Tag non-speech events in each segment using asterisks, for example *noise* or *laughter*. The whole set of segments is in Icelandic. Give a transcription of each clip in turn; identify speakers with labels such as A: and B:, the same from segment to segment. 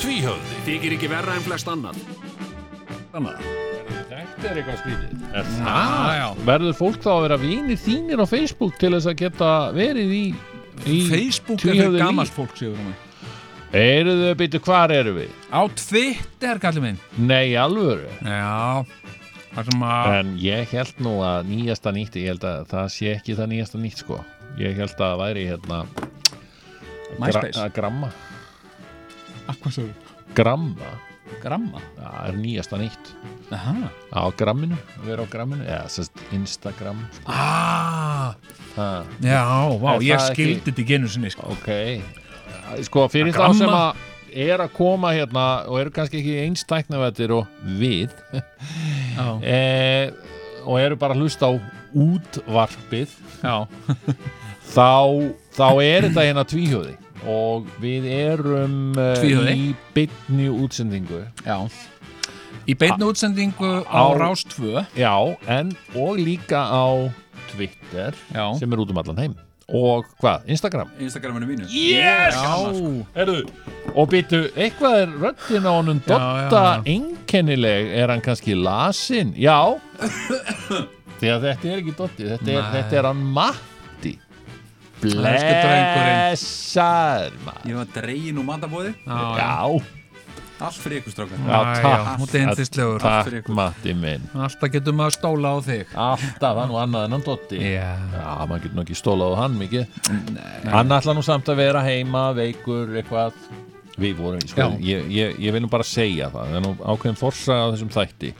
A: Tvíhöfði
B: Þykir ekki verra en flest annan
A: annað.
C: Þetta er eitthvað skrítið. Er
A: Ah,
C: það?
A: já.
C: Verður fólk þá að vera vinir þínir á Facebook til þess að geta verið í... í
A: Facebook er
C: tvíhöfðu
A: fyrir
C: líf?
A: gamast fólk sigur hún
C: Eruðu, býttu, hvar eru við?
A: Á Twitter kallið minn
C: Nei, í alvöru.
A: Já Það sem að
C: En ég held nú að nýjasta nýtt, ég held að það sé ekki það nýjasta nýtt, sko. Ég held að það væri hérna...
A: MySpace.
C: Gra- eh, að Gramma.
A: Akvasaur
C: Gramma.
A: Gramma
C: Það er nýjasta nýtt.
A: Aha
C: Á gramminu, vera á gramminu. Já, sérst, Instagram. sko.
A: ah,
C: Ha,
A: Já, vá,
C: Er
A: ég
C: það ekki-
A: skildi þetta í genu sinni sko.
C: ok. Sko,
A: Að
C: fyrir þá sem
A: gramma.
C: að er að koma hérna og eru kannski ekki einstæknavættir og við *laughs*
A: Já,
C: e, og eru bara að hlusta á útvarpið
A: já
C: þá, þá er þetta hérna tvíhjóði og við erum eh,
A: Tvíhöfði.
C: í bytni útsendingu
A: Já Í beinni útsendingu á
C: Ah. Á-
A: Rás 2
C: já, en og líka á Twitter
A: Já
C: sem er út um allan heim og hvað, Instagram
D: Instagraminu mínu
C: yes!
A: Já,
C: Heru. og byttu, eitthvað er röddin á honum
A: Já,
C: dotta
A: já, já.
C: einkennileg er hann kannski lasin
A: *coughs*
C: já því að þetta er ekki dotti þetta er,
A: Nei.
C: þetta er hann Matti
A: drengurinn.
C: blessaður maður
D: Ég var dregin úr matabóði
A: já, já.
C: já,
D: Allt fyrir ykkur strákar
C: já,
A: Já,
C: takk
A: já, Mútið hindistlegur
D: Takk fyrir
C: Takk
D: ykkur.
C: Matti minn
A: Alltaf getur maður stóla á þig
C: Alltaf hann og annað en hann Dotti
A: Já
C: Já, maður getur nú ekki stólað á hann mikið Hann ætla nú samt að vera heima veikur eitthvað Við vorum, sko,
A: Já.
C: ég, ég, ég vil nú bara segja það Það er nú ákveðin forsa á þessum þætti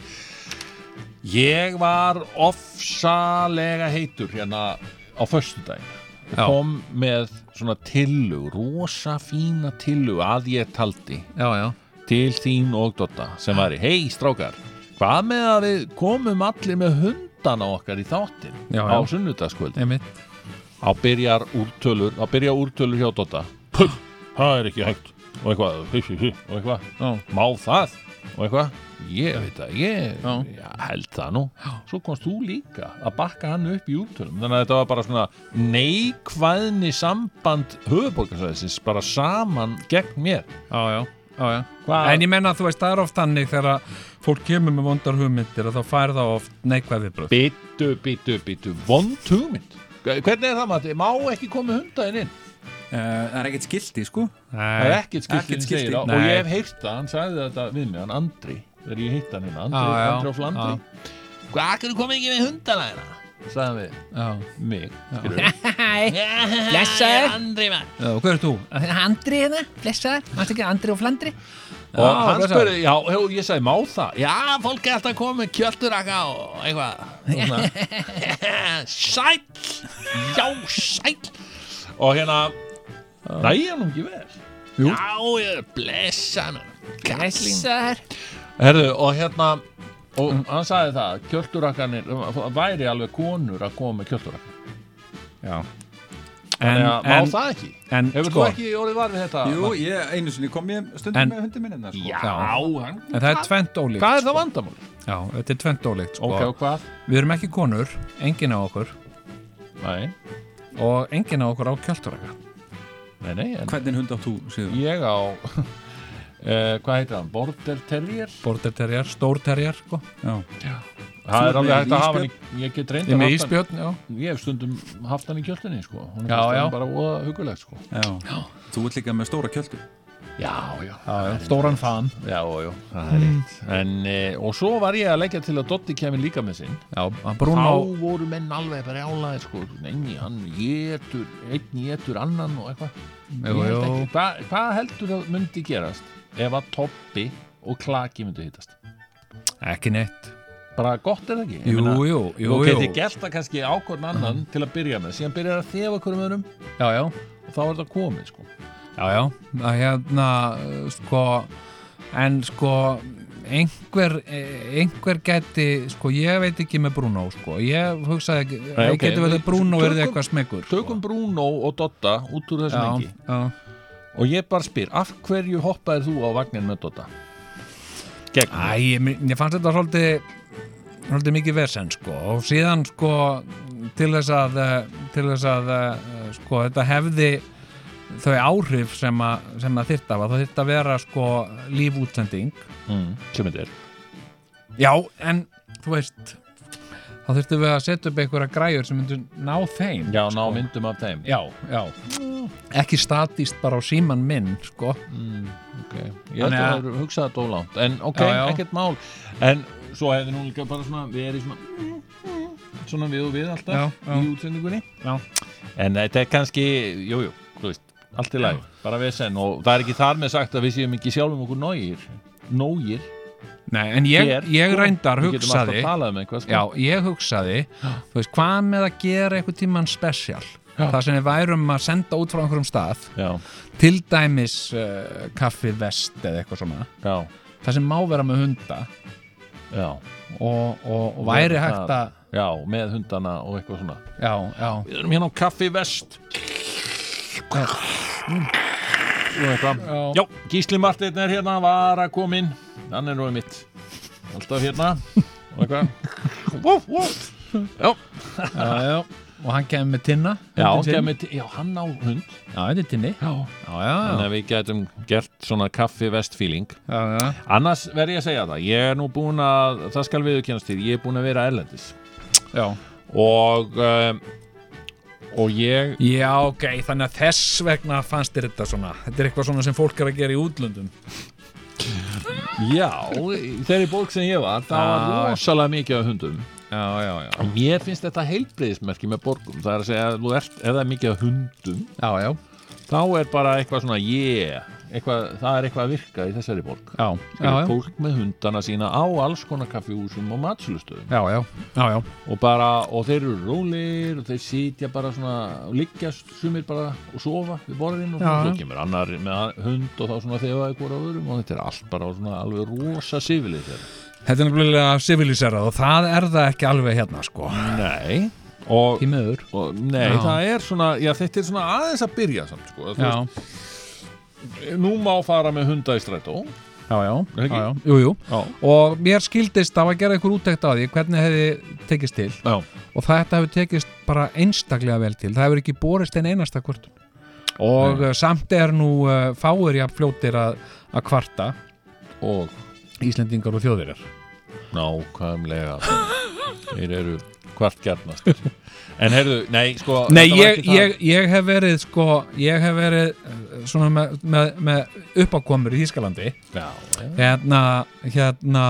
C: Ég var ofsalega heitur hérna á föstudaginn
A: Já.
C: kom með svona tillug, rosa fína tillug að ég taldi
A: Já, já
C: til þín og Dotta sem væri, hei strákar hvað með að við komum allir með hundana okkar í þáttin
A: Já,
C: á
A: já.
C: sunnudagskvöld
A: Einmitt
C: á byrjar úrtölur, á byrja úrtölur hjá Dotta "Puh, það er ekki hægt og eitthvað, hí, hí, hí, og eitthvað
A: Já
C: má það, og eitthvað ég veit það, ég
A: Já.
C: já, held það nú svo komst þú líka að bakka hann upp í úrtölum þannig að þetta var bara svona neikvæðni samband höfuborgarsæðisins bara saman gegn mér
A: Já, já, já, já.
C: Hvað-
A: En ég menna að þú veist, það er oft þannig þegar að fólk kemur með vondar hugmyndir og þá fær það oft neikvæð viðbröð.
C: Bittu, bittu, bittu, vond hugmynd Hvernig er það Matti? Má ekki koma hundaðinn inn?
D: Eh, Það er ekkert skilti sko
C: Það er
A: Nei,
C: ekkert skiltinn sem
D: Ekkert
C: segir
D: skilti.
C: það
A: Nei.
C: Og ég hef heyrt það, hann sagði þetta við mig, hann Andri Þegar ég heitt hann hérna, Andri,
A: Já, já,
C: Andri og Flandri Hvað, hvernig kom ekki með hundana hérna? Sagði hann
A: já.
C: við mig
A: *laughs*
C: Hæ, blessaður Andri maður
A: já Hvað er þú? Andri hérna, blessaður, mannst ekki Andri og Flandri?
C: Og
A: Já,
C: hann
A: blessaður.
C: spurði, já, hef, ég sagði má það Já, fólk er alltaf komið með kjölduraka og eitthvað Og
A: *laughs*
C: svona, Sæll Já, sæll Og hérna Næ, ég er nú ekki vel
A: Jú.
C: Já, ég er blessan Blessaður Herðu, og hérna Og hann sagði það, kjöldurakanir Væri alveg konur að koma með kjölduraka
A: Já. En,
C: Þannig að má
A: en,
C: það ekki
A: en,
C: Hefur
A: sko,
C: þú ekki orðið var við þetta?
D: Jú, ég einu sinni kom ég stundum
A: En-
D: með hundi minn hérna, sko.
C: Já,
A: Já.
C: hann
A: en það er tvent ólíkt. sko.
C: Hvað er það vandamál?
A: Já, þetta er tvent ólíkt, sko.
C: Ok, og hvað?
A: Við erum ekki konur, enginn á okkur
C: Nei,
A: og enginn á okkur á kjölduraka.
C: nei, nei en...
D: Hvernig hund átt þú, Sigur?
C: ég á *laughs* uh, hvað heitir hann, Border Terrier
A: Borderterjar, stórterjar, sko.
D: Já.
C: það
D: ert
C: er alveg
D: með
C: hægt að hafa hann í- ég get
A: Ég er
C: reyndar
A: með
C: haft hann
A: íspjörn, já.
C: ég hef stundum haft hann í kjöldinni sko. hún
A: Já,
C: er fyrst
A: já.
C: hann bara óða hugulegt sko.
D: Já. Þú ert líka með stóra kjöldu.
C: já, já,
A: já. Stóran fan. Mm.
C: já, já, það er rétt en, uh, og svo var ég að leggja til að Dotti kemur líka með sinn
A: Já, Bruno,
C: þá voru menn alveg bara álaði sko. Nei, hann getur, einn getur annan og eitthvað
A: Jú,
C: Ég held
A: jú.
C: ekki. Hva- hvað heldur það myndi gerast ef að Toppi og Klaki myndi hittast
A: ekki neitt.
C: bara gott er það ekki Ég
A: Jú,
C: meina-
A: jú, jú,
C: Þú
A: jú.
C: getur gert það kannski ákvörn annan til að byrja með síðan byrjar að þefa hverjum öðrum
A: Já, já.
C: og þá er þetta komið sko.
A: Já, já, að hérna, uh, sko, en sko, einhver, eh, einhver gæti sko, ég veit ekki með Bruno sko. ég hugsaði ekki,
C: Nei,
A: ég
C: ok,
A: geti verið
C: við-
A: Bruno verið
C: tökum-
A: eitthvað smegur
C: Tökum Bruno og Dotta út úr þessum
A: Sko. já,
C: engi
A: já.
C: Og ég bara spyr, af hverju hoppaðir þú á vagnin með Dotta? Gegn
A: Æ, ég, ég fannst þetta svolítið svolítið mikið vesen sko. og síðan sko til þess að, eh, til þess að eh, sko, þetta hefði þau áhrif sem að, sem að þyrta var, það þyrta að vera sko lífútsending
C: mm, sem þetta er
A: já, en þú veist þá þurftum við að setja upp einhverja græjur sem myndur ná þeim
C: Já, ná myndum af þeim
A: Sko. já, já ekki statíst bara á síman minn sko.
C: okay. Ég ætla
A: Þannig
C: að hugsa þetta ólánt En ok,
A: Já, já.
C: ekkert mál En svo hefði nú líka bara svona Við erum svona Svona við og við alltaf
A: Já, já.
C: í útsendingunni
A: já,
C: En þetta er kannski, jújú, jú, þú veist Allt í lagi, bara vesen Og það er ekki þar með sagt að við séum ekki sjálfum okkur nógir Nógir
A: Nei, en ég,
C: Hér,
A: ég
C: sko,
A: reyndar
C: Við getum alltaf
A: hugsaði
C: talað um eitthvað sko.
A: Já, ég hugsaði, þú veist, hvað með að gera einhvern tíman spesial?
C: Já.
A: Það sem við værum að senda út frá einhverjum stað,
C: já,
A: til dæmis uh, kaffi vest eða eitthvað svona,
C: já,
A: það sem má vera með hunda
C: já,
A: og, og, og
C: Verður
A: væri
C: það-
A: hægt að,
C: já Með hundana og eitthvað svona
A: já, já,
C: Við erum hérna á Kaffi Vest Og eitthvað
A: já,
C: Já, Gísli Marteinn er hérna, var að koma inn Hann er núið mitt Alltaf hérna Og
A: *laughs*
C: eitthvað Vóf, vóf Já,
A: já, já. og hann kemur með tinna,
C: já,
A: hundinn sinn.
C: kemur, til- já, hann á hund
A: já, þetta er tinni,
C: Já
A: já, já,
C: Þannig
A: já,
C: að við getum gert svona Kaffi Vest feeling
A: já, já,
C: Annars verð ég að segja það Ég er nú búin að, það skal viðurkennast til Ég er búin að vera erlendis
A: já.
C: Og um, Og ég
A: Já, ok, þannig að þess vegna fannst þér þetta svona, þetta er eitthvað svona sem fólk er að gera í útlöndum.
C: Já, í þeirri bók sem ég var Það
A: Já,
C: var rosalega mikið af hundum
A: Já, já, já.
C: Mér finnst þetta heilbreyðismerki með borgum Það er að segja, ef þú ert, ef það er mikið af hundum
A: Já, já,
C: Þá er bara eitthvað svona, yeah eitthvað, Það er eitthvað að virka í þessari borg
A: já, já,
C: Fyrir
A: já,
C: fólk með hundana sína á alls konar kaffihúsum og matsölustöðum
A: já, já, já, já.
C: og, bara, og þeir eru rólegir og þeir sitja bara svona og liggja sumir bara og sofa við borðin og
A: Já,
C: svo
A: já.
C: kemur annar með hund og þá svona þefa eitthvað á öðrum og þetta er allt bara svona alveg rosa sifilið þeirra
A: Þetta er náttúrulega civiliserað og það er það ekki alveg hérna sko
C: Nei og,
A: Tímiður
C: og nei,
A: Já.
C: það er svona, já þetta er svona aðeins að byrja samt sko, Þú
A: Já,
C: nú má fara með hunda í strætó
A: já, já,
C: Er ekki?
A: já, já. Jú, jú
C: Já,
A: Og mér skildist það var að gera einhver útækt á því hvernig hefði tekist til
C: já,
A: og þetta hefur tekist bara einstaklega vel til það hefur ekki borist en einasta kvartun og Nei. samt er nú uh, fáir jafn fljótir að, að kvarta
C: og
A: Íslendingar og þjóðverjar
C: nákvæmlega þeir eru hvart gjarnast en heyrðu, nei, sko
A: Nei,
C: þetta var
A: ég,
C: ekki það.
A: ég, ég hef verið sko, ég hef verið eh, svona með, með, með uppákomur í Þýskalandi
C: já, já,
A: hérna, hérna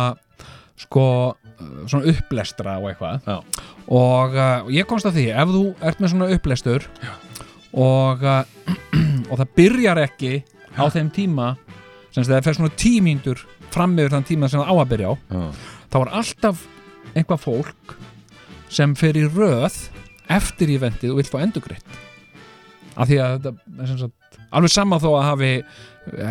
A: sko, uh, svona upplestra og eitthvað
C: já,
A: og uh, ég komst að því, ef þú ert með svona upplestur og uh, *clears throat* og það byrjar ekki á þeim tíma sem þess að það fer svona tímíndur fram yfir þann tíma sem það á að byrja á
C: já.
A: þá er alltaf einhvað fólk sem fer í röð eftir í vendið og vill fá endugreitt af því að þetta er sem sagt, alveg sama þó að hafi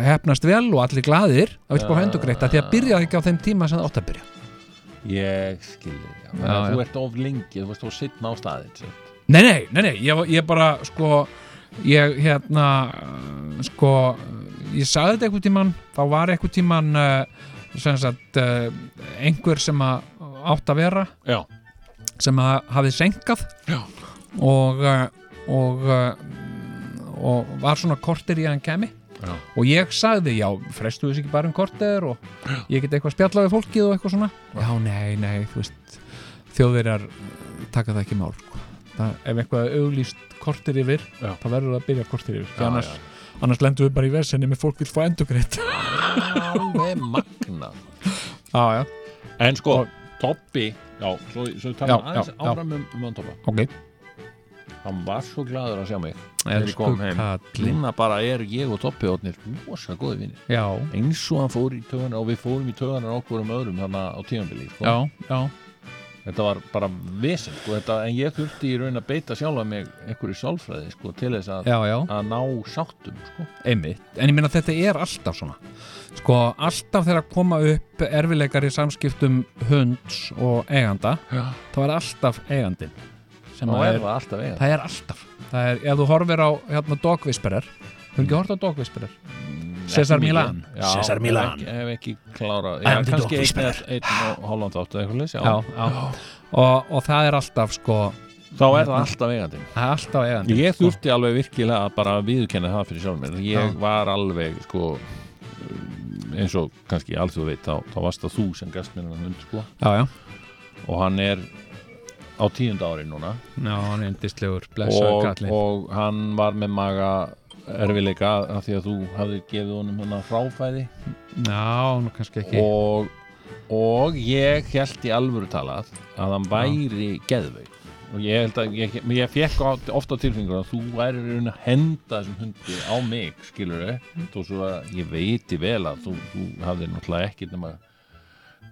A: hefnast vel og allir glaðir að vill fá
C: Já.
A: endugreitt af því að byrjaði ekki á þeim tíma sem það átt að byrja
C: ég skilji já. Já,
A: Já,
C: þú ert of lengi, þú ert of sittna á staðin sem.
A: nei, nei, nei, nei, ég, ég bara sko, ég hérna uh, sko ég sagði þetta einhvern tíman, þá var einhvern tíman uh, sem sagt uh, einhver sem að átt að vera
C: já,
A: sem að hafið senkað
C: Já.
A: og eh, og eh, og var svona kortir í að hann kemi
C: Já.
A: og ég sagði, já, frestu þess ekki bara um kortir og ég get eitthvað spjallað við fólkið og eitthvað svona já, nei, nei, þú veist þjóðverjar eh, taka það ekki í mál sko. það, ef eitthvað er auglýst kortir yfir
C: Já.
A: þá verður það að byrja kortir yfir
C: Já,
A: já, annars,
C: já.
A: annars lendum við bara í versenni með fólk vil fá endugreitt já,
C: alveg magna
A: já,
C: en sko,
A: Og-
C: Toppi já, svo, svo
A: Já,
C: tala aðeins
A: já, já.
C: áfram um, um hann Toppa
A: ok
C: hann var svo gladur að sjá mig ég
A: Elsku
C: kom heim. Mm.
A: kallinn
C: Lina bara er ég og Toppi átnir rosa góði vinni
A: já,
C: eins og hann fór í töðanar og við fórum í töðanar okkur um öðrum þannig á tímanbili sko.
A: já, já,
C: Þetta þetta var bara vesend sko, þetta, en ég þurfti í raun að beita sjálfa mig einhverju sálfræði sko, til þess að,
A: já, já,
C: að ná sáttum sko.
A: einmitt en ég meina þetta er alltaf svona sko, alltaf þegar koma upp erfileikar í samskiptum hunds og eiganda,
C: Já.
A: þá er alltaf eigandin sem
C: Ná
A: að
C: er
A: er,
C: það alltaf eiga
A: það er alltaf það er, ef þú horfir á hérna dogvisperar hefur ekki horft á dogvisperar Cesar Milan
C: Já,
A: Cesar Milan.
C: Ef ekki, ef ekki klárað
A: I'm the
C: já, Kannski
A: dog
C: einn eða- einn og Holland áttu eða eitthvað leys já.
A: já, já. Og, og það er alltaf sko,
C: Þá er það alltaf eigandi
A: það er alltaf sko. eigandi
C: Ég þurfti alveg virkilega að bara viðurkenna það fyrir sjálf mér Ég
A: Já.
C: var alveg sko eins og kannski alþjóð veit þá, þá varst það þú sem gast mér hann hund sko
A: já, já,
C: og hann er á tíunda ári núna
A: já, hann er indislegur blessaður
C: og,
A: kallinn
C: og hann var með maga erfileika af því að þú hafði gefið honum hennar fráfæði
A: já, nú kannski ekki
C: og, og ég held í alvöru talað að hann væri geðveik og ég held að ég, ég fekk á- oft á tilfingur að þú væri raun að henda þessum hundi á mig skilur þau þó svo að ég veiti vel að þú, þú hafði náttúrulega ekki nema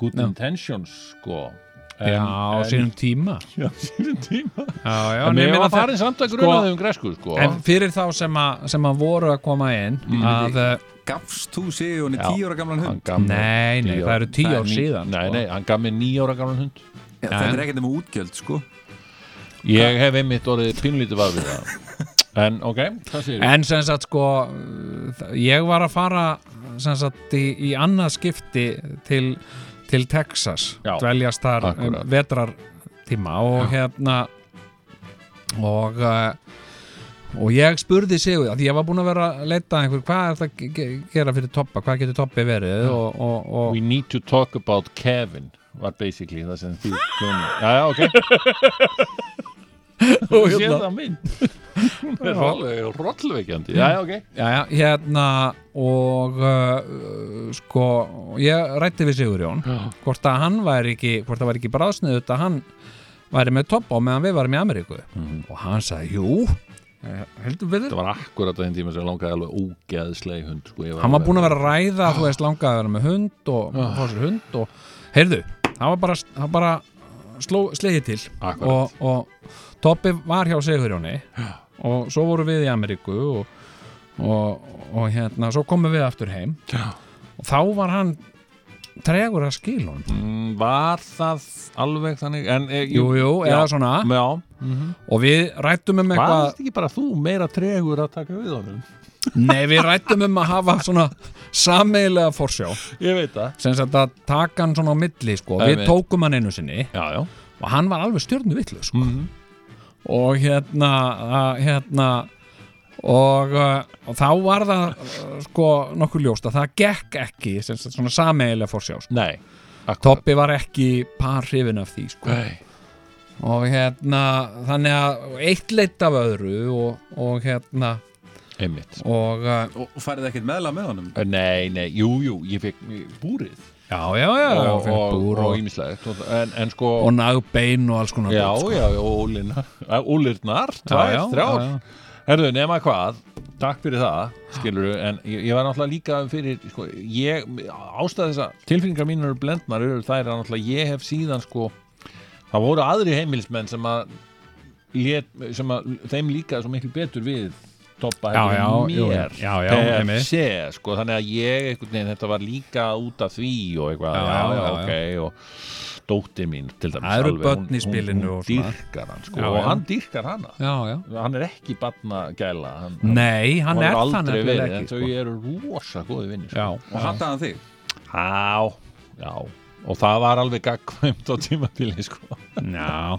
C: good
A: Já.
C: intentions sko
A: já, á sínum tíma
C: *laughs* já, sínum tíma
A: já, já, en
C: en ég
A: ég
C: var
A: meina
C: að
A: það
C: fara í samt að
A: sko-
C: gruna þau um græsku sko Mhm.
A: en fyrir þá sem að, sem að voru að koma inn að, uh,
D: Gafst þú séu henni
C: Já.
D: tíu ára gamlan
C: Hann
D: hund?
C: gaf mér
A: Nei, nei,
C: tíu
A: það eru tíu
C: Nei,
A: ár
C: ní-
A: síðan,
C: Nei,
A: sko.
C: nei, hann gaf mér níu ára gamlan hund
D: Já, Þetta er ekkert um útgjöld, sko
C: Ég hef einmitt orðið pínlítið var við það En ok, hvað segir
A: en sem sagt sko uh, þa- ég var að fara sem sagt í, í annað skipti til, til Texas
C: Já,
A: dveljast þar um,
C: akkurat.
A: vetrartíma og hérna og uh, og ég spurði sig að ég var búin að vera að leita að einhver, hvað er það að ge- gera fyrir toppa, hvað getur toppi verið og, og, og
C: We need to talk about Kevin var basically það sem því hljóna Já, já,
A: *laughs*
C: ok Þú séð
A: hérna-
C: það
A: *laughs*
C: mynd Hún er
A: Já.
C: alveg rollveikjandi Já, já, ok
A: Jæja, hérna og uh, sko, ég rætti við Sigurjón hvort að hann væri ekki hvort það væri ekki bráðsniðut að hann væri með topp á meðan við varum í Ameríku og hann sagði, jú eh, heldur við
C: Það var akkurat á þeim tíma sem ég langaði alveg ógeðslega í hund sko,
A: hann var búin að vera að ræða, þú veist, langaði að vera með hund og
C: Ah.
A: fá sér hund og heyrðu, það var bara, það bara sló, slegið til
C: Akkurat.
A: og, og toppi var hjá Sigurjóni og svo voru við í Ameríku og, og, og hérna, svo komum við aftur heim
C: Já.
A: og þá var hann tregur að skila honum
C: Mm, Var það alveg þannig en, e,
A: jú, jú, eða svona
C: Já,
A: og við rættum um
C: var
A: eitthvað
C: þetta ekki bara þú meira tregur að taka við honum?
A: *laughs* nei, við rættum um að hafa svona sameigilega forsjá
C: Ég veit það
A: sem sagt að taka hann svona á milli sko. við
C: Einmitt.
A: tókum hann einu sinni
C: Já, já
A: og hann var alveg stjörnu vitlu sko.
C: Mhm.
A: og hérna að, hérna og, uh, og þá var það uh, sko nokkuð ljóst að það gekk ekki sem sagt, svona sameigilega forsjá sko.
C: Nei, akkurat
A: Toppi var ekki par hrifin af því sko.
C: Nei,
A: og hérna þannig að eitt leitt af öðru og, og hérna
C: einmitt
A: og uh,
D: Og og færið ekkert meðla með honum
C: Nei, nei, jú, jú, ég fekk búrið
A: já já já og,
C: og,
A: og,
C: og,
A: búr, og,
C: og ímislegt og, en, en sko
A: og nagbein og alls konar
C: Já,
A: dót, sko.
C: já, og ólirnar Ólirnar, tvær,
A: já,
C: þrjár
A: já, já.
C: Herðu, nema hvað, takk fyrir það skilur en ég, ég var náttúrulega líka fyrir, sko, ég, ástæða þess að tilfinningar mínar eru blendnar eru þær að náttúrulega ég hef síðan, sko það voru aðri heimilismenn sem að lét, sem að þeim líka svo miklu betur við toppa
A: Já,
C: heldur en
A: já, jú,
C: mér
A: já, já,
C: per
A: einmitt.
C: se, sko, þannig að ég einhvern veginn, þetta var líka út af því og eitthvað,
A: Já,
C: já,
A: já,
C: já,
A: já,
C: ok og dóttir mín, til dæmis
A: Það eru
C: alveg,
A: börn
C: hún-
A: í spilinu
C: hún,
A: og
C: hún
A: svona.
C: dýrkar hann, sko,
A: Já, já.
C: og hann dýrkar hana
A: já, já.
C: hann er ekki barnagæla hann,
A: nei, hann
C: hann
A: er
C: hefur
A: þannig
C: aldrei verið,
A: ekki
C: en
A: sko.
C: þau eru rosa góði vinnir
A: já,
D: Og hattaði hann þig
C: já, já og það var alveg gagkvæmt á tímabili sko.
A: já,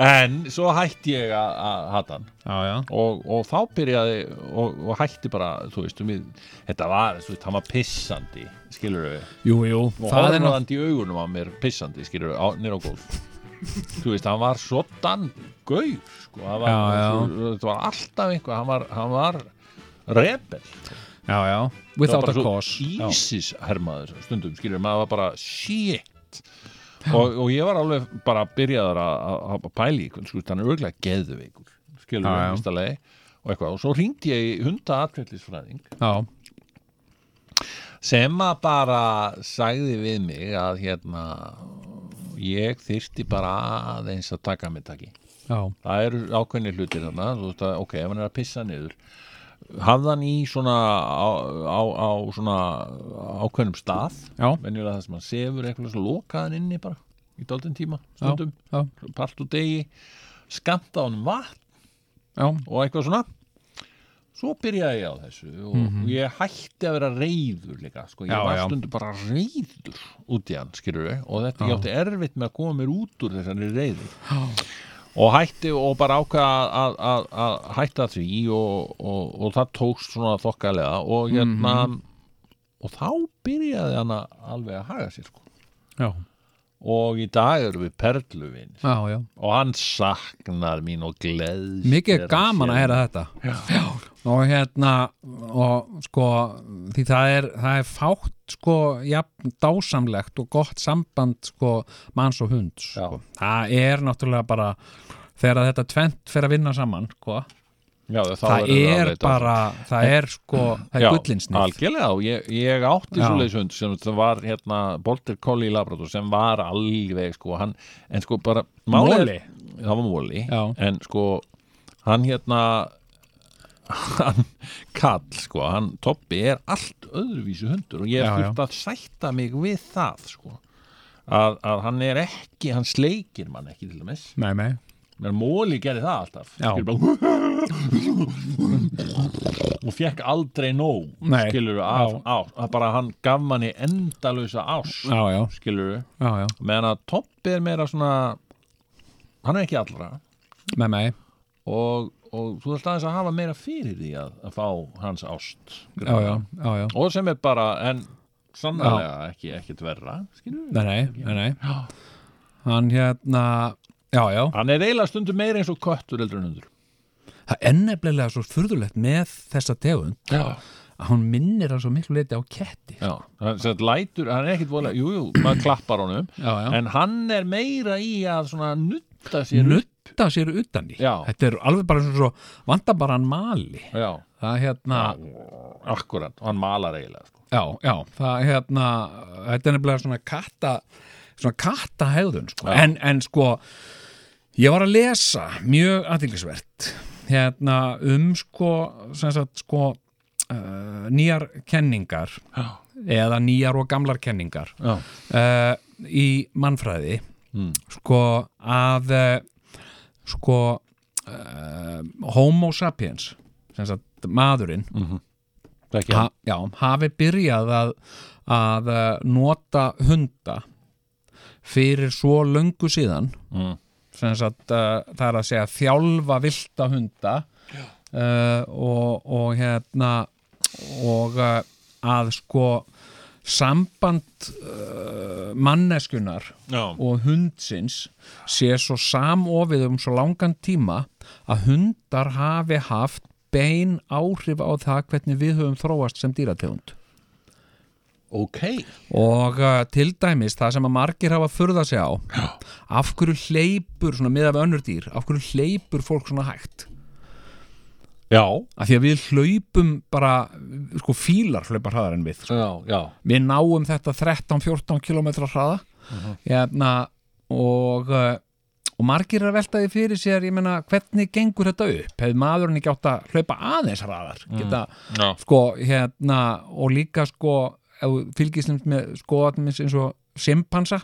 C: en svo hætti ég að að hata hann
A: já, já
C: og, og þá byrjaði og, og hætti bara, þú veist, um, ég- þetta var, þú veist, hann var pissandi skilur við,
A: Jú, jú,
C: og
A: það er náttúrulega
C: horfandi í augunum á mér pissandi, skilur við, nýr á gólf þú veist, hann var sotan gauð, sko, hann var,
A: Já, já.
C: þetta var alltaf einhver, hann var, hann var rebel,
A: Já, já,
C: Það var
A: without a
C: bara svo
A: cause Já.
C: ISIS hermaður stundum, skilur við, maður var bara shit og, og ég var alveg bara byrjaður að- að að pæla í einhvern, sko, hann er örglega geðveikur skilur
A: Já, já.
C: við, fyrsta leið og eitthvað, og svo ringdi ég í hunda atfjöllisfræðing
A: Já,
C: sem að bara sagði við mig að hérna ég þyrfti bara aðeins að taka myndtaki
A: já,
C: það eru ákveðni hlutir þarna þú veist að, ok, ef hann er að pissa niður hafða hann í svona á, á, á svona ákveðnum stað
A: Já.
C: venjulega það sem hann sefur eitthvað svo lokaðan inni bara í daldin tíma,
A: já,
C: stundum
A: já,
C: part úr degi, skamta hann vatn
A: já,
C: og eitthvað svona svo byrjaði ég á þessu og ég hætti að vera reyður líka, sko, ég
A: Mhm. Já,
C: var
A: já.
C: stundum bara reyður út í hann, skilur við og þetta ég
A: Já.
C: átti erfitt með að koma mér út úr þessari reyði og hætti og bara ákvaða að, að, að hætta því og, og, og það tókst svona þokkalega og hérna
A: Mhm.
C: og þá byrjaði hann að alveg að haga sér sko.
A: já,
C: og í dag eru við perluvin
A: já, já.
C: og hann saknar mín og gleðst
A: Mikið
C: þegar
A: er
C: hann
A: gaman
C: sér
A: að heyra þetta
C: Já.
A: og hérna og sko því það er, það er fátt sko jafn dásamlegt og gott samband sko manns og hund sko.
C: Já.
A: það er náttúrulega bara þegar þetta tvent fer að vinna saman sko.
C: Já, þá
A: það
C: verður
A: er
C: alveg dásamt.
A: bara það er sko, það
C: Já,
A: er gullinsnið
C: algjörlega, og ég, ég átti
A: Já.
C: svo leiðsund sem það var hérna Bolter Collie Labrador sem var alveg sko, hann, en sko bara málið-
A: Moli.
C: það var móli,
A: Já.
C: en sko hann hérna hann kall sko, hann Tobbi er allt öðruvísu hundur og ég
A: Já, já.
C: þurft að sætta mig við það sko að, að hann er ekki, hann sleikir mann ekki til dæmis,
A: nei, nei,
C: menn móli gerði það alltaf
A: Já.
C: Skilur bara, og fekk aldrei nóg
A: Nei.
C: skilur af, af, að bara hann gaf manni endalösa ást
A: já, já,
C: skilur,
A: já, já
C: meðan að Toppi er meira svona hann er ekki allra
A: nei, nei,
C: og, og þú þarft aðeins að hafa meira fyrir því að, að fá hans ást
A: já, já, já, já.
C: og sem er bara en sannlega ekki, ekki tverra skilur,
A: nei, nei, nei, nei. hann hérna já, já,
C: hann er eiginlega stundum meira eins og köttur eldur en hundur
A: það er nefnilega svo furðulegt með þessa tegund
C: já
A: að hún minnir hann svo miklu leiti á ketti
C: Já, hann, sem sagt lætur, hann er ekkit vola, jú, jú, maður klappar honum
A: já, já.
C: en hann er meira í að svona nutta sér upp.
A: nutta sér utan í
C: Já.
A: þetta er alveg bara eins og svo vanda bara hann mali
C: Já,
A: það hérna já,
C: akkurat, og hann malar eiginlega sko.
A: já, það hérna þetta er nefnilega svona katta svona katta hegðun sko.
C: Já.
A: En, en sko ég var að lesa mjög aðdýlisvert hérna um sko sem sagt sko uh, nýjar kenningar
C: Já,
A: eða nýjar og gamlar kenningar
C: já,
A: uh, í mannfræði
C: Mm.
A: sko að uh, sko uh, homo sapiens sem sagt maðurinn
C: það ekki
A: ha, já, hafi byrjað að, að uh, nota hunda fyrir svo löngu síðan
C: mm.
A: sem sagt uh, það er að segja þjálfa vilda hunda uh, og, og hérna og uh, að sko samband uh, manneskunar
C: Já,
A: og hundsins sé svo samofið um svo langan tíma að hundar hafi haft bein áhrif á það hvernig við höfum þróast sem dýrategund
C: ok
A: og uh, til dæmis það sem að margir hafa furða sig á af hverju hleypur svona miðað við önnur dýr af hverju hleypur fólk svona hægt
C: Já,
A: af því að við hlaupum bara sko fílar hlaupa hraðar en við sko.
C: já, já
A: við náum þetta 13-14 km hraða hérna, og uh, og margir er að velta því fyrir sér ég meina hvernig gengur þetta upp hefði maðurinn ekki átt að hlaupa aðeins hraðar
C: Mm.
A: geta
C: Já,
A: sko hérna og líka sko fylgislind með skoðatmis eins og simpansa,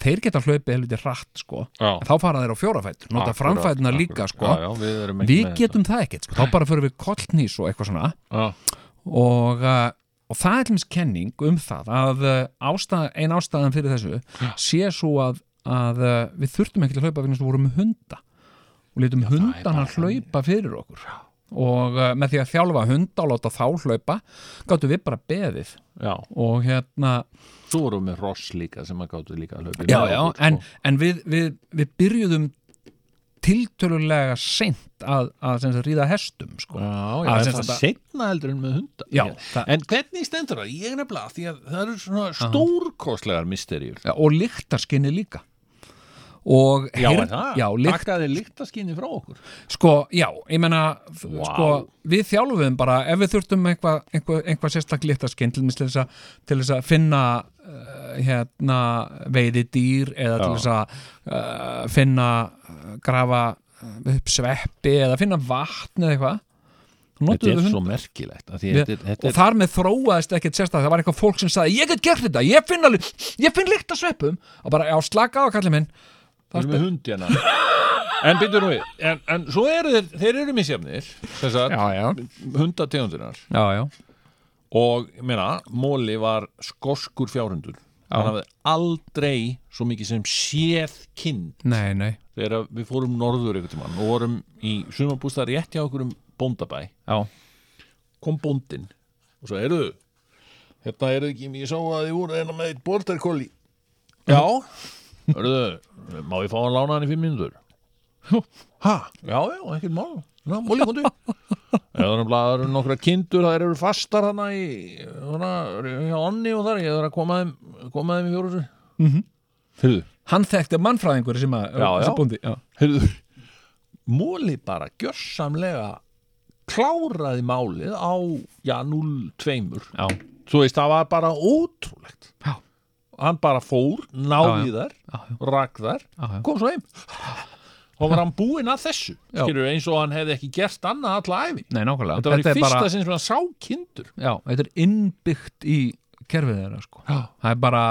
A: þeir geta hlaupið helviti hratt sko,
C: já
A: en þá fara þeir á fjórafætur nota framfætuna líka sko
C: já, já, Við, erum ekki
A: við
C: með
A: getum það ekkert sko, þá bara förum við kollnís og eitthvað svona
C: þetta. Já,
A: og, uh, og það er til dæmis kenning um það að uh, ástæð, ein ástæðan fyrir þessu sé svo að, að uh, við þurftum ekkert að hlaupa fyrir þess að vorum með hunda og letum hundana hlaupa fyrir okkur og uh, með því að þjálfa hunda og láta þá hlaupa gáttum við bara beðið
C: já
A: og hérna
C: Svo vorum við ross líka sem að gáttu líka að hlaupa sko.
A: já, já, en, en við, við, við byrjuðum tiltölulega seint að, að, að ríða hestum sko.
C: Já, já,
A: Að
C: en
A: sem
C: það
A: sagt að-
C: setna heldur en með hunda
A: Já,
C: Ég-
A: það-
C: En hvernig stendur það? Ég er nefnilega því að það eru svona stórkostlegar misterjur
A: ja, og lyktarskinni líka og
C: Já,
A: heyrn-
C: er það?
A: já, lykt,
C: Takkaði líktaskinni frá okkur
A: sko, já, ég meina
C: Vá.
A: sko, við þjálfum bara ef við þurftum einhvað einhva, einhva sérstak lyktarskinn til, dæmis til, þess að- til þess að finna uh, hérna veiði dýr eða til
C: Já.
A: þess að uh, finna eh, grafa upp sveppi eða finna vatn eða eitthvað Þá
C: þetta
A: notuðu
C: er
A: þau hund.
C: svo merkilegt af því
A: Við-
C: þetta er-
A: og
C: þetta er-
A: þar með þróaðist ekkert sérstaklega það var eitthvað fólk sem sagði ég get gert þetta, ég finn alveg ég finn líkt að sveppum og bara á slaka á kallið minn
C: Við erum með hund hérna En býtur nú við, en, en svo eru þeir, þeir eru misjafnir, þess að
A: já,
C: hundategundunar
A: já, já,
C: og ég meina, Móli var skoskur fjárhundur hann hafði aldrei svo mikið sem séð kinn
A: nei, nei
C: þegar við fórum norður einhvern tímann og vorum í sumabústa rétt hjá okkur um bóndabæ
A: já,
C: kom bóndin og svo eruðu hérna eruðu ekki, ég sá að þið voru hérna með eitt bortarkóli já eruðu, má ég fá að lána hann í fimm mínútur ha, já, já, ekkert mál já, múli kondi *laughs* eða þannig að það eru nokkra kindur það eru fastar hana í hana, hjá onni og þar, ég þarf að koma þeim koma þeim í fjóruðsir mm -hmm. heyrðu,
A: hann þekkti mannfræðingur sem að
C: Já, já.
A: sem bóndi, já.
C: heyrðu múli bara gjörsamlega kláraði málið á, já, 0-2
A: Já.
C: þú veist, það var bara ótrúlegt
A: Já.
C: hann bara fór, náði þar
A: já.
C: rak þar,
A: Já, já.
C: kom svo heim og var hann búinn að þessu skilur eins og hann hefði ekki gert annað alla æfi
A: nei, nákvæmlega
C: þetta var í
A: er
C: fyrsta
A: bara-
C: sinn sem hann sá kindur
A: Já, þetta er innbyggt í kerfið þeirra sko. það er bara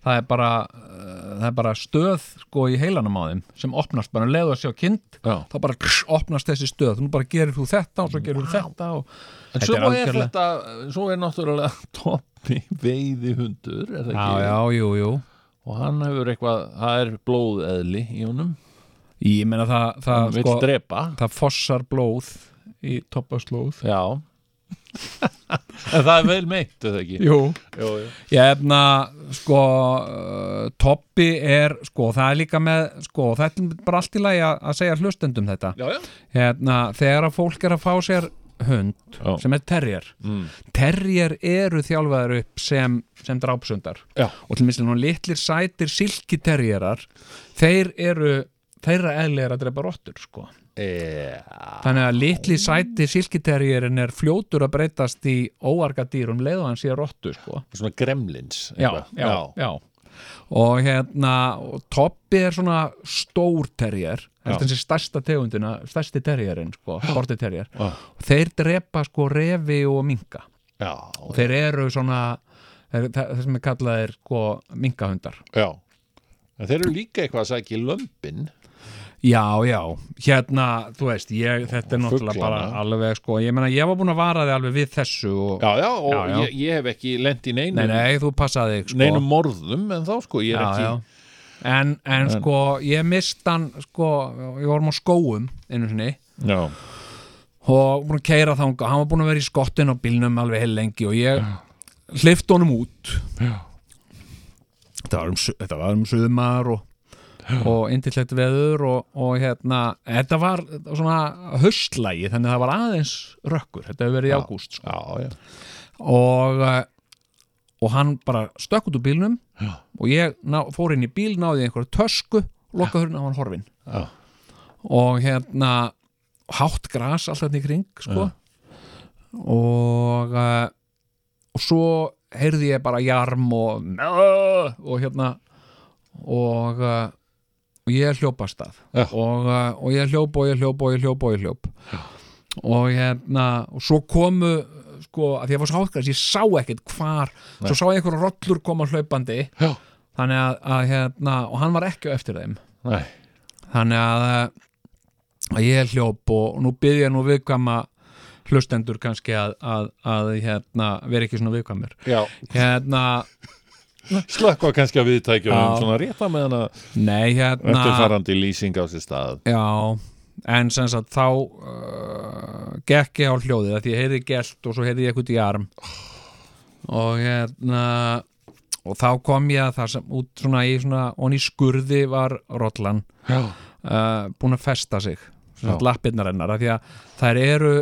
A: það er bara, uh, það er bara stöð sko, í heilanum á þeim sem opnast bara um leið og að sjá kind
C: Já.
A: þá bara kss, opnast þessi stöð nú bara gerir þú þetta og svo gerir þú þetta og...
C: en
A: Þetta
C: svo
A: er
C: er,
A: algjörlega-
C: þetta svo er náttúrulega *laughs* Toppi veiði hundur er það
A: Já,
C: ekki
A: já, jú, jú
C: og hann hefur eitthvað, það er blóðeðli í honum,
A: Ég meina það,
C: hann
A: það,
C: vill
A: sko,
C: drepa
A: það fossar blóð í toppaslóð
C: *laughs* já en það er vel meitt, er það ekki
A: Jú
C: jú, jú.
A: Ég efna, sko, uh, Toppi er, sko, það er líka með, sko, þetta er bara allt í lagi að að segja hlustendum þetta.
C: já, já
A: hérna, þegar að fólk er að fá sér hund
C: Já.
A: sem er terrier
C: Mm.
A: terrier eru þjálfaðar upp sem, sem drápsundar
C: Já.
A: og til mislega nú litlir sætir silki terrierar þeir eru þeirra eðli er að drepa rottur sko.
C: E, Já,
A: þannig að litli sæti silkiterrierin er fljótur að breytast í óarga dýrum leið og hann sé rottu sko.
C: svona gremlins
A: já, já, já og hérna, og Toppi er svona stór terrier
C: Já.
A: þessi stærsta tegundina, stærsti terrierin sko, borti terrier
C: já,
A: og þeir drepa sko refi og minka
C: já,
A: og þeir eru svona þeir- það það sem er kallað er sko minkahundar
C: já. En þeir eru líka eitthvað að sækja í lömbin
A: já, já, hérna þú veist, ég, þetta er náttúrulega bara
C: Fuglana.
A: alveg sko, ég meina ég var búin að vara þig alveg við þessu og,
C: Já, já, og
A: Já, já.
C: Ég, ég hef ekki lent í neinum,
A: nei, nei, þú passaði þig sko
C: neinum morðum en þá sko, ég er
A: já,
C: ekki
A: já. En, en sko, ég mist hann sko, ég vorum á skóum einu sinni
C: Já.
A: og búin að keira þanga, hann var búin að vera í skottin á bílnum alveg heil lengi og ég hlifti honum út
C: Já.
A: þetta var um, su- þetta var um sumar og, og indillegt veður og, og hérna, þetta var svona höstlægi þannig að það var aðeins rökkur, þetta hefur verið í ágúst sko.
C: já, já,
A: og, eh, og hann bara stökk út úr bílnum
C: Já.
A: og ég ná, fór inn í bíl, náði í einhverju tösku lokaði hurinn á hann horfin
C: já.
A: og hérna hátt gras alltaf þetta í kring sko. og uh, og svo heyrði ég bara jarm og og hérna og, uh, og ég hljópast að
C: Já.
A: og, uh, og ég hljóp og ég hljóp og ég hljóp og ég hljóp og hérna og svo komu sko, að því að var svo hátt gras, ég sá ekkert hvar svo sá ég einhverja rollur koma hlaupandi
C: Já.
A: þannig að, að hérna, og hann var ekki á eftir þeim
C: Nei.
A: þannig að, að ég er hljóp og nú byrja nú viðkama hlustendur kannski að, að, að hérna, vera ekki svona viðkamir
C: já.
A: hérna,
C: Slökkva kannski að við tækjum
A: Já.
C: svona rétta meðan að
A: nei hérna
C: eftirfarandi lýsing á sér stað
A: já, en sem sagt þá uh, gekk ég á hljóðið af því ég heyrði gelt og svo heyrði ég eitthvað í arm og hérna og þá kom ég að það sem út svona í svona, og í skurði var rollan
C: Já,
A: uh, búin að festa sig
C: Já.
A: lappirnar hennar, af því að þær eru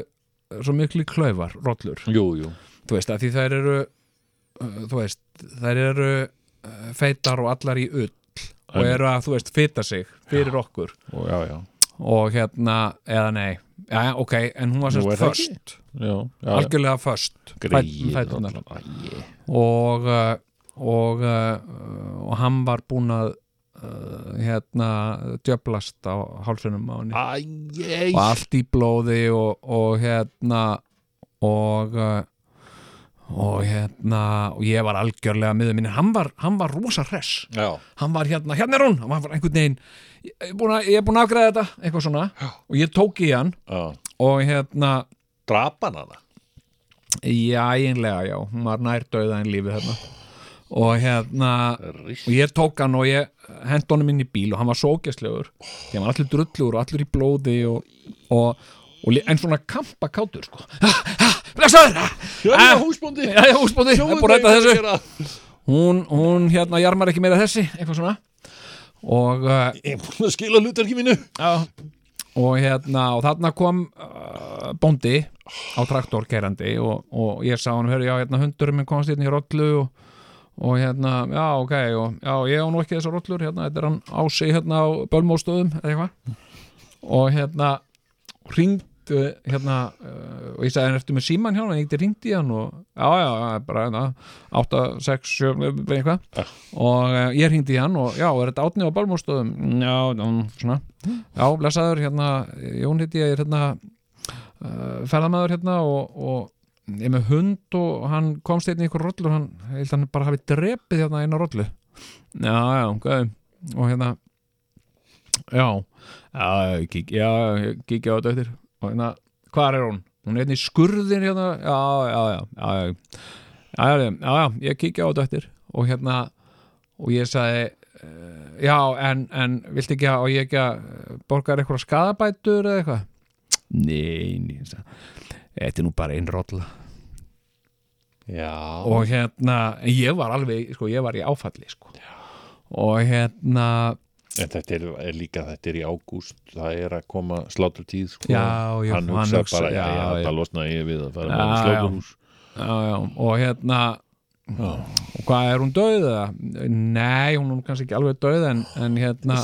A: svo miklu klaufar, rollur
C: jú, jú
A: þú veist, af því þær eru uh, þú veist, þær eru uh, feitar og allar í ull og
C: Einmitt.
A: eru að, þú veist, fita sig fyrir okkur
C: Ó, Já, já,
A: og hérna, eða nei já, já, ok, en hún var
C: Nú er
A: sérst
C: það ekki.
A: föst,
C: já, já, já.
A: algjörlega föst
C: Greið
A: fæturnar
C: allan. Æ, ég.
A: og, uh, og, uh, og hann var búinn að uh, hérna djöblast á hálsunum á henni
C: Æj,
A: og allt í blóði og, og hérna og uh, og hérna og ég var algjörlega miður minni hann var, hann var rosa hress
C: já,
A: hann var hérna, hérna er hún hann var einhvern veginn, ég er búinn að, ég er búinn að afgræða þetta eitthvað svona, og ég tók í hann
C: já
A: og hérna,
C: Drapan hana
A: já, einlega já, hún var nær döða en lífið hérna og hérna og ég tók hann og ég hent honum inn í bíl og hann var sókjastlegur hann var allir drullur og allir í blóði og, og, og li- en svona kampakátur sko, blessaður ah,
C: Jæja, húsbóndi
A: já, já, húsbóndi, það er búin að ræta þessu
C: gera
A: hún, hún hérna jarmar ekki meira þessi, eitthvað svona og uh,
C: Ég er búin að skila hlutverki mínu
A: Já. og hérna og þarna kom uh, bóndi á traktor kerandi og, og ég sá hann, hörðu, já, hérna hundurum minn komst hérna í rollu og, og hérna, já, ok og, já, ég á nú ekki þessar rollur, hérna, þetta er hann ási hérna á bölmóstöðum eða eitthvað og hérna ringdu hérna uh, og ég sagði hann eftir með síman hjá hann ég geti ringt í hann og já, já, það er bara hérna 8, 6, 7, eitthvað og uh, ég ringdi í hann og já, er þetta átni á bölmóstöðum? Já, mm, svona Já, blessaður, hérna, Jón heiti ég er hérna uh, ferðamaður hérna og, og ég er með hund og hann komst hérna í ykkur rollur hann, ég held að hann bara hafi drepið hérna eina rollu Já, já, ok og hérna Já, já, ég kík, já, ég kíkja á þetta eftir og hérna, hvar er hún? Hún er hérna í skurðin hérna, já, já, já, já, já já, já, já, já, ég kíkja á þetta eftir og hérna og ég sagði uh, já, en, en viltu ekki að og ég ekki að eh, borga þér eitthvað skadabætur eða eitthvað nei, nei, ég sagði, þetta er nú bara einn rolla
C: Já
A: og hérna, ég var alveg sko, ég var í áfalli sko. og hérna,
C: En þetta er, er líka, þetta er í ágúst, það er að koma sláturtíð, sko.
A: Já, já,
C: hann
A: hann
C: hugsa
A: hugsa-
C: bara, já,
A: já,
C: já,
A: já.
C: þetta losna ég við að fara
A: Já,
C: með
A: já.
C: sláturhús.
A: já, já, og hérna og hvað er hún döið eða? nei, hún er nú kannski ekki alveg döið en, en
C: *laughs*
A: hérna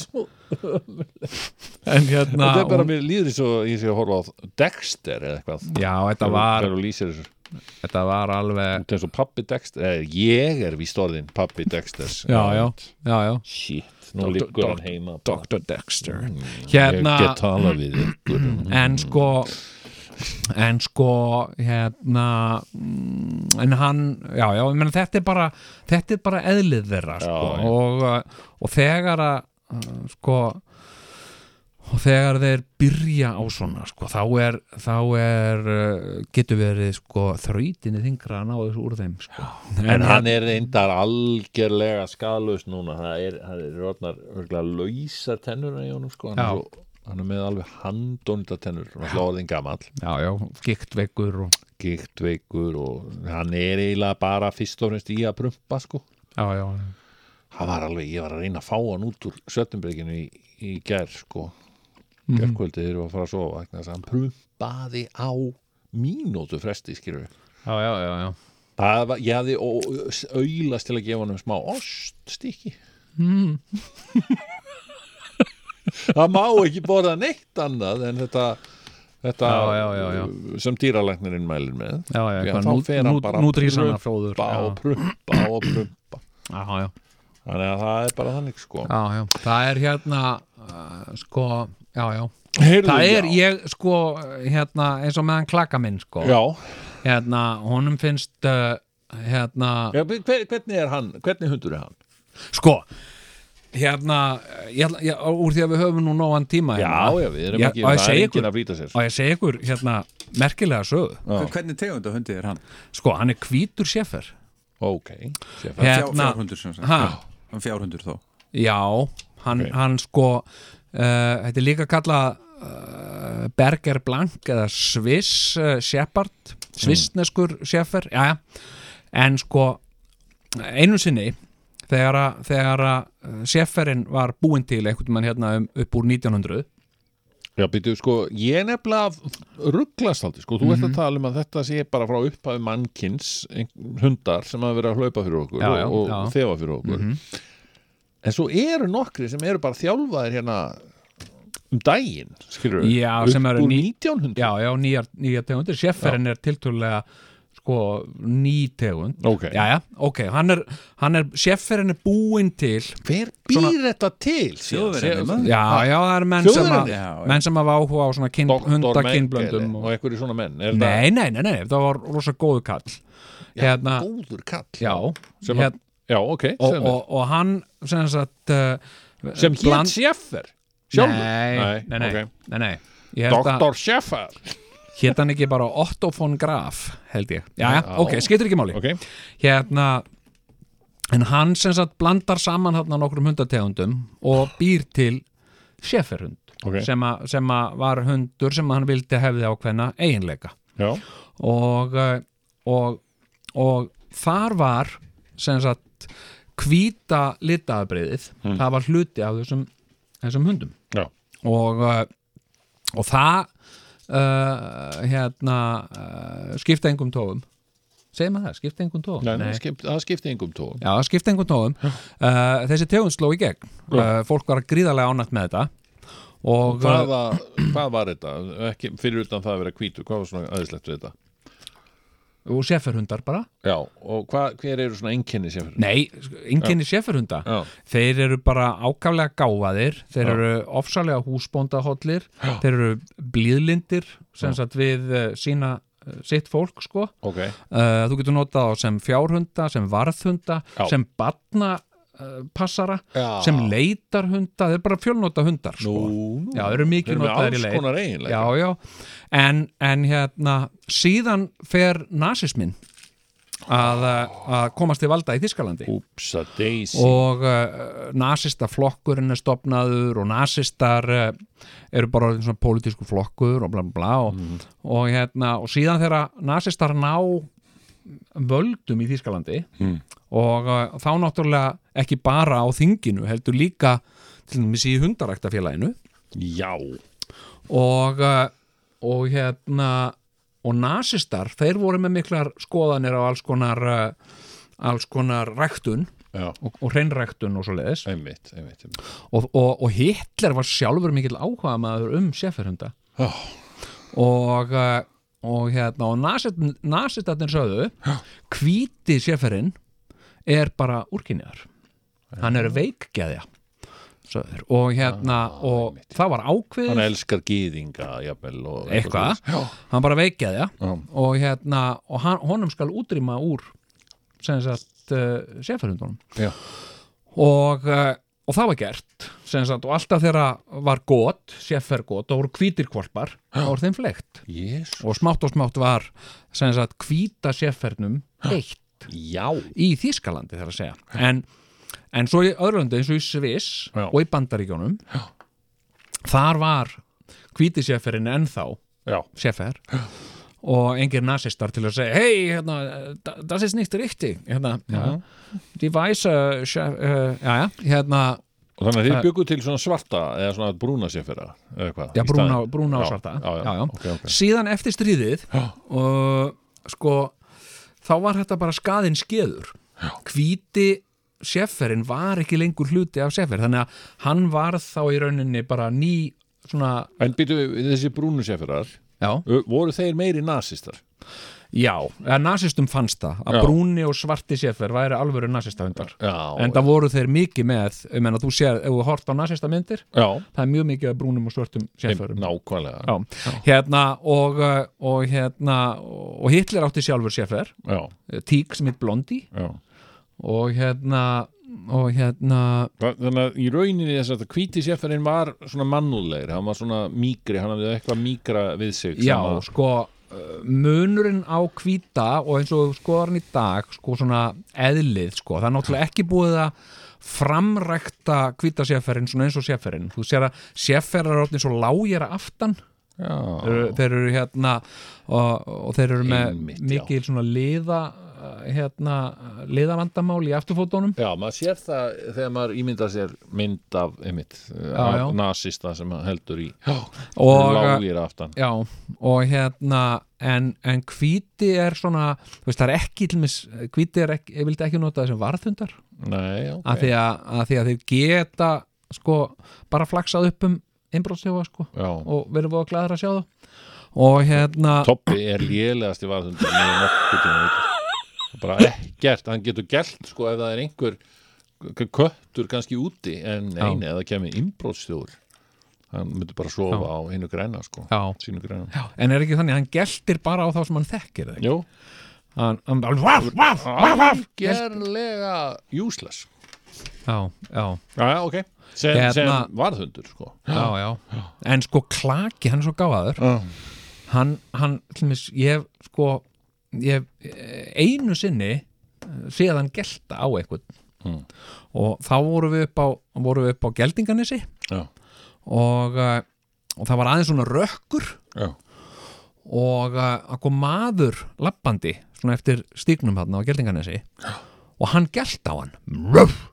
A: en hérna
C: Þetta er bara,
A: hún,
C: mér líður eins og ég sé að horfa á Dexter eða eitthvað.
A: já, þetta var,
C: Þegar hún lýsir þessu,
A: þetta var alveg
C: þetta er svo pappi Dexter, eða ég er víst orðin pappi Dexter.
A: já, já, já, já
C: Shit, nú
A: Dr.
C: liggur hann
A: Dr.
C: heima.
A: Dr. Dexter
C: Mm, Ég
A: hérna,
C: get Mm. tala við
A: *clears throat*
C: ykkur.
A: en sko en sko hérna mm, en hann, já, já, ég meina þetta er bara þetta er bara eðlið þeirra
C: Já,
A: sko,
C: já.
A: og, uh, og þegar að uh, sko og þegar þeir byrja á svona sko, þá er, þá er uh, getur verið sko þrautinni þingra að ná þessu úr þeim sko.
C: En hann er reyndar algjörlega skalus núna, það er, það er rótnar örgulega lausar tennur í honum sko, hann
A: Já.
C: er, svo, hann er með alveg handónda tennur, hann er hlóðin gamall,
A: já, já, giktveikur og,
C: gíktveikur og hann er eiginlega bara fyrst og fremst í að prumpa sko.
A: já, já,
C: Hann var alveg, ég var að reyna að fá hann út úr Svöttenbyrginu í, í gær sko,
A: Mhm.
C: gerkvöldi þegar við að fara að sofa, vegna þess að hann prumpaði á mínútu fresti skilur við.
A: já, já, já, já.
C: Það var, ég hafði ó- auðlast til að gefa hann um smá oststíki.
A: Hmm.
C: *laughs* Það má ekki borða neitt annað en þetta, þetta
A: Já, já, já, já.
C: sem dýralæknirinn mælir með.
A: Já, já,
C: Því að
A: eitthvað
C: þá
A: nú-
C: fer hann
A: nú-
C: bara að
A: nútrísana fróður,
C: prumpa
A: já.
C: og prumpa og prumpa.
A: já, já.
C: Þannig að það er bara þannig sko.
A: já, já. það er hérna uh, sko, já, já
C: Heyrðu,
A: það er,
C: já.
A: ég sko, hérna eins og meðan klaka minn, sko
C: Já,
A: hérna, honum finnst uh, hérna,
C: já hver, hvernig er hann, hvernig hundur er hann?
A: sko hérna, eh, ég, ætla- ég, úr því að við höfum nú nógan tíma
C: Já,
A: hérna,
C: já, við erum
A: Já, og
C: ekki,
A: ég
C: það er
A: segi
C: enginn
A: ykkur-
C: að brýta sér.
A: og ég segi ykkur, hérna, merkilega sögu
C: Já.
D: Hvernig tegund af hundi er hann?
A: sko, hann er hvítur séfer
C: Ok, sé það.
D: Fjár,
A: Hérna.
D: fjárhundur sem sagt
A: Ha?
D: Hann er Fjárhundur þó
A: já, hann,
C: Ok.
A: hann sko uh, þetta er líka kallað uh, Berger Blank eða Sviss uh, Shepard svissneskur mm. Sheffer já, en sko einu sinni þegar að, þegar að Shefferin var búinn til einhvern mann hérna um, upp úr 1900
C: Já, býtu, sko, ég nefnilega rugglast aldrei, sko, þú ert
A: Mhm.
C: að tala um að þetta sé bara frá upphafi mannkins hundar sem hafa verið að hlaupa fyrir okkur
A: Já,
C: og,
A: já,
C: og
A: já. Mhm.
C: þefa fyrir okkur en svo eru nokkri sem eru bara þjálfaðir hérna um daginn, skilur
A: Já, sem eru
C: upp úr
A: ný-
C: 1900
A: já, já, nýjar, nýjar tegundir Shefferin er tiltúrlega sko ný tegund
C: Ok.
A: Jæja, ok, hann er, hann er sjefferinn er búinn til
C: Hver býr þetta til?
D: Þjóðverjarnir, maður.
A: Já, já, það er menn sem
C: Þjóðverjarnir?
A: að
D: Já, já.
A: menn sem hafa áhuga á svona kind, hundakinnblöndum
C: og, og einhverju svona menn er
A: Nei, nei, nei, nei, það var rosa góðu kall hérna,
C: það góður kall
A: já,
C: sem að,
A: hérna,
C: já, ok,
A: og,
C: sem,
A: og, og hann sem sagt uh,
C: sem
A: bland-
C: hétt Sjeffer sjálfur
A: Nei, nei, nei,
C: ok.
A: nei, nei. Ég held að
C: Dr. Sjeffer
A: hétt hann ekki bara Otto von Graf held ég, já, já,
C: Já.
A: ok, skiptir ekki máli
C: ok,
A: hérna en hann sem sagt blandar saman hann nokkrum hundategundum og býr til sjeferhund
C: Ok.
A: sem, að- sem að var hundur sem hann vildi hefði ákveðna eiginleika
C: já,
A: og, eh, og, og þar var sem sagt hvíta litaðabriðið
C: Hmm.
A: það var hluti af þessum, þessum hundum
C: já
A: og, eh, og það uh, hérna uh, skipta engum tófum segir maður það, skipta engum tófum
C: Nei, það skipti- það skipti engum tóum
A: Já, það skipti einhvern tóðum uh, Þessi tegund sló í gegn uh, Fólk var gríðarlega ánægt með þetta og eh,
C: hvað, var- hvað var þetta? Ekki, fyrir utan það að vera hvítur, hvað var svona aðeinslegt við þetta?
A: og sérferhundar bara
C: Já, og hvað, hver eru svona einkenni Sjeffer?
A: Nei, enginni sérferhunda
C: Já.
A: Þeir eru bara ákaflega gáfaðir Þeir eru ofsalega húsbóndahóllir Þeir eru blíðlindir sem sagt við uh, sína uh, sitt fólk sko
C: Ok,
A: Uh, þú getur notað á sem fjárhunda, sem varðhunda,
C: Já.
A: sem batna uh, passara,
C: Já.
A: sem leitarhunda, þeir eru bara fjölnota hundar sko.
C: Nú, nú.
A: Já, þeir eru
C: Þeir
A: mikið
C: eru með
A: notaðir í
C: alls
A: leit
C: konar eiginleika.
A: Já, já, en, en hérna síðan fer nasismin að, uh, að komast til valda í Þískalandi
C: úpsa deisi
A: og uh, nasista flokkurinn er stopnaður og nasistar uh, eru bara orðin svona pólitísku flokkur og bla bla bla og, og, hérna, og síðan þegar nasistar ná völdum í Þýskalandi og uh, þá náttúrulega ekki bara á þinginu heldur líka til dæmis í hundaræktafélaginu
C: Já,
A: og, uh, og hérna og nasistar, þeir voru með miklar skoðanir á alls konar uh, alls konar ræktun
C: já,
A: og, og hreinræktun og svo leiðis
C: einmitt, einmitt, einmitt.
A: og, og, og Hitler var sjálfur mikill áhuga maður um sérferhunda
C: Oh.
A: og, eh, og hérna og nasist- nasistatnir sögðu hvíti sérferinn er bara úrkynniðar hann er veikgeðja sögður. og hérna og það var
C: Hann
A: ákveðið
C: elskar gýðinga, jafnvel og-
A: eitthvað, hann bara veikgeðja og hérna og hann, honum skal útrýma úr sem sagt uh, sérferhundunum
C: Já,
A: og, eh, og það var gert sem sagt, og alltaf þegar var gott sérfergót og voru hvítir kvolpar þá voru þeim flegt
C: jésu
A: og smátt og smátt var sem sagt hvíta sérfernum eitt
C: Já,
A: í Þýskalandi þar að segja en, en svo í öðrulöndu eins og í Sviss
C: Já.
A: og í Bandaríkjónum Já. þar var hvíti sérferinn ennþá
C: já,
A: sérfer og engir nasistar til að segja hei, hérna, da- das ist nicht richtig hérna, ja. die weiße Schäf- äh, já, já, hérna
C: og þannig að þið byggu til svona svarta eða svona brúna sérfyrra eða hvað?
A: Já,
C: í
A: brúna,
C: staðinn?
A: brúna og
C: Já,
A: svarta
C: Já, já, ok, ok
A: Síðan eftir stríðið og, sko, þá var þetta bara skaðinn skeður Hvíti sérferinn var ekki lengur hluti af sérfer þannig að hann var þá í rauninni bara ný svona,
C: En býtu, þessi brúnu sérfyrrar
A: já,
C: voru þeir meiri nasistar?
A: já eða nasistum fannst það að
C: Já.
A: brúni og svarti sérfer væri alvöru nasistahundar
C: Já,
A: en það voru þeir mikið með um en að þú sér, ef þú hort á nasistamyndir
C: já,
A: það er mjög mikið af brúnum og svörtum sérferum
C: nákvæmlega
A: Já, hérna og, uh, og hérna og Hitler átti sjálfur sérfer
C: já,
A: tík sem heit Blondi
C: já.
A: og hérna og hérna
C: Þa- Þannig að í rauninni þess að þetta hvíti sérfyrrin var svona mannúðlegri, hann var svona mýgri, hann hafði eitthvað mýgra við sig sem
A: já,
C: að-
A: sko uh, munurinn á hvíta og eins og skoðarinn í dag sko svona eðlið sko, það er náttúrulega ekki búið að framrækta hvíta sérferinn svona eins og sérferinn þú sér að sérferrar er orðin svo lágjara aftan
C: já,
A: þeir, eru- þeir eru hérna og, og þeir eru með
C: Einmitt, já.
A: mikil svona liða uh, hérna, liðavandamál í afturfótunum
C: Já, maður sér það þegar maður ímyndar sér mynd af, einmitt,
A: Já, já.
C: af nasista sem að heldur í
A: og, uh,
C: lágir aftan.
A: já, og hérna en, en hvíti er svona þú veist, það er ekki til mis hvíti er ekki, ég vildi ekki nota þessum varðhundar
C: Nei, ok.
A: af því að, að því að þeir geta sko, bara flaksað upp um einbróðsjóa sko
C: Já,
A: og verðum við að glæðra að sjá það og hérna
C: Toppi er lélegast í varðhundur með nokkuð tíma veit bara ekkert, hann getur gælt sko ef það er einhver k- köttur kannski úti en
A: Já.
C: eini eða kemur innbróðstjóður hann myndi bara sofa á einu græna sko
A: Já.
C: sínu græna
A: Já, en er ekki þannig, hann geltir bara á þá sem hann þekkir þig
C: Jú,
A: hann, hann bara vaf, vaf, vaf, vaf gelt-
C: gerlega useless
A: já, já,
C: Já, já, ok sem,
A: Hérna-
C: sem varðhundur sko
A: já, já en sko klaki, hann er svo gáðaður
C: Já.
A: hann, hann, hlumis, ég hef, sko ég hef eh, einu sinni eh, séð hann gelta á einhvern og þá vorum við upp á vorum við upp á geldinganissi
C: Já,
A: og, eh, og það var aðeins svona rökkur
C: já,
A: og eh, að kom maður lappandi svona eftir stígnum hann á geldinganessi og hann gælt á hann Ruff!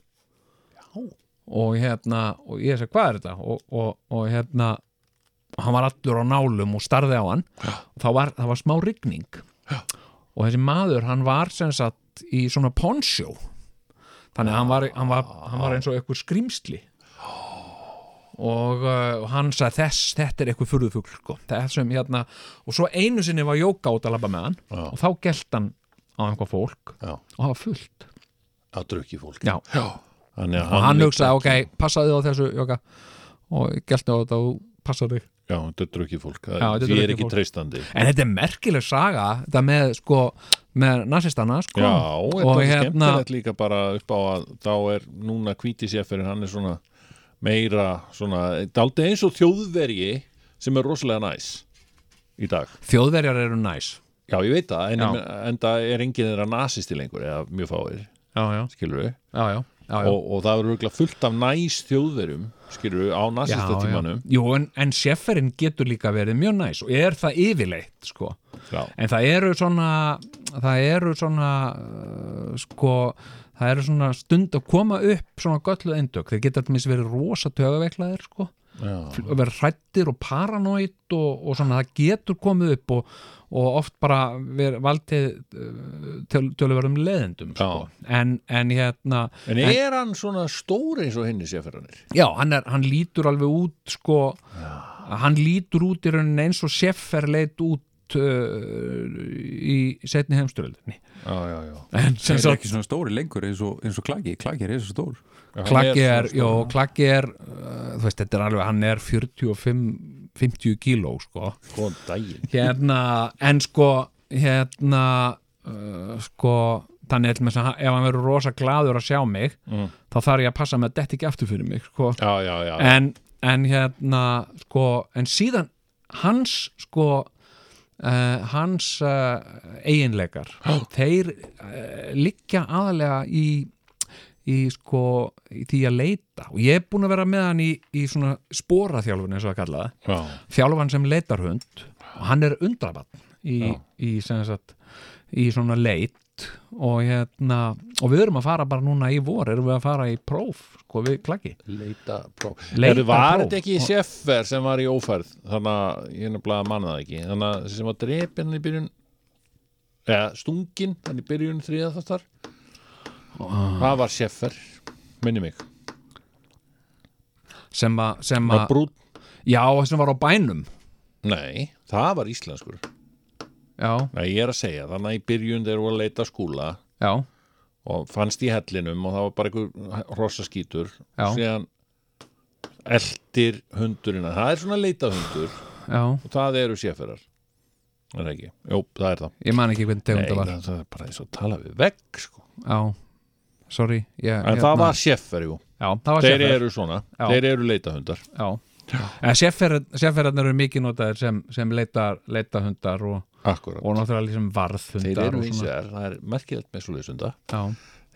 A: og hérna og ég segi hvað er þetta og, og, og hérna og hann var allur á nálum og starði á hann og þá var, það var smá rigning og þessi maður hann var sem sagt í svona poncho þannig að hann var, hann var, hann var eins og eitthvað skrýmsli og uh, hann sagði þess, þetta er eitthvað furðufugl sko. þessum hérna og svo einu sinni var Jóka út að labba með hann
C: Já.
A: og þá gælt hann á einhvað fólk
C: já
A: og það var fullt
C: að drukki fólk
A: Já.
C: Þannig að
A: og hann
C: vill
A: hugsaði,
C: ekki-
A: ok, passaði á þessu Jóka og gælti á þetta og passaði þig
C: Já, þetta er drukki fólk
A: Já, þetta er
C: Því er
A: drukkið
C: ekki
A: fólk.
C: treystandi
A: en þetta er merkileg saga þetta með, sko, með nasistana sko.
C: Já, þetta
A: og
C: er
A: hérna
C: skemmtilegt líka bara upp á að þá er núna hvíti séferinn, hann er svona meira, svona, daldi eins og þjóðverji sem er rosalega næs í dag.
A: þjóðverjar eru næs
C: Já, ég veit það, en,
A: Já.
C: en, það er enginn þeirra nasisti lengur, eða mjög fáir,
A: já, já,
C: skilur við.
A: já, já, já, já.
C: Og, og það eru örugglega fullt af næs þjóðverjum, skilur við, á nasista tímanum.
A: Jú, en, en sjefferinn getur líka verið mjög næs og er það yfirleitt sko.
C: Já,
A: en það eru svona það eru svona uh, sko, það eru svona stund að koma upp svona gölluð eindök þeir geta allmest verið rosa tögaveiklaðir sko.
C: já,
A: og verið hrættir og paranoid og, og svona það getur komið upp og, og oft bara verið valdið uh, töl, töluverðum leðendum sko. en, en hérna
C: En er hann svona stór eins og henni séferðanir?
A: Já, hann, er, hann lítur alveg út sko, hann lítur út í rauninni eins og Sjeffer leit út uh, í setni heimsturöldinni
C: Já, já, já.
A: en sem
D: er
A: sagt
D: ekki svona stóri lengur eins og, eins og klaki klaki er eins og stór
C: Já, hann
A: Klakki
C: svona
A: er,
C: stór.
A: jó, Klakki er uh, þú veist, þetta er alveg, hann er 45-50 kíló, sko
C: Góðan daginn.
A: hérna, en sko hérna uh, sko, þannig ætlum þess að ef hann verður rosa gladur að sjá mig
C: Mm.
A: þá þarf ég að passa með að þetta ekki aftur fyrir mig, sko
C: Já, já, já.
A: en, en hérna sko, en síðan hans sko uh, hans uh, eiginleikar þeir uh, liggja aðalega í, í sko í því að leita og ég er búin að vera með hann í, í svona sporaþjálfun eins og það kallaði
C: Já,
A: þjálfan sem leitar hund og hann er undrabann í,
C: Já.
A: í, sem sagt, í svona leit og hérna og við erum að fara bara núna í vor erum við að fara í próf sko við klakki
C: Leita próf
A: Leita
C: Leita Var
A: próf.
C: þetta ekki Sjeffer sem var í ófærð þannig að ég nefnilega manna það ekki þannig að sem var drepin hann í byrjun eða stungin hann í byrjun þriða þáttar Það var Sjeffer minni mig,
A: sem að, sem
C: var
A: að
C: brún
A: já, sem var á bænum
C: Nei, það var íslenskur
A: já,
C: Nei, ég er að segja, þannig að í byrjun þeir voru að leita skúla
A: já,
C: og fannst í hellinum og það var bara einhver hrossaskítur
A: Já.
C: og síðan eldir hundurina, það er svona leita hundur
A: já
C: og það eru séferar er það ekki, jú, það er það
A: ég man ekki hvernig tegum
C: Nei,
A: það var
C: það, það er bara eins og að tala við vegg sko.
A: já, sorry ég,
C: en það var séfer, jú
A: já, það Hérna. var
C: þeir
A: Sjeffer,
C: eru svona,
A: Já.
C: þeir eru leitahundar
A: já en sérferðarnir eru mikið notaðir sem, sem leitar, leitarhundar og,
C: akkurat,
A: og náttúrulega sem varðhundar
C: þeir eru
A: og
C: eins og
A: svona.
C: er það er merkilegt með svo leisunda
A: já,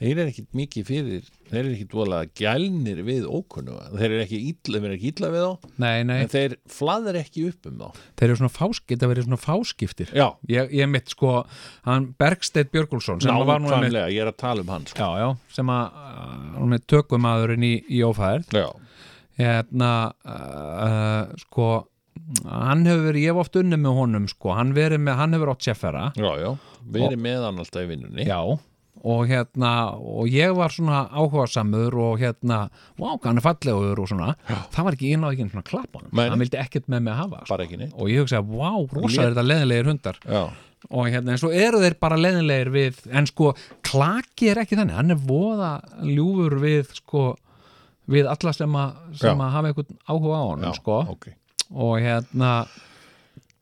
C: þeir eru ekkit mikið fyrir, þeir eru ekkit voðalega gælnir við ókunnuga þeir eru ekki illa, þeir eru ekki illa við þá
A: nei, nei
C: en þeir flaður ekki upp um þá
A: þeir eru svona fáskiptir, þetta verið svona fáskiptir
C: já,
A: ég, ég mitt sko, hann Bergsteinn Björgulsson sem var nú einmitt
C: nákvæmlega, ég er að tala um hann sko.
A: já, já, sem að uh, hún er tökumaðurinn í, í ófæðir
C: já,
A: hérna uh, uh, sko hann hefur verið, ég hef oft unnið með honum sko, hann, verið með, hann hefur átt séffera
C: já, já verið með hann alltaf í vinnunni
A: já, og hérna og ég var svona áhugasamur og hérna, wow, hann er fallegur og svona, það var ekki inn á ekki einu svona klappan,
C: Nei.
A: hann vildi ekkert með mig hafa sko.
C: bara ekki neitt
A: og ég hugsaði, wow, rosa er þetta leðinlegir hundar
C: já,
A: og hérna, en svo eru þeir bara leðinlegir við, en sko, klaki er ekki þannig, hann er voða ljúfur við, sko, við alla sem að, sem
C: Já.
A: að hafa einhvern áhuga á honum,
C: já,
A: sko,
C: ok
A: og hérna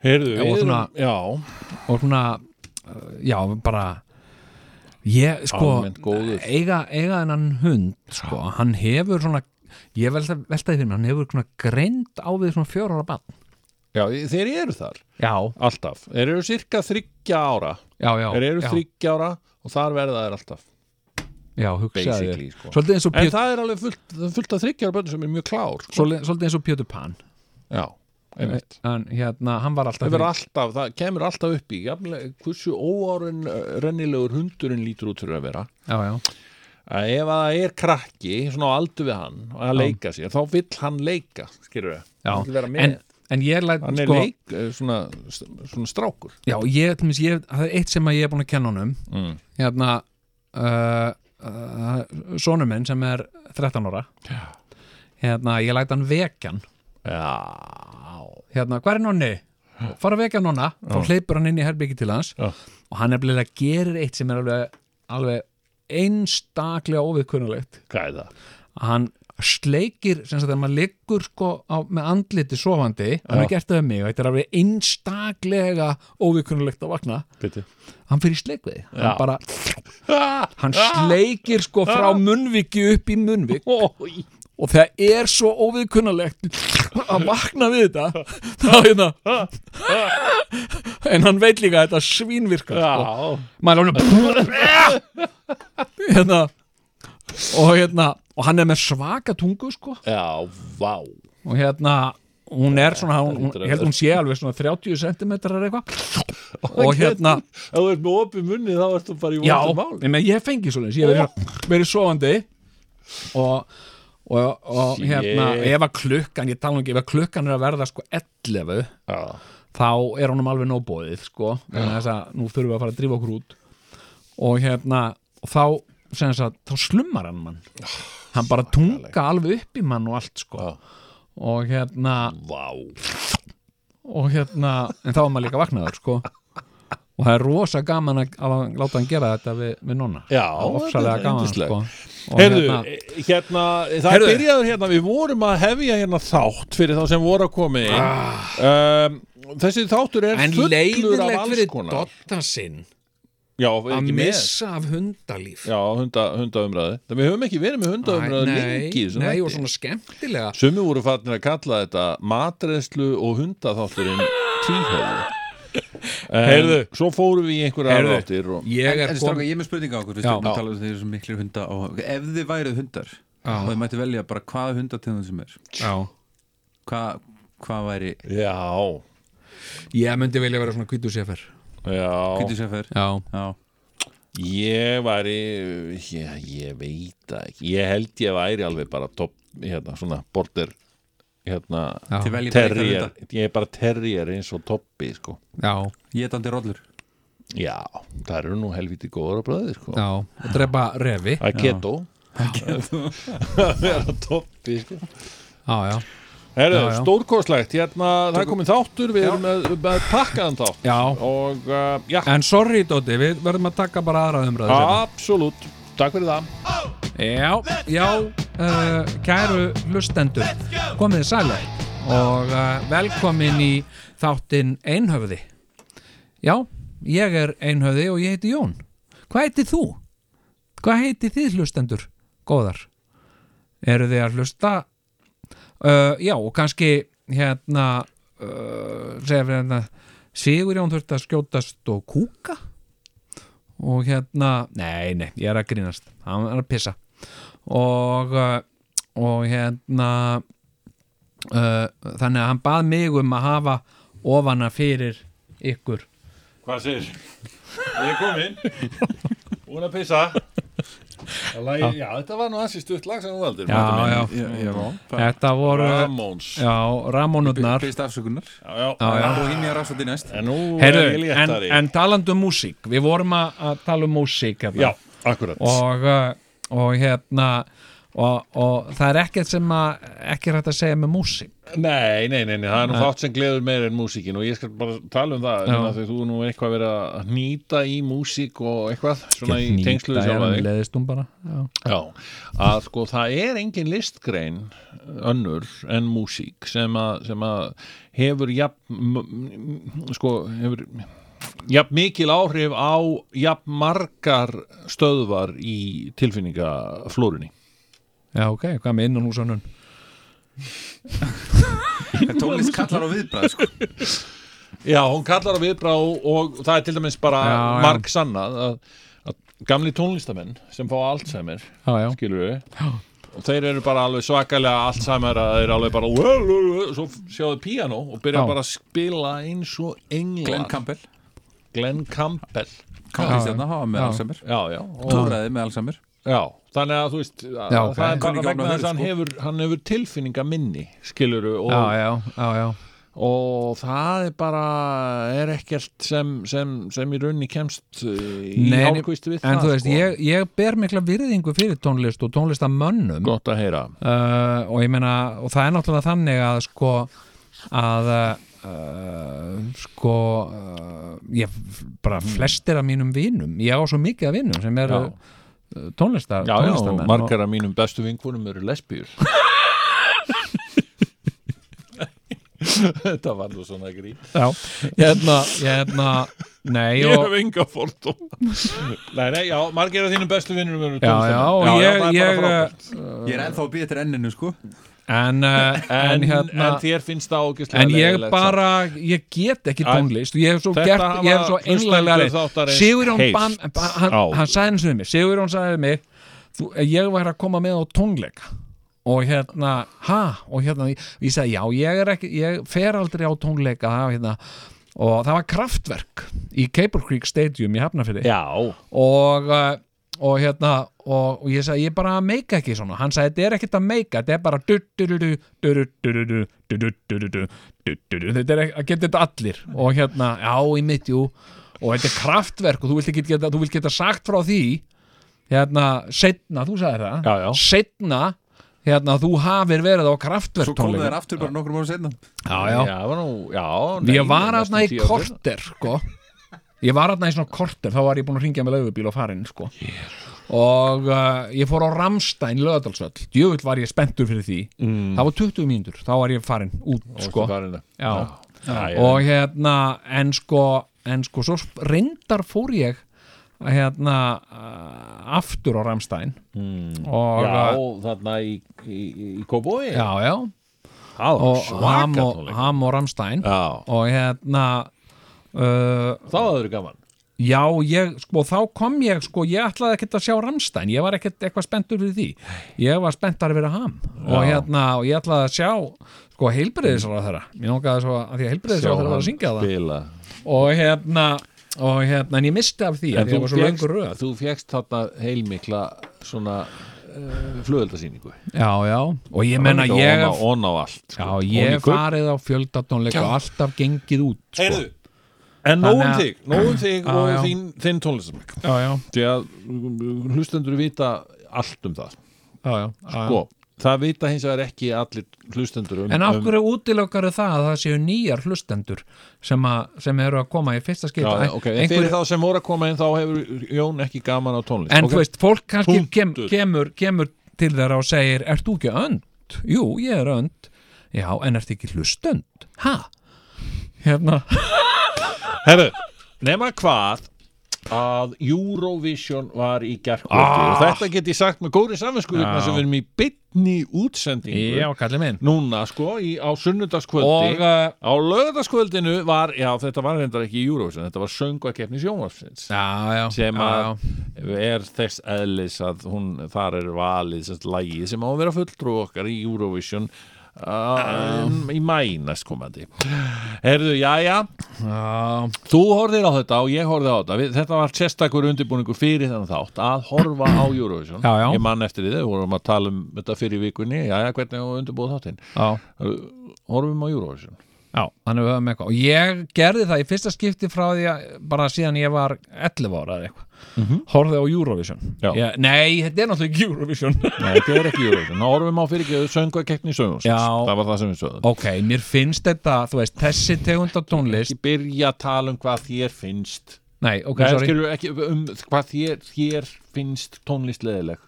C: Heyrðu,
A: og
C: við erum,
A: svona-
C: já,
A: og svona, uh, já, bara ég, sko
C: Almennt góður.
A: eiga, eiga þennan hund, sko, hann hefur svona ég velta, veltaði fyrir mér, hann hefur svona greind á við svona fjóra ára bann
C: já, þeir eru þar
A: já,
C: alltaf, þeir eru cirka þryggja ára
A: já, já,
C: þeir eru
A: já,
C: þryggja ára og þar verða þeir alltaf
A: já, hugsaði
C: basically, sko.
A: svolítið eins og
C: en
A: Pjö-
C: það er alveg fullt, það er fullt af þryggja ára bönnum sem er mjög klár sko.
A: svolítið svolítið eins og Pjötu Pan
C: já, einmitt
A: en hérna, hann var alltaf
C: Það, alltaf, það kemur alltaf upp í jafnilega, hversu óárun rennilegur hundurinn lítur út fyrir að vera
A: já, já,
C: að ef að það er krakki svona á aldur við hann að leika sér þá vill hann leika, skilur við
A: já.
C: hann, vill vera með.
A: En, en ég læt
C: hann er
A: sko,
C: leik, eh, svona, svona strákur
A: já, ég, til dæmis, ég, það er eitt sem að ég er búin að kenna honum
C: Mm.
A: hérna uh, uh, sonur minn sem er 13 ára hérna, ég læt hann vekjan
C: já,
A: hérna, hvað er nonni? fara að vekja nonna, þá hleypur hann inn í herbyggi til hans
C: Já.
A: og hann er bleið að gera eitt sem er alveg, alveg einstaklega óviðkunnulegt
C: hvað er það?
A: að hann sleikir sem sagt þegar maður liggur sko á, með andliti sofandi, hann
C: Já.
A: er gert það um mig og þetta er alveg einstaklega óvikunulegt að vakna,
C: *laughs* Biti.
A: hann fyrir sleik við hann
C: Já.
A: bara,
C: Ah,
A: hann sleikir sko frá munnviki upp í munnvik
C: ói,
A: og það er svo óviðkunnalegt að vakna við þetta þá hérna en hann veit líka að þetta svínvirkar sko.
C: já,
A: maður er alveg hérna og hérna og hann er með svaka tungu sko
C: já, vá
A: og hérna hún er svona, hún, hún,
C: hlýtur að
A: ég held hún sé alveg svona 30 cm eitthvað og hérna
C: ef þú ert með opið munni þá ertu bara í
A: já,
C: vondum mál
A: ég, meina, ég fengi svoleiðis ég hef
C: Oh.
A: verið, verið sofandi og, og, og
C: Shit.
A: hérna, ef að klukkan ég tala nú ekki, ef að klukkan er að verða sko 11
C: já,
A: þá er honum alveg nóbóðið sko, þannig þess að nú þurfum við að fara að drífa okkur út og hérna og þá, sem þess að, þá slumar hann mann hann bara tunga alveg upp í mann og allt sko
C: Oh, Já. Mm.
A: og hérna
C: vá
A: og hérna, en þá er maður líka vaknaður sko og það er rosa gaman að, að láta hann gera þetta við, við nonna
C: Já,
A: Það er ofsalega
C: þetta er
A: gaman
C: yndislegt.
A: sko. og
C: Herðu,
A: hérna,
C: hérna, hérna það
A: Heyrðu.
C: byrjaður hérna, við vorum að hefja hérna þátt fyrir þá sem voru að koma inn um, Þessi þáttur er
A: Ah. en
C: fullur af
A: leiðilegt
C: alls
A: fyrir
C: konar
A: dotta sinn
C: Já,
A: að
C: ekki með
A: missa af hundalíf
C: Já, hunda, hundaumræði Það við höfum ekki verið með hundaumræði lengi í þessum
A: nei,
C: þætti.
A: og svona skemmtilega
C: Sumi voru farnir að kalla þetta matreðslu og
A: *laughs*
C: hundaþátturinn tvíhöfðu Heyrðu Svo fórum við í einhverja
A: Heyrðu.
C: áttir og...
A: ég
D: En,
A: er
D: en stráka,
A: komin
D: ég er með spurninga á okkur Við
A: Já.
C: Já.
D: stjórnum að tala um þeir sem miklir hunda á, Ef þið værið hundar
A: Já.
D: og þið mætti velja bara hvaða hundategund sem er
A: já.
D: Hvað hva væri
C: Já,
A: ég myndi vilja vera svona kvítu séfer
D: Kvítið
C: já
D: sem fer
A: já,
D: Já,
C: Ég væri ég, ég veit það ekki Ég held ég væri alveg bara top, hérna, svona border hérna,
A: já,
D: þið veljið bara eitthvað
C: terrier
D: hunda
C: Ég er bara terrier eins og toppi sko.
A: já,
D: Ég er dandi rollur
C: Já, það eru nú helviti góður að bræði sko.
A: já og drepa refi
C: Það er keto *laughs* Að vera toppi sko.
A: já, já,
C: Herru,
A: Já, já.
C: stórkoslegt, hérna það er komin þáttur Við erum með, með pakkaðan þátt
A: já
C: Og uh, já,
A: en sorry Dóti, við verðum að taka bara aðra umræðu seinna.
C: absolutt Takk fyrir það
A: Já, já, uh, kæru hlustendur, komið þið sæla og uh, velkomin í þáttinn Einhöfði. Já, ég er Einhöfði og ég heiti Jón. Hvað heiti þú? Hvað heiti þið hlustendur? Góðar. Eru þið að hlusta? Uh, já, og kannski hérna, uh, segja fyrir hérna, Sigur Jón þurfti að skjótast og kúka? og hérna, nei, nei, ég er að grínast hann er að pissa og, uh, og hérna uh, þannig að hann bað mig um að hafa ofana fyrir ykkur
C: Hvað sér? Ég er komin Búin að pissa Lægi, já, þetta var nú ansi stutt lag sem hún valdir
A: Já,
C: Matti minn.
A: já.
D: Ég, ég var
A: þetta voru,
C: Ramones Já,
A: já, Ramónurnar
D: Beist afsökunar
C: já,
A: já.
D: Og hinn ég rafsandi næst
C: En nú er ég
A: Heyrðu, en,
C: léttari
A: en talandi um músík við vorum að, að tala um músík hérna.
C: Já, akkurat
A: og, uh, og hérna og, og það er ekkert sem að ekki er hægt að segja með músík
C: Nei, nei, nei, nei, það er nú þátt sem gleður meira en músíkin og ég skal bara tala um það
A: Já.
C: um því þú er nú eitthvað verið að nýta í músík og eitthvað svona í tengslu við sjálfa þig
A: leðist hérna, hún bara já.
C: Já, að sko það er engin listgrein önnur en músík sem að, sem að hefur jafn, m- m- sko hefur jafn mikil áhrif á jafn margar stöðvar í tilfinningaflórunni
A: já ok, hvað með innan húsanun *laughs*
D: En tónlist kallar á viðbræð sko.
C: Já, hún kallar á viðbrá og það er til dæmis bara
A: Já, já.
C: marg sannað að, að gamli tónlistamenn sem fá Alzheimer,
A: já já,
C: skilur við og þeir eru bara alveg svakalega Alzheimer að þeir eru alveg bara "Well, well, well," svo sjáðu piano og byrja
A: Já.
C: bara að spila eins og engla
D: Glenn Campbell
C: Glenn Campbell
D: Káli
A: Já,
D: stjarnar, hann var með
A: já.
D: Alzheimer
C: Já, já, og,
D: Tóraði með Alzheimer
C: já þannig að þú veist að,
A: Já,
C: það
A: ok.
C: er
D: Kann
C: bara
D: ekki
C: vegna
D: opna
C: þess að hann
D: hurð, sko.
C: hefur, hann hefur tilfinninga minni skilur við og,
A: já já, já, já.
C: og það er bara er ekkert sem, sem, sem í rauninni kemst uh, í
A: Nei, en-
C: hálfkvist við
A: en
C: það
A: þú veist,
C: sko.
A: ég, ég ber mikla virðingu fyrir tónlist og tónlistamönnum
C: gott að heyra
A: uh, og ég meina og það er náttúrulega þannig að sko að uh, sko uh, ég f- bara flestir af mínum vinum ég á svo mikið af vinum sem eru
C: Já.
A: uh, tónlistar,
C: já, já,
A: tónlistamenn
C: margar af mínum bestu vinkunum eru lesbíur þetta var nú svona grín
A: og, já, hérna, hérna nei
C: ég hef
A: og
C: enga fórtum nei, nei, já, margar af þínum bestu vinkunum eru
A: Já, já, og
C: tónlistamenn.
A: ég,
C: það er bara
A: ég
C: frábært.
D: Ég er ennþá að býja eftir enninu sko
A: en, uh, en,
C: en,
A: hérna,
C: en þér finnst það ógislega
A: en ég bara, ég get ekki
C: Æ,
A: tónlist ég hef svo
C: þetta
A: gert, ég hef
C: hafa
A: svo einlæglega
C: hlustendur þáttarins
A: Sigurjón
C: heyrt
A: Bam, hann,
C: á.
A: hann sagði eins og við mig Sigurjón sagði við mig þú, ég var að koma með á tónleika og hérna, ha, og hérna ég, ég sagði, já, ég er ekki, ég fer aldrei á tónleika, ha, hérna og það var kraftverk í Cable Creek Stadium í Hafnafyrði
C: já,
A: og, uh, og hérna og, og ég sagði ég bara meika ekki svona hann sagði þetta er ekkert að meika þetta er bara du- du- du- du- du- du- du- du- du- du- du- du- du- du- du- du. þetta er að geta þetta allir og hérna já í mitt jú og þetta er kraftverk og þú vilt ekki geta, þú vilt geta sagt frá því hérna setna, þú sagði það
C: Já, já.
A: setna hérna þú hafir verið á kraftverk
D: Svo komu þær aftur bara nokkrum ára setna
A: já, já.
C: Já, var nú, já, nei,
A: ég var
C: næstum
A: aðna í
C: tíu ára seinna.
A: korter sko. ég var aðna í svona korter þá var ég búin að ringja með laugubíl og farin sko. og uh, ég fór á Ramstein lögadalsvöll, djöfull var ég spenntur fyrir því,
C: Mm.
A: það var 20 mínútur þá var ég farin út
C: Og
A: sko.
C: þú farin það.
A: Já.
C: Já, já.
A: og hérna en sko, en sko svo reyndar fór ég hérna uh, aftur á Ramstein mm. og
C: Já,
A: uh,
C: þarna í, í, í Kóboi
A: já, já og Ham og,
C: tónleika
A: Ham og Ramstein
C: Já,
A: og hérna uh,
C: þá var þau gaman
A: Já, ég, sko, þá kom ég, sko, ég ætlaði ekkert að sjá Ramstein, ég var ekkert eitthvað spenntur fyrir því, ég var spenntar fyrir ham og hérna, og ég ætlaði að sjá, sko, heilbreyðisráð þeirra, mér langaði svo að því að heilbreyðisráð þeirra var að syngja það
C: spila
A: og hérna, og hérna, en ég misti af því, en því ég var svo löngur röð.
C: þú fékkst þarna heilmikla svona uh, flugöldasýningu
A: Já, já, og ég menna, ég,
C: og on á allt sko.
A: já, ég hef farið á fjöldatónleika og alltaf gengið út, sko.
C: Heyrðu, en nóg um
A: Þannig að-
C: þig, nóg um þig
A: Já, já.
C: og þín, þinn tónlistamæk
A: Já, já,
C: því að mm, hlustendur vita allt um það
A: já, já. já.
C: sko, það vita hins vegar ekki allir hlustendur um,
A: En af
C: um
A: hverju útilökar það að það séu nýjar hlustendur sem, að, sem eru að koma í fyrsta skipta?
C: Já, já, ok, en fyrir þá sem voru að koma inn þá hefur Jón ekki gaman á tónlist
A: en
C: Ok,
A: þú veist, fólk kannski kem,
C: Punktur.
A: kemur, kemur til þeirra og segir, ert þú ekki önd? Jú, ég er önd. Já, en ert ekki hlustend? Ha? Hérna,
C: Herru, nema hvað að Eurovision var í gerkvöldi og þetta get ég sagt með góri samvinsku vegna
A: Ah. Já.
C: sem við erum í bytni útsendingu
A: já, kallið minn.
C: núna sko í, á
A: Og,
C: sunnudagskvöldi
A: uh,
C: á lögudagskvöldinu var, já þetta var reyndar ekki Eurovision þetta var söngvakefni sjónvarsins
A: já, já.
C: sem
A: já,
C: að er þess eðlis að hún, þar er valið sérst lægi sem á að vera fulltrú okkar í Eurovision uh, í mæ næstkomandi Herðu, jæja
A: já,
C: Þú horfðir á þetta og ég horfði á þetta Við, Þetta var sérstakur undirbúningu fyrir þennan þátt að horfa á Eurovision
A: Já, já.
C: Ég mann eftir því, við vorum að tala um þetta fyrir vikunni Jæja, hvernig á undirbúið þáttinn
A: já, já,
C: Horfum á Eurovision
A: Já, þannig við höfum eitthvað og ég gerði það í fyrsta skipti frá því að bara síðan ég var 11 ára eða eitthvað, horfði á Eurovision
C: Mhm. Já.
A: ég, Nei, þetta er náttúrulega ekki
C: *laughs*
A: Eurovision
C: Nei, þetta er ekki Eurovision Ná orðum á fyrirgeðu sönguakeppni sögum
A: Já.
C: Það var það sem við sögum
A: Ok, mér finnst þetta, þú veist, þessi tegund af tónlist
C: Ekki byrja að tala um hvað þér finnst
A: Nei, ok,
C: Nei,
A: sorry
C: skilur ekki um hvað þér, þér finnst tónlist leðileg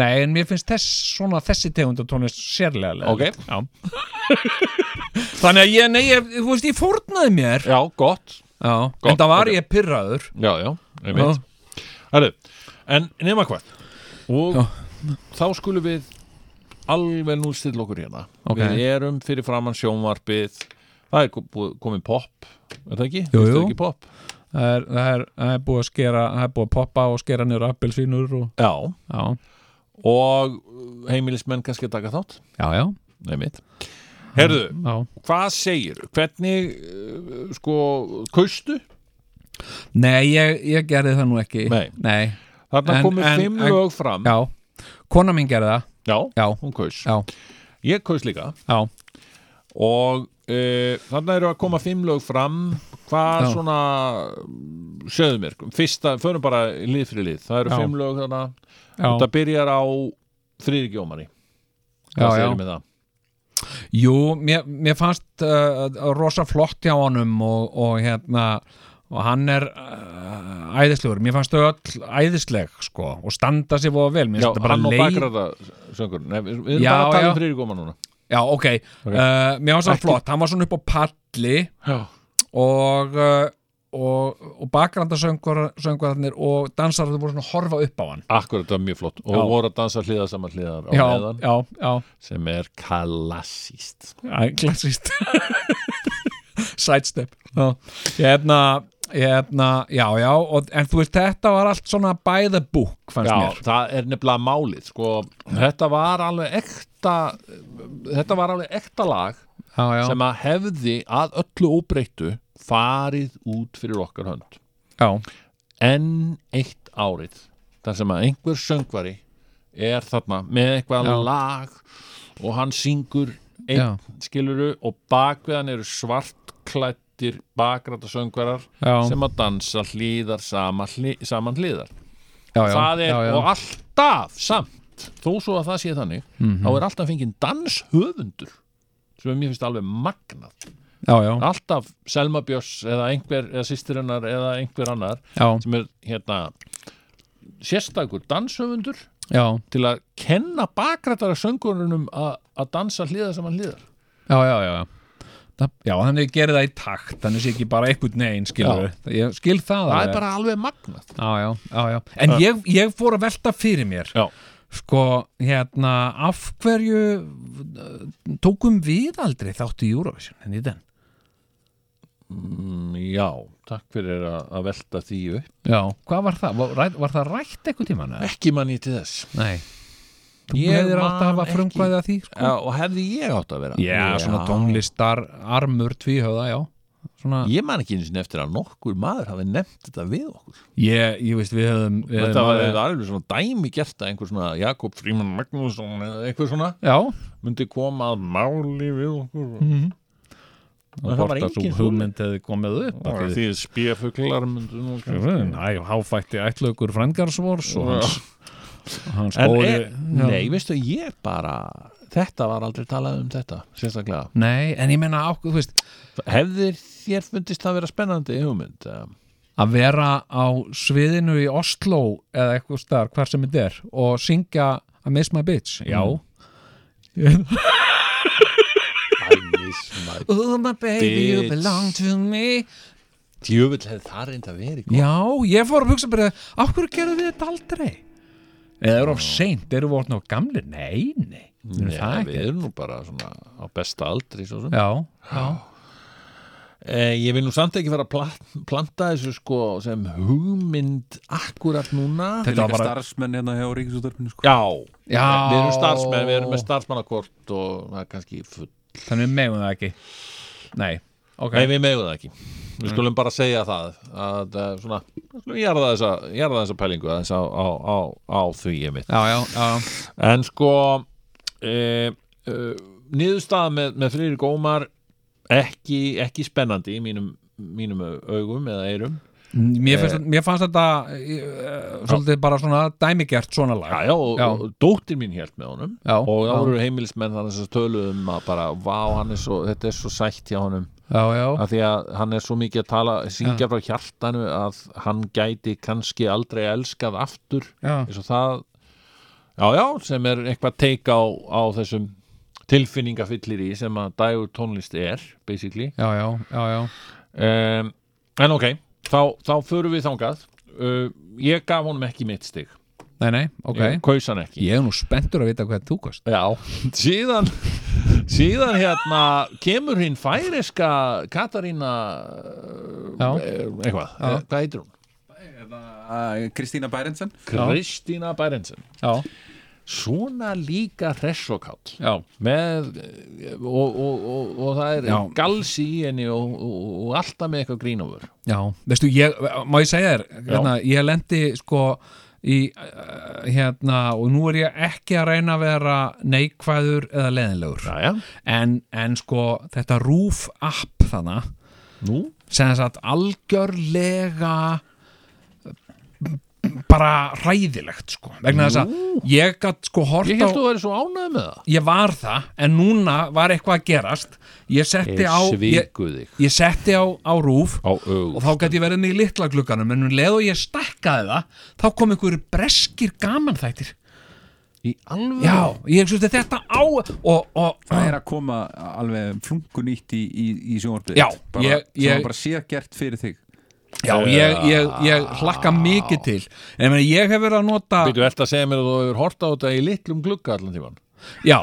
A: Nei, en mér finnst þess, svona þessi tegund af tónlist sérlega leiðinleg.
C: Ok.
A: Já *laughs* Þannig að ég, nei, ég, þú veist, ég fórnaði mér
C: Já, gott
A: Já,
C: Gott,
A: en það var
C: ok.
A: ég pyrraður
C: Já, já, ég veit Herru, en nema hvað og
A: Já.
C: þá skulum við alveg nú stilla okkur hérna
A: Ok.
C: við erum fyrir framann sjónvarpið það er ko- búið- komið popp er það ekki?
A: Jú,
C: Finnst
A: jú.
C: þér ekki popp?
A: það er, það, er, það er búið að skera, það er búið að poppa og skera niður appelsínur og,
C: Já,
A: já,
C: og uh, heimilismenn kannski að taka þátt
A: já, já,
C: Nei, mitt Herðu,
A: já.
C: hvað segir? Hvernig, uh, sko, kaustu?
A: Nei, ég, ég gerði það nú ekki
C: Nei. Þarna
A: En-
C: komið
A: en-
C: fimm
A: en-
C: lög fram
A: Já, kona mín gerði það
C: já,
A: Já,
C: hún kaus
A: já,
C: Ég kaus líka
A: já
C: og uh, þannig eru að koma fimm lög fram hvað
A: Já.
C: svona sjöðu mér, fyrsta, förum bara lið fyrir lið, það eru
A: Já.
C: fimm lög þarna
A: Já.
C: þetta byrjar á þriðgjómari
A: Já,
C: hvað
A: já.
C: segir með það?
A: Jú, mér, mér fannst uh, rosa flott hjá honum og, og hérna og hann er uh, æðislegur mér fannst þau öll æðisleg sko, og standa sér voða vel Mér finnst
C: Já,
A: þetta bara
C: hann og
A: leið-
C: bakrata söngur Nei, við, við erum
A: Já,
C: bara að tala um
A: já.
C: þriðgjóma núna
A: Já, ok, Uh, mér fannst það
C: Ekki-
A: flott hann var svona upp á palli
C: já,
A: og uh, og, og bakgrandasöngvarnir og dansararnir voru svona að horfa upp á hann
C: akkurat það er mjög flott og
A: Já.
C: voru að dansa hliða saman hliðar á
A: já,
C: meðan
A: já, já,
C: sem er klassíst
A: já, klassist *laughs* sidestep já. ég hefna, ég hefna já, já, og, en þú veist þetta var allt svona by the book fannst
C: Já,
A: mér
C: það er nefnilega málið sko, þetta var alveg ekta þetta var alveg ekta lag
A: já, já,
C: sem að hefði að öllu óbreyttu farið út fyrir okkar hönd
A: já,
C: enn eitt árið þar sem að einhver söngvari er þarna með eitthvað
A: Já.
C: lag og hann syngur
A: Já.
C: einn skiluru og bakveðan eru svartklættir bakræta söngvarar
A: Já.
C: sem að dansa hlýðar sama hli, saman hlýðar
A: já, já,
C: það er
A: já, já.
C: og alltaf samt þó svo að það sé þannig
A: Mhm.
C: þá er alltaf fengið danshöfundur sem mér finnst alveg magnað
A: já, já,
C: alltaf Selma Björns eða einhver, eða sýstir hennar eða einhver annar
A: já,
C: sem er hérna sérstakur danshöfundur
A: já,
C: til að kenna bakrættara söngurunum a- að dansa hliða sem hann hliðar
A: já, já, já. Það, já, þannig gerir það í takt þannig sé ekki bara einhvern negin skilur ég skil það,
C: það
A: alveg.
C: er bara alveg magnað
A: já, já, já, já. en ég, ég fór að velta fyrir mér
C: Já.
A: sko, hérna af hverju uh, tókum við aldrei þáttu í Eurovision en í den
C: Mm, já, takk fyrir að, að velta því upp
A: já, hvað var það? Var, ræ- var það rætt eitthvað tíma?
C: ekki mann ég til þess
A: Nei, þú
C: Ég
A: hefðir átt að
C: man
A: hafa
C: ekki.
A: frumkvæði að því sko.
C: já, og hefði ég átt að vera
A: já, svona tónlistar armur tvíhöða, já Svona,
C: ég man ekki eins og eftir að nokkur maður hafi nefnt þetta við okkur
A: ég, ég veist við höfum við
C: þetta var
A: alveg-
C: þetta alveg svona dæmi gert að einhver svona Jakob Fríman Magnússon eða eitthvað svona
A: Já,
C: myndi koma að máli við okkur En
A: og
C: Mhm. það var
A: hvort að þú
C: engin
A: hugmynd hefði komið upp
C: og því spjöfuglar myndu nú
A: Æ, háfætti ætlaugur frængarsvors og hans, hans
C: en
A: góði
C: er, nei, veistu, ég bara þetta var aldrei talað um þetta sérstaklega,
A: Nei, en ég menna ákveð, þú veist,
C: hefðir þér fundist það vera spennandi hugmynd eða?
A: að vera á sviðinu í Oslo eða eitthvað starf, hvar sem þetta er og syngja I miss my bitch, já Oh my baby, you
C: Bitch.
A: belong to me
C: djöfull hefði það reynd að vera í góð.
A: Já, ég fór að hugsa bara Af hverju gerðum við þetta aldrei? Eða eru of seint, eru við orðin á gamli? Nei, nei, nei
C: Nei,
A: það
C: við
A: ekki
C: erum nú bara svona á besta aldri svo sem
A: Já, já,
C: Eh, ég vil nú samt ekki fara að pla- planta þessu sko sem hugmynd akkurat núna
A: Þetta
D: Þetta
A: var
D: var
A: bara-
D: starfsmenn hérna hjá Ríkisúttarpinu sko.
C: Já,
A: Já.
C: við erum starfsmenn, við erum með starfsmannakort og það er kannski full
A: þannig við megum það ekki Nei, ok
C: Nei, við megum það ekki Við
A: Mm.
C: skulum bara segja það að eh, svona, við skulum jarða þessa, jarða þessa pælingu aðeins á, á, á, á því ég mitt
A: Já, já, já,
C: En sko e, e, niðurstaða með, með frýri gómar ekki, ekki spennandi í mínum, mínum augum eða eyrum
A: Mér, finnst, mér fannst þetta eh, svolítið bara svona dæmigert svona
C: já,
A: lag
C: já, og,
A: Já.
C: og dóttir mín hélt með honum
A: Já,
C: og þá
A: já.
C: voru heimilismenn hann sem töluðum um að bara, vá, hann er svo þetta er svo sætt hjá honum
A: Já, já,
C: af því að hann er svo mikið að tala syngja frá hjartanu að hann gæti kannski aldrei elskað aftur
A: já,
C: eins og það já, já, sem er eitthvað teika á, á þessum tilfinningafyllir í sem að dagur tónlist er basically
A: já, já, já, já.
C: um, en ok, þá, þá förum við þangað uh, ég gaf honum ekki mitt stig
A: Nei, nei, ok
C: ég kaus hann ekki
A: Ég er nú spenntur að vita hvað þú kost
C: Já, *laughs* síðan síðan hérna kemur hinn færiska Katarína
A: Já.
C: eh, eitthvað,
A: Já.
C: eh, hvað heitir hún?
D: Eða, Kristína Bærendsen
C: Kristína Bærensen
A: Já,
C: svona líka hressokall
A: já,
C: með eh, og, og, og, og það er
A: Já.
C: galsi í henni og, og, og alltaf með eitthvað grínofur
A: já Veistu, ég, má ég segja þér hérna, Ég lendi sko í, eh, hérna, og nú er ég ekki að reyna að vera neikvæður eða leðinlegur
C: Jæja,
A: en, en sko, þetta rúf app þannig
C: nú
A: sem þess að algjörlega bara ræðilegt sko vegna þess að ég gat sko hort
C: Ég
A: á
C: held þú að vera svo ánægð með það
A: ég var það, en núna var eitthvað að gerast ég setti á ég,
C: þig
A: ég setti á, á rúf
C: á aug
A: og þá gæti ég verið með í litla glugganum en um leið og ég stakkaði það þá kom einhverju breskir gamanþættir
C: í alveg
A: já, ég hugsa þetta á og, og
D: Það er að koma alveg flunkunýtt í, í, í sjónvarpið
A: Já,
D: þitt, bara,
A: ég-
D: sem
A: ég-
D: var bara sé gert fyrir þig
A: já, ég, ég, ég hlakka mikið til en ég meina, ég hef verið að nota
C: Býtu, ert að segja mér að þú hefur hort á þetta í litlum glugga allan tíman
A: já,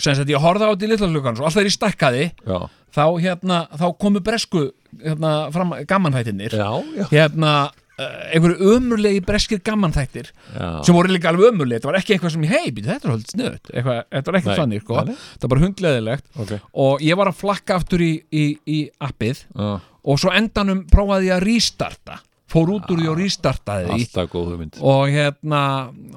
A: sem sagt ég horfði á þetta í litla glugganum og alltaf er ég stakkaði
C: Já,
A: þá, hérna, þá komu bresku hérna, fram, gamanþættirnir
C: já, já,
A: hérna eh, einhverju ömurlegi breskir gamanþættir
C: já.
A: sem voru líka alveg ömurlegi, þetta var ekki eitthvað sem ég hei, býtu, þetta er haldið snuðt eitthvað, þetta var ekki
C: Nei,
A: þannig, sko,
C: nei, nei.
A: það var bara hundleðilegt
C: Ok.
A: og ég var að flakka aftur í, í, í appið
C: Já,
A: og svo endanum prófaði ég að restarta fór út úr því
C: Ah,
A: og restartaði því
C: Alltaf góð hugmynd
A: og hérna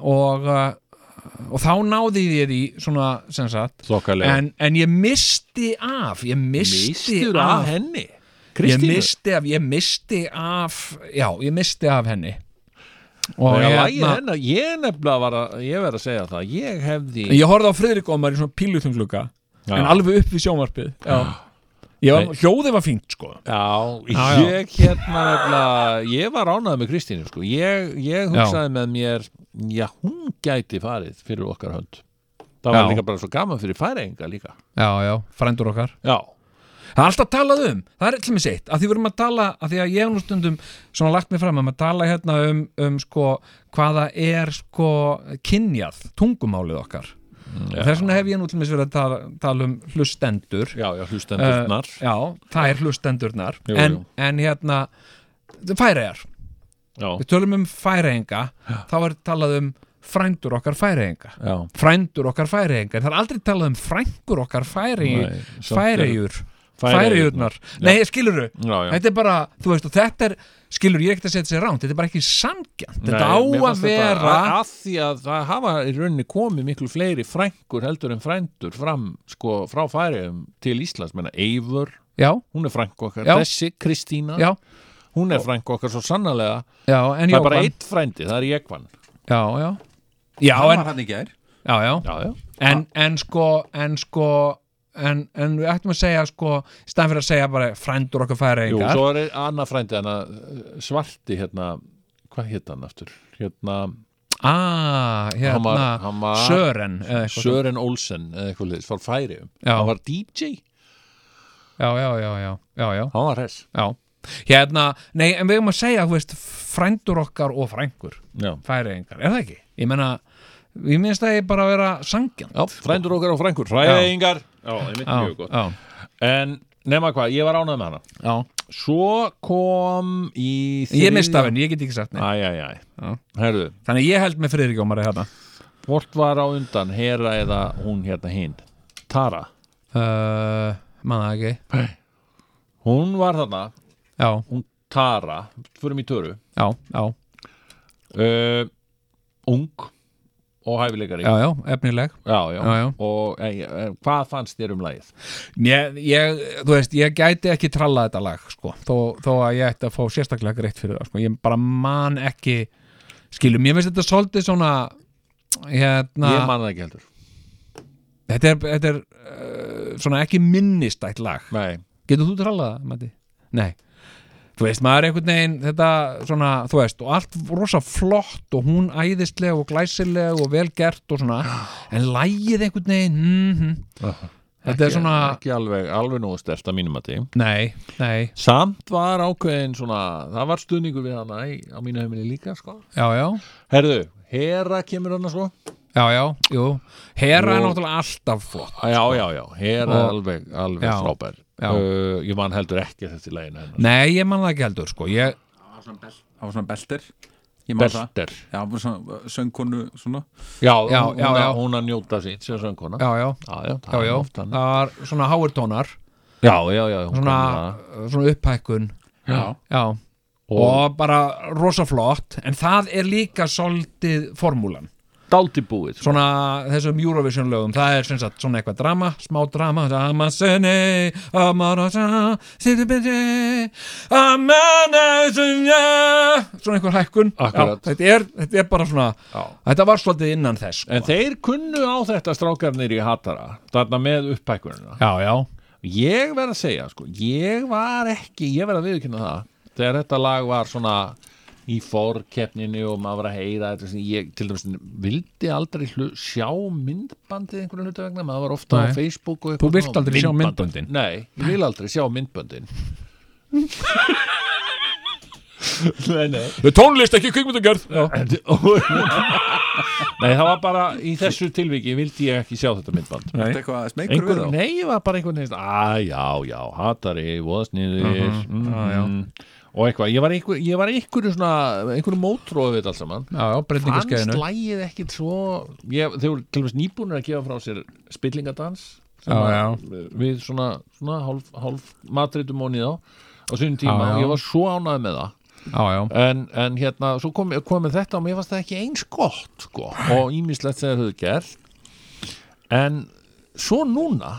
A: og, uh, og þá náði ég því svona, sem sagt
C: Þokkalega
A: en, en ég misti af ég misti
C: Mistur af
A: af
C: henni
A: ég
C: Kristínu
A: misti af, ég misti af já, ég misti af henni og
C: Þegar lagið
A: hérna
C: hennar, ég nefnilega var að ég verð að segja það, ég hefði
A: ég horfði á Friðrik Ómar í svona píluþungluka
C: Já.
A: en alveg upp við sjónvarpið já. Ég var, hljóðið var fínt sko
C: Já,
A: Já, já.
C: ég hérna nefnilega, ég var ánægð með Kristínu sko, ég, ég hugsaði með mér já, hún gæti farið fyrir okkar hönd það var
A: Já.
C: líka bara svo gaman fyrir færinga líka
A: já, já, frændur okkar
C: Já,
A: það er alltaf talað um, það er allir með sitt að því við erum að tala, að því að ég hef nú stundum svona lagt mig fram um að tala hérna um, um sko, hvaða er sko kynjað, tungumálið okkar og þess vegna hef ég nú til dæmis verið að tala, tala um hlustendur
C: já, já, hlustendurnar
A: Eh, já, það er hlustendurnar
C: Jú,
A: en,
C: jú.
A: en hérna færegar,
C: Já,
A: við tölum um færeginga þá er talað um frændur okkar færeginga
C: já
A: frændur okkar færeginga, það er aldrei talað um frængur okkar færegjur
C: Nei, samt eru-
A: færegjur, færegjurnar nei, skilurðu,
C: Já, já
A: þetta er bara þú veist, og þetta er, skilurðu, ég er ekkert að setja sér ránt þetta er bara ekki samgjönd, þetta á
C: Nei, mér
A: að
C: fannst þetta
A: vera
C: að, að því að það hafa í rauninni komið miklu fleiri frængur heldur en frændur fram sko, frá færiðum til Íslands menna Eivur,
A: já,
C: hún er frængu okkar
A: Já.
C: þessi, Kristína,
A: já,
C: hún er frængu okkar svo sannarlega,
A: já, en
C: það er bara
A: Jóhann-
C: eitt frændi, það er Jekvan
A: já, já, já,
D: Það
A: en,
D: var hann í gær
A: já, já
C: já, já,
A: en, en sko en sko en, en við ættum að segja sko í staðan fyrir að segja bara frændur okkar færa
C: Jú,
A: engar
C: svo er annað frændi hana, eh, svarti hérna hvað hétt hann aftur? Hérna,
A: ah, hérna
C: hann var, hann var
A: Sören eða eitthvað svona.
C: Sören Olsen eða eitthvað liðs, frá færiðum
A: Já.
C: hann var DJ,
A: já, já, já, já, já, já,
C: hann var hess
A: já hérna, nei, en við erum að segja þú veist, frændur okkar og frængur
C: já,
A: færa engar, er það ekki? ég menna, ég minnst að ég bara að vera sangjan
C: já frændur okkar og frængur fræðingar, já, það er mitt mjög gott
A: já,
C: En nema hvað, ég var ánægð með hana
A: já
C: Svo kom í
A: ég mista af henni, ég get ekki sagt neitt
C: Æjæjæ,
A: Já.
C: herðu
A: þannig ég held með Friðrik Ómari
C: *laughs*
A: hérna
C: Hvort var á undan, Hera eða hún hérna hinn Tara,
A: uh, manna ekki,
C: hún var þarna
A: já,
C: Hún Tara, fyrir mig töru
A: já, já
C: uh, Ung og hæfileikari
A: já, já, efnileg
C: já, já.
A: Já, já.
C: og en, en, hvað fannst þér um lagið?
A: ég, ég, þú veist, ég gæti ekki tralla þetta lag, sko, þó, þó að ég ætti að fá sérstaklega greitt fyrir það, sko, ég bara man ekki, skilum, ég veist þetta svolítið svona hérna,
C: ég man það ekki heldur
A: þetta er, þetta er uh, svona ekki minnistætt lag
C: Nei.
A: getur þú trallað það, Matti? Nei þú veist, maður er einhvern veginn þetta svona, þú veist, og allt rosa flott og hún æðisleg og glæsileg og vel gert og svona en lægið einhvern veginn mm þetta er
C: Ekki-
A: svona,
C: ekki alveg, alveg nógu stert að mínum að því
A: nei, nei
C: samt var ákveðin svona það var stuðningur við hana í, á mínu heimili líka sko.
A: já, já,
C: herðu, Hera kemur hana sko
A: já, já, jú Hera er
C: Og-
A: náttúrulega alltaf flott
C: já, já, já, Hera er
A: Og-
C: alveg, alveg
A: Já.
C: frábær
A: Já.
C: Uh, ég man heldur ekki þetta í læginu hennar
A: nei, ég man það ekki heldur, sko ég,
D: Það var svona belter Ég man það
C: Belter,
D: Já, bara svona uh, söngkonu svona
C: já,
A: Já,
C: hún,
A: já,
C: hún,
A: já.
C: hún að njóta sín sem söngkona
A: já, já,
C: já, já,
A: já,
C: það er
A: já
C: oft
A: það
C: hann.
A: var svona háirtónar
C: já, já, já, hún
A: svona,
C: kom með
A: svona upphækkun
D: Já,
A: já
C: það.
A: og,
C: og
A: bara rosa flott en það er líka svolítið formúlan
C: daldi búið sko.
A: svona þessum Eurovision lögum það er sem sagt svona eitthvað drama, smá drama Amasenei, Amarasa Sitibindi Amanasunja svona einhver hækkun
C: Akkurat.
A: Já, þetta, er, þetta er bara svona
C: Já.
A: þetta var svolítið innan þess sko.
C: en þeir kunnu á þetta strákarnir í Hatara þarna með upphækkunina
A: já, já,
C: ég verð að segja sko, ég var ekki ég verð að viðkynna það þegar þetta lag var svona í fórkeppninu og maður var að heyra þetta, sem ég til dæmis vildi aldrei hlu, sjá myndbandið einhverju hluta vegna, maður var ofta
A: Nei.
C: á Facebook
A: Þú
C: og eitthvað
A: vilt
C: svona,
A: aldrei sjá
C: myndband.
A: myndböndin?
C: Nei, ég vil aldrei sjá myndböndin
A: *laughs*
C: Nei, nei
A: tónlist ekki kvikmyndagerð já,
C: Nei, það var bara í þessu tilviki vildi ég ekki sjá þetta myndband
A: Nei.
D: þetta eitthvað smekur við
C: einhver,
D: þá
C: nei, ég var bara einhvern veginn að já, já, hatari, voðasniður mm
A: já, Mhm. Ah, já.
C: og eitthvað, ég var, einhver, ég var einhverju svona einhverju mótróðu við þetta allt saman
A: já, já
C: hann
A: breytingaskeiðinu
C: slægið ekkit svo ég, þeir voru til dæmis nýbúnir að gefa frá sér spillingadans sem
A: Já,
C: að-
A: já.
C: við svona, svona hálf, hálf matritum og niðá á sunnum tíma
A: Já, já.
C: og ég var svo ánægð með það
A: já, já,
C: en, en hérna, svo kom, komið þetta og mér fannst það ekki eins gott sko, og ímislegt sem þeir höfðu gert en svo núna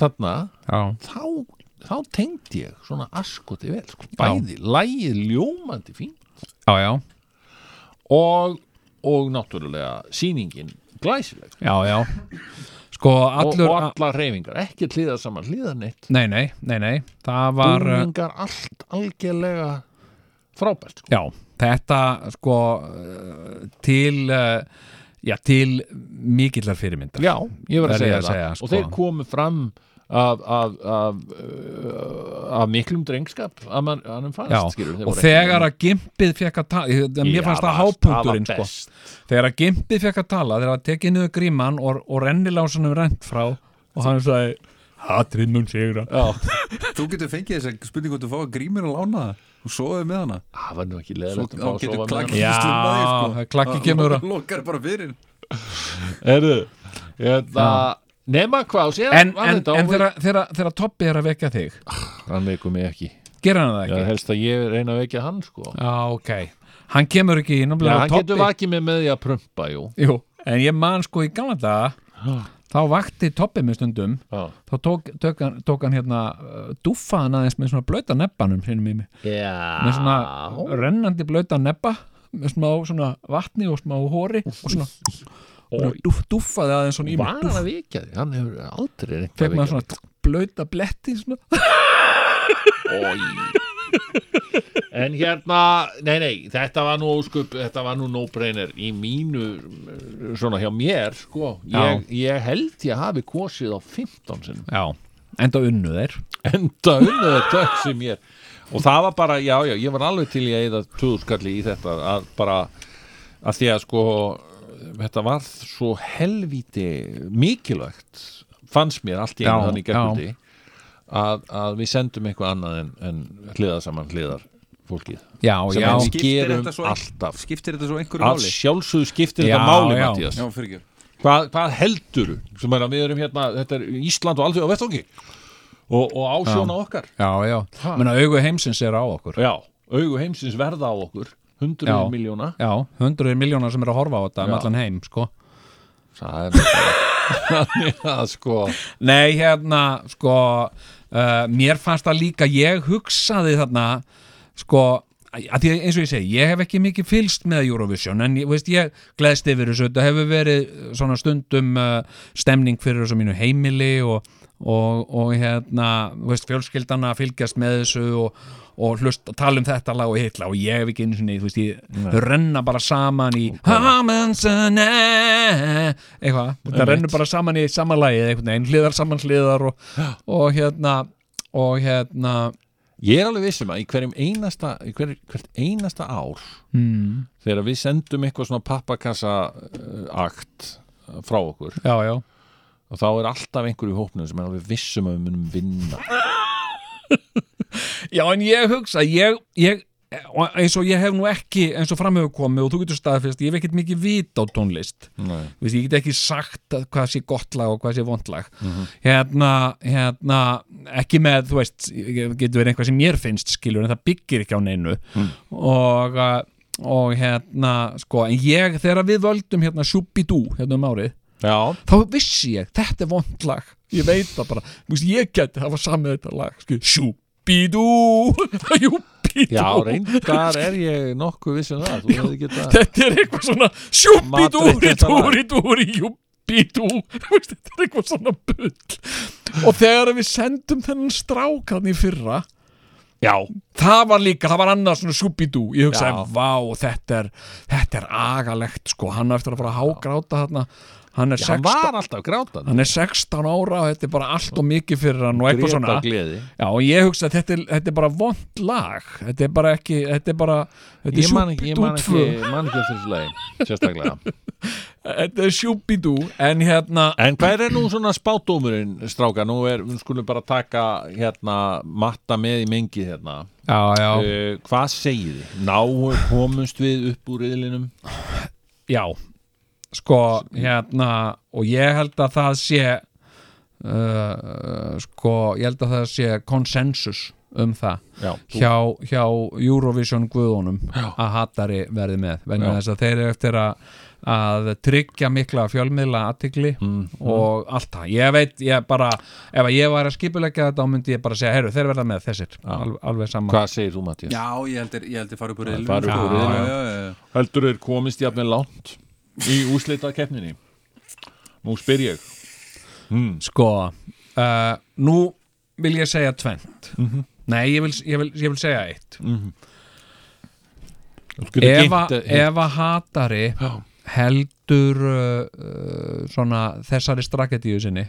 C: þarna
A: já,
C: þá, þá tengdi ég svona askoti vel, sko, bæði lægið ljómandi fín
A: já, já,
C: og, og náttúrulega sýningin glæsileg
A: já, já. sko allur
C: og, og allar reyfingar, ekki hliða saman hliða neitt,
A: Nei, nei, nei, nei, það var uh,
C: búningar allt algjörlega frábært sko.
A: Já, þetta sko uh, til uh, já, til mikillar fyrirmyndar
C: já, ég
A: Verð
C: verð að
A: ég
C: segja
A: að
C: það
A: segja,
C: og
A: sko.
C: þeir komu fram af, af, af, uh, af miklum drengskap að mann hann fannst
A: Já,
C: skilur,
A: og þegar að gimpið fekk að tala mér fannst það hápunkturinn sko. þegar að gimpið fekk að tala, þegar að tekið niður gríman og, og rennilásunum rent frá og hann sagði, hatrið mun sigra
C: Já,
D: Þú getur fengið þess að spurningu að þú fá að grímir að lána það og sofaði með hana
C: það var nú ekki um
D: Svo
C: leðilegt að fá
D: þá
C: að
D: getur
C: sofa með
D: klakki
C: hana.
A: Já, klakki kemur að-
D: sko. Lokar bara fyrir
C: Erðu, hérna Nema hvað, séðan
A: En, en, en þegar, þegar, þegar Tobbi er að vekja þig
C: Hann veikur mig ekki
A: gerir hann það
C: Já,
A: ekki?
C: helst að ég reyna að vekja hann sko
A: Já, ok, hann kemur ekki í
C: Já,
A: náttúrulega
C: hann getur vakið mig með því að prumpa, jú
A: Jú, en ég man sko í gamla daga þá vakti Tobbi mig stundum
C: Já,
A: þá tók, tók, hann, tók hann hérna uh, dúffaði hann aðeins með svona blöta nebbanum sinni mými, með svona rennandi blöta nebba með smá svona vatni og smá hóri og svona
C: Ó,
A: dúf, dúffaði aðeins svona í
C: Var
A: mig
C: hann að vekja því? Hann hefur aldrei reynt að
A: fekk maður
C: vekja
A: svona blöta bletti svona.
C: Ói. En hérna, nei, nei, þetta var nú óskup, þetta var nú no-brainer í mínu, eh, svona hjá mér, sko. Ég, ég held ég hafi kosið á 15 sinnum.
A: *laughs* Já, enda unnu þeir
C: enda unnu þetta sem ég er og það var bara, já, já, ég var alveg til í að eða töðuskalli í þetta að bara, að því að sko þetta var svo helvíti mikilvægt fannst mér allt í
A: Já,
C: einu þannig gerkvöldi að, að við sendum eitthvað annað en, en hliðar saman hliðar fólkið
A: Já,
C: sem
A: já,
C: við
D: Skiptir
C: gerum
D: þetta svo-
C: alltaf
D: Skiptir þetta svo einhverju
C: að
D: máli?
C: sjálfsögðu skiptir
A: Já,
C: þetta máli
A: já.
C: Mattías
D: Já, fyrir ekki
C: hvað, hvað heldur sem er að við erum hérna, þetta er Ísland og alveg á vettvangi og, og ásjóna okkar
A: já, já menna augu heimsins er á okkur
C: Já, augu heimsins verða á okkur 100
A: Já.
C: miljóna
A: Já, hundruðir miljónar sem er að horfa á þetta um
C: Já.
A: allan heim, sko
C: það er náttúrulega- *laughs* þannig að sko
A: Nei, hérna, sko uh, mér fannst það líka, ég hugsaði þarna, sko að því að eins og ég segi, ég hef ekki mikið fylst með Eurovision, en ég, veist, ég gleðst yfir þessu, þetta hefur verið svona stundum uh, stemning fyrir þessu mínu heimili og, og, og hérna, þú veist, fjölskyldana fylgjast með þessu og, og hlust að tala um þetta lag og hitla og ég hef ekki einu sinni, þú veist, ég, þau renna bara saman í Hamansane eitthvað, þetta rennur bara saman í samanlægi eða einhvern veginn, hliðar saman hliðar og, og hérna og hérna
C: ég er alveg vissum að í hverjum einasta í hver, hvert einasta ár
A: hmm,
C: þegar við sendum eitthvað svona pappakassa uh, akt uh, frá okkur
A: já, já,
C: og þá er alltaf einhver í hópnum sem er alveg vissum að við munum vinna
A: já, en ég hugsa ég, ég og eins og ég hef nú ekki eins og framhefur komið og þú getur staðfyrst ég hef ekkert mikið vit á tónlist
C: Nei.
A: Vist, ég get ekki sagt að hvað sé gott lag og hvað sé vond lag hérna, hérna, ekki með þú veist, getur verið einhvað sem mér finnst skilur en það byggir ekki á neinu og, uh, og hérna sko, en ég, þegar við völdum hérna Shubidú, hérna um árið
C: já,
A: þá vissi ég, þetta er vond lag ég veit það bara, Þú veist, ég geti hafa samið þetta lag, skilur, *laughs* Shubidú Shubidú
C: já reyndar er ég nokkuð vissum það þú hefði getað
A: þetta er eitthvað svona sjúbidúri,
C: Madrid, þetta lag.
A: dúri, dúri, júbidú Veist, þetta er eitthvað svona bull og þegar við sendum þennan strák hann í fyrra
C: já,
A: það var líka, það var annars svona sjúbidú ég hugsaði,
C: Já.
A: vá, þetta er þetta er agalegt, sko, hann á eftir að fara að hágráta þarna, hann er,
C: hann
A: 16,
C: var alltaf grátan
A: hann er 16 ára og þetta er bara allt og mikið fyrir hann og eitthvað svona
C: gleði
A: Já, og ég hugsa að þetta er, þetta er bara vond lag þetta er bara ekki, þetta er bara þetta er
C: ég man ekki,
A: sjúbidú
C: ég man ekki,
A: 2
C: man ekki eftir þessu lagi sérstaklega
A: Þetta er sjúbidú En hérna
C: En hver er nú svona spátdómurinn, stráka? Nú er, við skulum bara taka hérna, matta með í mengi hérna.
A: Já, já,
C: Uh, hvað segir þið? Ná komumst við upp úr riðlinum?
A: já Sko, hérna Og ég held að það sé uh, Sko Ég held að það sé konsensus Um það
C: Já, þú,
A: hjá, hjá Eurovision guðunum
C: Já.
A: að hatari verði með vegna
C: Já.
A: þess að þeir eru eftir að, að tryggja mikla fjölmiðla aðtikli
C: Mhm.
A: og allt það ég veit, ég bara, ef að ég var að skipulegja þetta þá myndi ég bara segja, heyrðu, þeir verða með þessir Al, alveg saman
C: hvað segir þú, Mattias?
D: Já, ég held er, ég held er fara upp úr riðlinum,
C: fara upp
D: sko.
A: úr
D: Já,
C: riðlinum.
D: já, já, já.
C: Heldur þeir komist jafnir langt í úslitað keppninni? Nú spyr ég.
A: sko uh, nú vil ég segja tvent
C: Mhm.
A: nei, ég vil, ég, vil, ég vil segja eitt
C: Mm.
A: ef, að- ef að hatari
C: Já.
A: heldur uh, uh, svona þessari straketíu sinni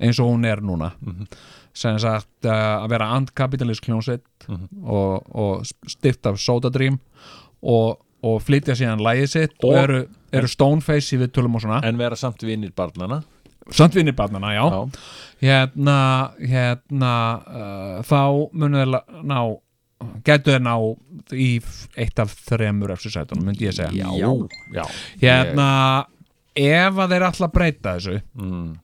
A: eins og hún er núna
C: Mhm.
A: sem sagt uh, að vera antkapitalist kljónsveit
C: Mhm.
A: og, og stift af Soda Dream og, og flytja síðan lægið sitt og,
C: Og-
A: eru, eru Stoneface í viðtölum og svona
C: En vera samt vinnir barnana?
A: samt vinni barnana, já, hérna, hérna uh, þá munu þeir la- ná getur þeir ná í f- eitt af þremur eftir sætunum, myndi ég segja
C: Já. Já.
A: hérna ef að þeir ætla að breyta þessu
C: Mm.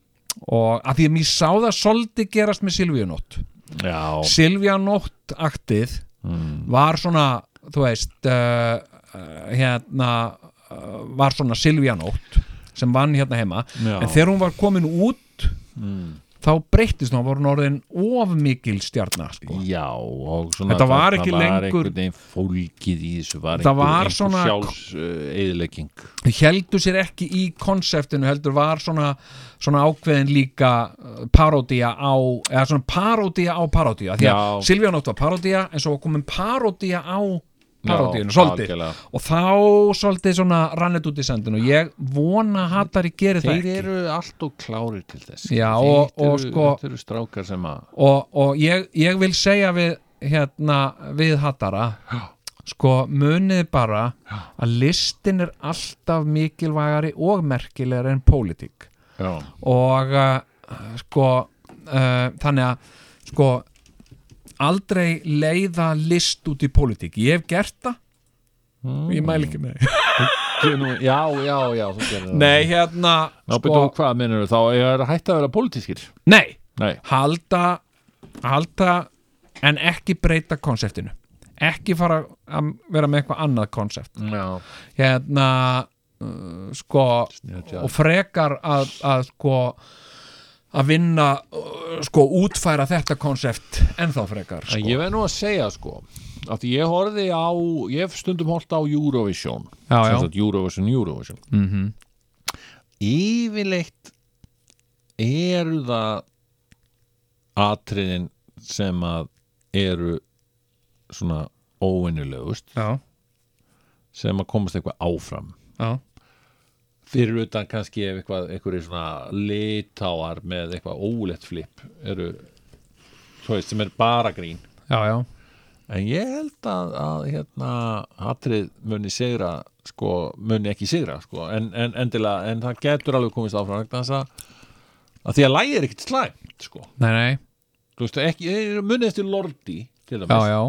A: og að því að mér sá það svolítið gerast með Silvíunótt
C: Já.
A: Silvíunótt aktið
C: Mm.
A: var svona, þú veist uh, uh, hérna uh, var svona Silvíunótt sem vann hérna heima
C: Já.
A: en þegar hún var komin út
C: Mm.
A: þá breyttist hún, var hún orðin of mikil stjarnar sko.
C: Já, og svona
A: Þetta var
C: þarna
A: ekki
C: var
A: lengur-
C: einhvern veginn fólkið í þessu var
A: Þetta
C: einhver,
A: var
C: einhver
A: svona-
C: sjálfs uh, eðilegging
A: heldur sér ekki í konseptinu heldur var svona, svona ákveðin líka uh, parodía á eða svona parodía á parodía því að
C: Já.
A: Silvíu Nótt var parodía en svo var komin parodía á parodíunum,
C: Já,
A: svolítið
C: algjörlega.
A: og þá svolítið svona rannett út í sendinu og ég vona að Hattari gerir það
C: Þeir
A: ekki
C: eru allt og klárir til þess
A: Já,
C: Þeir
A: og- og
C: eru,
A: sko-
C: Þeir eru strákar sem að
A: og, og ég, ég vil segja við hérna við Hattara sko munið bara að listin er alltaf mikilvægari og merkilegri en pólitík
C: Já,
A: og uh, sko uh, þannig að sko aldrei leiða list út í pólitík ég hef gert það og ég mæl ekki með því.
C: Ég nú- já, já, já þú gerir það.
A: *laughs* nei hérna
C: Ná, sko...
A: sko,
C: hvað minnur þá Ég er að hætta að vera pólitískir
A: nei,
C: Nei,
A: halda halda en ekki breyta konseptinu ekki fara að vera með eitthvað annað konsept
C: já,
A: hérna uh, sko
C: Snjöldjarn.
A: og frekar að, að sko að vinna uh, sko útfæra þetta konsept ennþá frekar
C: En
A: sko.
C: ég veið nú að segja sko að ég horfði á, ég hef stundum hólt á Eurovision
A: Já, já.
C: Sem sagt Eurovision, Eurovision
A: mm -hmm.
C: Yfirleitt eru það atriðin sem að eru svona óinnilegust
A: Já,
C: sem að komast eitthvað áfram
A: já,
C: fyrir utan kannski ef eitthvað einhverjir svona litáar með eitthvað ólegt flip eru þú veist, sem er bara grín
A: já, já
C: En ég held að, að hérna, hatrið muni sigra sko, muni ekki sigra sko, en, en, endilega, en það getur alveg komist áfram vegna þess að, að því að lægi er ekkit slæmt sko.
A: Nei, nei,
C: Þú veist, ekki, muni eftir Lordi til
A: já,
C: dæmis.
A: já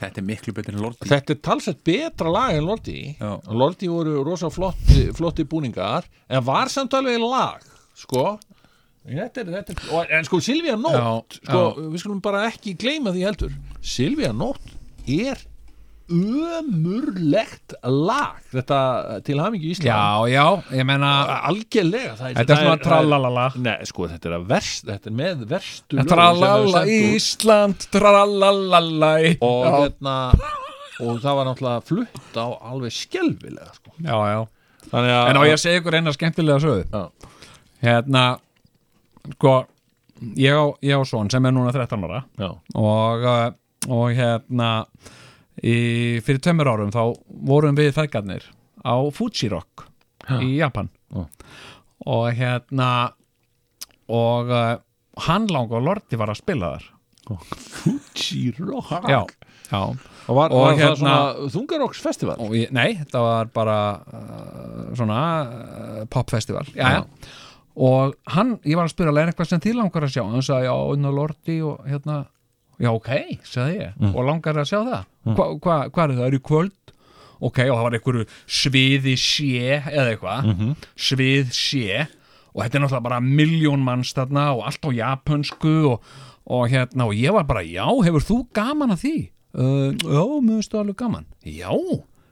D: Þetta er miklu betur en Lordi
C: Þetta er talsett betra lag en Lordi
D: Já.
C: Lordi voru rosa flotti, flotti búningar en var samt alveg lag sko Þetta er, þetta er, og- en sko Silvía Nótt
A: Já,
C: sko, við skulum bara ekki gleyma því heldur Silvía Nótt er ömurlegt lag þetta til hamingi í Ísland
A: Já, já, ég menna
C: algjörlega það
A: Þetta er
C: það
A: svona tralalala
C: það er- Nei, sko, þetta er, að verst, þetta er með verstu lögum sem hefur
A: Tralala
C: sent út.
A: Ísland Tralalala
C: og
A: já,
C: hérna og það var náttúrulega flutt á alveg skelvilega sko.
A: já, já
C: þannig að
A: En á ég að segja ykkur eina skemmtilega sögðu
C: Já.
A: Hérna Sko Ég á, ég á son sem er núna 13 ára
C: já,
A: og, uh, og hérna í, Fyrir tveimur árum þá vorum við fækarnir á Fuji Rock í Japan
C: Já.
A: og hérna og uh, hann lang og Lordi var að spila þar
C: Fuji Rock
A: Já, já
C: og var,
A: Og
C: var
A: hérna-
C: það svona Þungarocks festival
A: og ég, nei, þetta var bara uh, svona uh, popfestival já, og hann, ég var að spyrja að leira eitthvað sem þið langar að sjá og hann sagði, já, unna Lordi og hérna já, ok, sagði ég, og langar að sjá það mm. hvað hva, hva er það, er í kvöld ok, og það var einhverju sviði sé eða eitthvað, svið sé og þetta er náttúrulega bara miljón manns þarna og allt á japansku og, og hérna, og ég var bara já, hefur þú gaman að því? Uh, já, mjög stu alveg gaman já,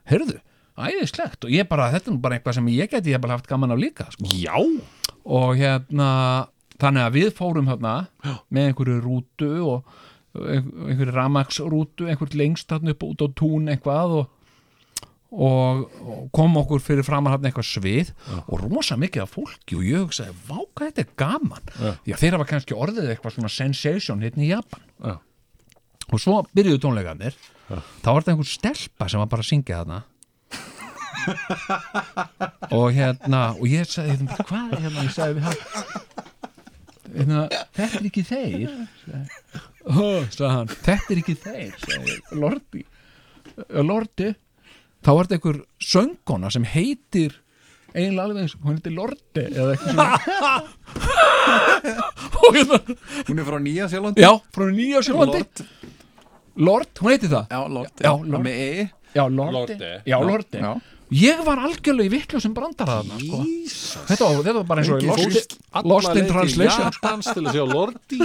A: heyrðu, æðislegt og ég bara, þetta er nú bara eitthvað sem ég geti ég bara haft gaman af líka, sko
C: já,
A: og hérna þannig að við fórum hérna með einhverju rútu og einhverju ramaksrútu, einhverju lengst hérna upp út á tún eitthvað og, og, og kom okkur fyrir framar hérna eitthvað svið og rosa mikið af fólki og ég hugsaði, vá hvað þetta er gaman
C: Já.
A: já þeirra var kannski orðið eitthvað svona sensation hérna í Japan
C: Já.
A: og svo byrjuðu tónleikarnir þá var þetta einhver stelpa sem var bara að syngja þarna og hérna og ég sagði, hérna, hvað er hérna ég sagði við hann hérna, þetta er ekki þeir Ó, sagði hann, þetta er ekki þeir sagði ég, Lordi Eh, Lordi þá var þetta einhver söngona sem heitir eiginlega alveg eins, hún heitir Lordi eða eitthvað svona og hérna,
D: Hún er frá Nýja Sjálandi
A: já, frá nýja sjálfandi
D: Lord,
A: Lord, hún heiti það
D: já, Lord,
A: Já, Lord.
D: Með E
A: Já, Lordi,
C: Lorde.
A: Já, Lordi.
D: Já.
A: Ég var algjörlega í vitlu sem brandara þarna sko. þetta, var, þetta var bara eins og í
D: Engin
A: Lost,
C: Alla
A: Lost in
C: leið til
A: Translation
C: Japans til að sjá
A: *laughs*
C: Lordi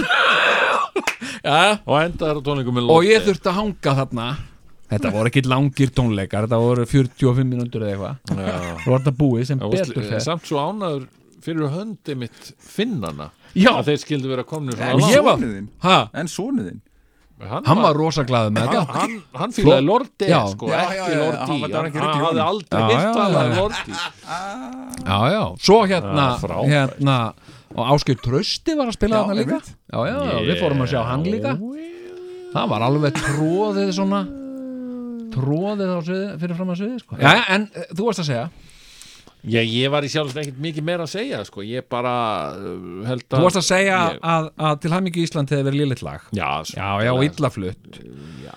A: ja.
C: og enda þar á tónleikum með
A: Og
C: Lordi
A: ég þurfti að hanga þarna Þetta voru ekki langir tónleikar Þetta voru 45 mínútur eða eitthvað
C: Já.
A: Þú var þetta búið sem
C: Já, veist,
A: betur fer
C: samt svo ánaður fyrir höndi mitt finnana
A: Já.
C: að þeir skildu vera komnir frá
A: En
C: langt.
A: ég var-
D: Sonuðinn
A: ha,
D: En sonuðinn
C: hann,
A: Hann var rosa glaðið með
C: hann,
A: þetta
C: hann, hann fílaði Lordi
A: Já.
C: sko,
D: Já, já, já,
C: ekki
D: já,
C: Lordi
D: hann var- það var
C: hann,
D: ekki
C: hann
D: rugl í
C: hafði
D: honum.
A: Já,
C: aldrei hitt
A: já,
C: hann
A: já.
C: Lordi
A: Já, já, svo hérna,
C: Já, frábært.
A: hérna Og Áskjör Trösti var að spila
D: Já,
A: þarna líka
D: einmitt.
A: Já, já, já, við fórum að sjá hann líka Það var alveg tróðið svona Tróðið á sviði, fyrir fram að sviði sko. Já, en eh, þú varst að segja
C: Já, ég var í sjálfsveit ekkert mikið meira að segja, sko, ég bara uh, held að...
A: Þú varst að segja
C: Ég,
A: að, að til hæmingi Ísland hefði verið lélitt lag
C: já,
A: Já, já, og illa flutt
C: já.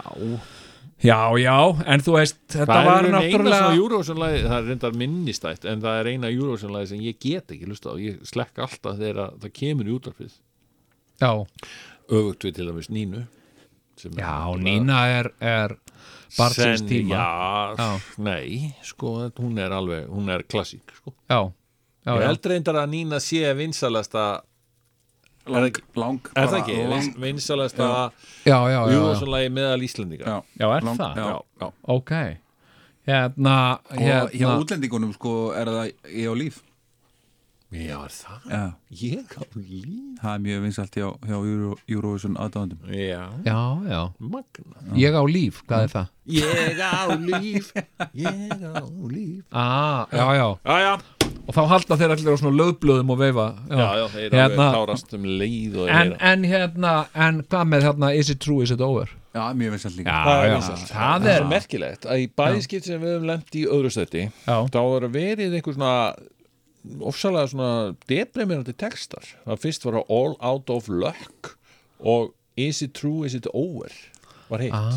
A: Já, já, en þú veist, þetta
C: Það
A: var
C: er eina svona
A: náttúrulega
C: Eurovision-lagi, það er reyndar minnistætt, en það er eina Eurovision-lagi sem ég get ekki hlusta á, ég slekk alltaf þegar að það kemur í útarfið.
A: Já,
C: Öfugt við til dæmis Nínu. sem er
A: já
C: náttúrulega-
A: Nína er, er barnsins
C: Sen-
A: tíma
C: Já,
A: Já.
C: nei, sko, þetta- hún er alveg, hún er klassík, sko.
A: já, já,
C: Ég
A: já.
C: held reyndar að Nína sé vinsalasta,
D: Lang, lang
C: er það
D: bara
C: ekki,
D: Lang,
C: Vins- vinsalasta
A: já, já, já, já.
C: Eurovision-lagi meðal Íslendinga.
A: Já, er
D: lang,
A: það?
D: Já, já
A: Ok hérna,
D: og hjá
A: hérna
D: útlendingunum sko er það ég á líf
C: Já, er það?
D: já,
C: Ég á líf
D: það er mjög vinsalt hjá, hjá Euro, Eurovision aðdáðandum
C: Já,
A: Já, já,
C: magna
A: ég á líf, hvað
C: Mm.
A: er það?
C: Ég á líf *laughs* Ég á líf
A: Ah, já, já,
C: Já, já,
A: og þá halda þeir allir á svona lögblöðum og veifa
C: já, já þeir eru
A: Hérna,
C: alveg tárast um leið og
A: en,
C: þeirra
A: en hérna, en hvað með hérna is it true, is it over?
D: já, mjög vinsalt líka
C: Það er
A: já,
C: vinsælt.
A: það
C: Það
A: er
C: er merkilegt að í bæðiskipt sem við höfum lent í öðru stætti
A: Já.
C: þá er verið einhver svona ofsalega svona deprimirandi textar það fyrst var það All Out of Luck og Is It True, Is It Over var hitt
A: ah,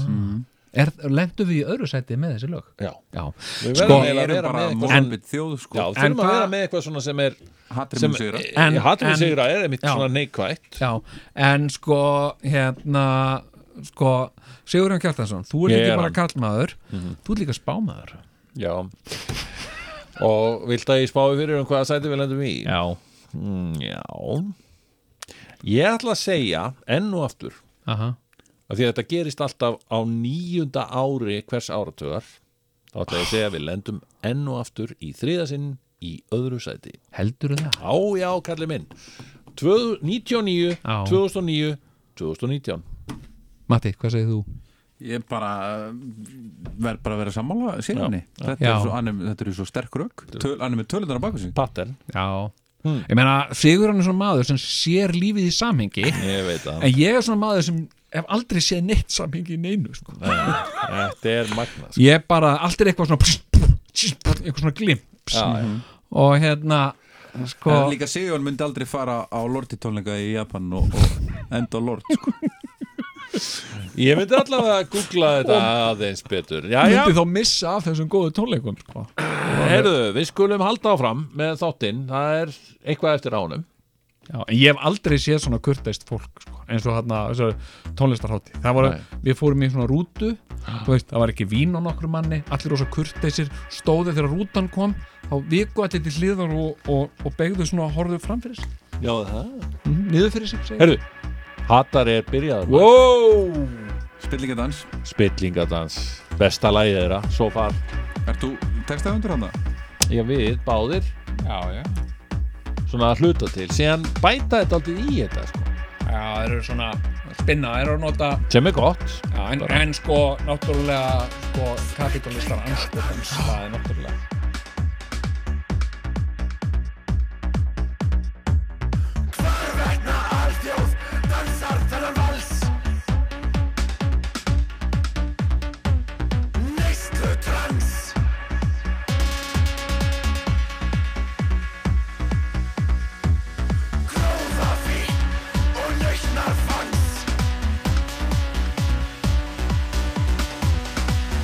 A: er, Lendu við í öðru sæti með þessi lög?
C: Já,
A: Já,
C: Við
A: sko,
C: verðum
D: við
C: eiginlega að
D: erum
C: vera
D: bara
C: með eitthvað svona-
D: morbid þjóð
C: já
D: sko
A: En
C: þurfum að
A: hvað-
C: vera með eitthvað svona sem er
D: hattur
C: sem, e-
D: mjög sigra
A: En-
C: Hattum
A: en-
C: við sigra er einmitt
A: Já.
C: svona neikvætt
A: já, en sko hérna, sko Sigurjón Kjartansson, þú ert
C: Ég
A: ekki
C: er
A: bara
C: hann. Mhm.
A: kallmaður þú ert líka spámaður
C: Já Og vilt að ég spái fyrir um hvaða sæti við lendum í?
A: Já,
C: Mm, já Ég ætla að segja enn og aftur
A: aha
C: af því að þetta gerist alltaf á nýjunda ári hvers áratugar þá ætla ég að segja að við lendum enn og aftur í þriðasinn í öðru sæti
A: Heldur það?
C: á já, kalli minn Tvö- 99,
A: Já.
C: 2009 2019
A: Matti, hvað segir þú?
D: ég bara uh, verð bara að vera sammála síðanni þetta
A: Já.
D: er svo, hann er, þetta er svo sterk rögg Töl, hann er með tölunar á baku sín
C: pattern,
A: Já Hm. Ég meina, Sigurjón er svona maður sem sér lífið í samhengi
C: ég veit það
A: *laughs* En ég er svona maður sem hef aldrei séð neitt samhengi í neinu sko.
C: þetta er magna sko.
A: Ég bara, allt er eitthvað svona pss, pss, pss, pss, Eitthvað svona glimps
C: Já, já.
A: Og hérna sko,
D: en líka Sigjón myndi aldrei fara á lorti tónleika í Japan og, og enda á lort sko.
C: ég myndi allavega að googla þetta aðeins betur já, já,
A: Myndi þá missa af þessum góðu tónleikum sko.
C: heyrðu, við skulum halda áfram með þáttinn, það er eitthvað eftir ánum
A: Já, En ég hef aldrei séð svona kurteist fólk sko, eins og þarna þessari tónlistarhátti Það var, við fórum í svona rútu þú veist, það var ekki vín á nokkru manni allir rosa kurteisir, stóðu þegar rútan kom þá viku allir til hliðar og, og, og begðu svona að horfðu fram fyrir sig
C: já, það
A: Mhm, niður fyrir sig segir.
C: heyrðu, hattar er byrjaður
A: wow!
D: spillingadans
C: Spillingadans, besta lagið þeirra Svo far,
D: er þú textaðundur hann það?
C: ég við báðir
B: Já, já.
C: Svona að hluta til, síðan bæta þetta aldrei í þetta sko.
A: Já, þeir eru svona spinna, þeir eru að nota
C: Sem er gott
A: já, en, en sko, náttúrulega sko, kapitalistar anskotans það er náttúrulega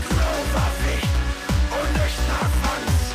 E: Grauer Weg und nicht nach Fangs.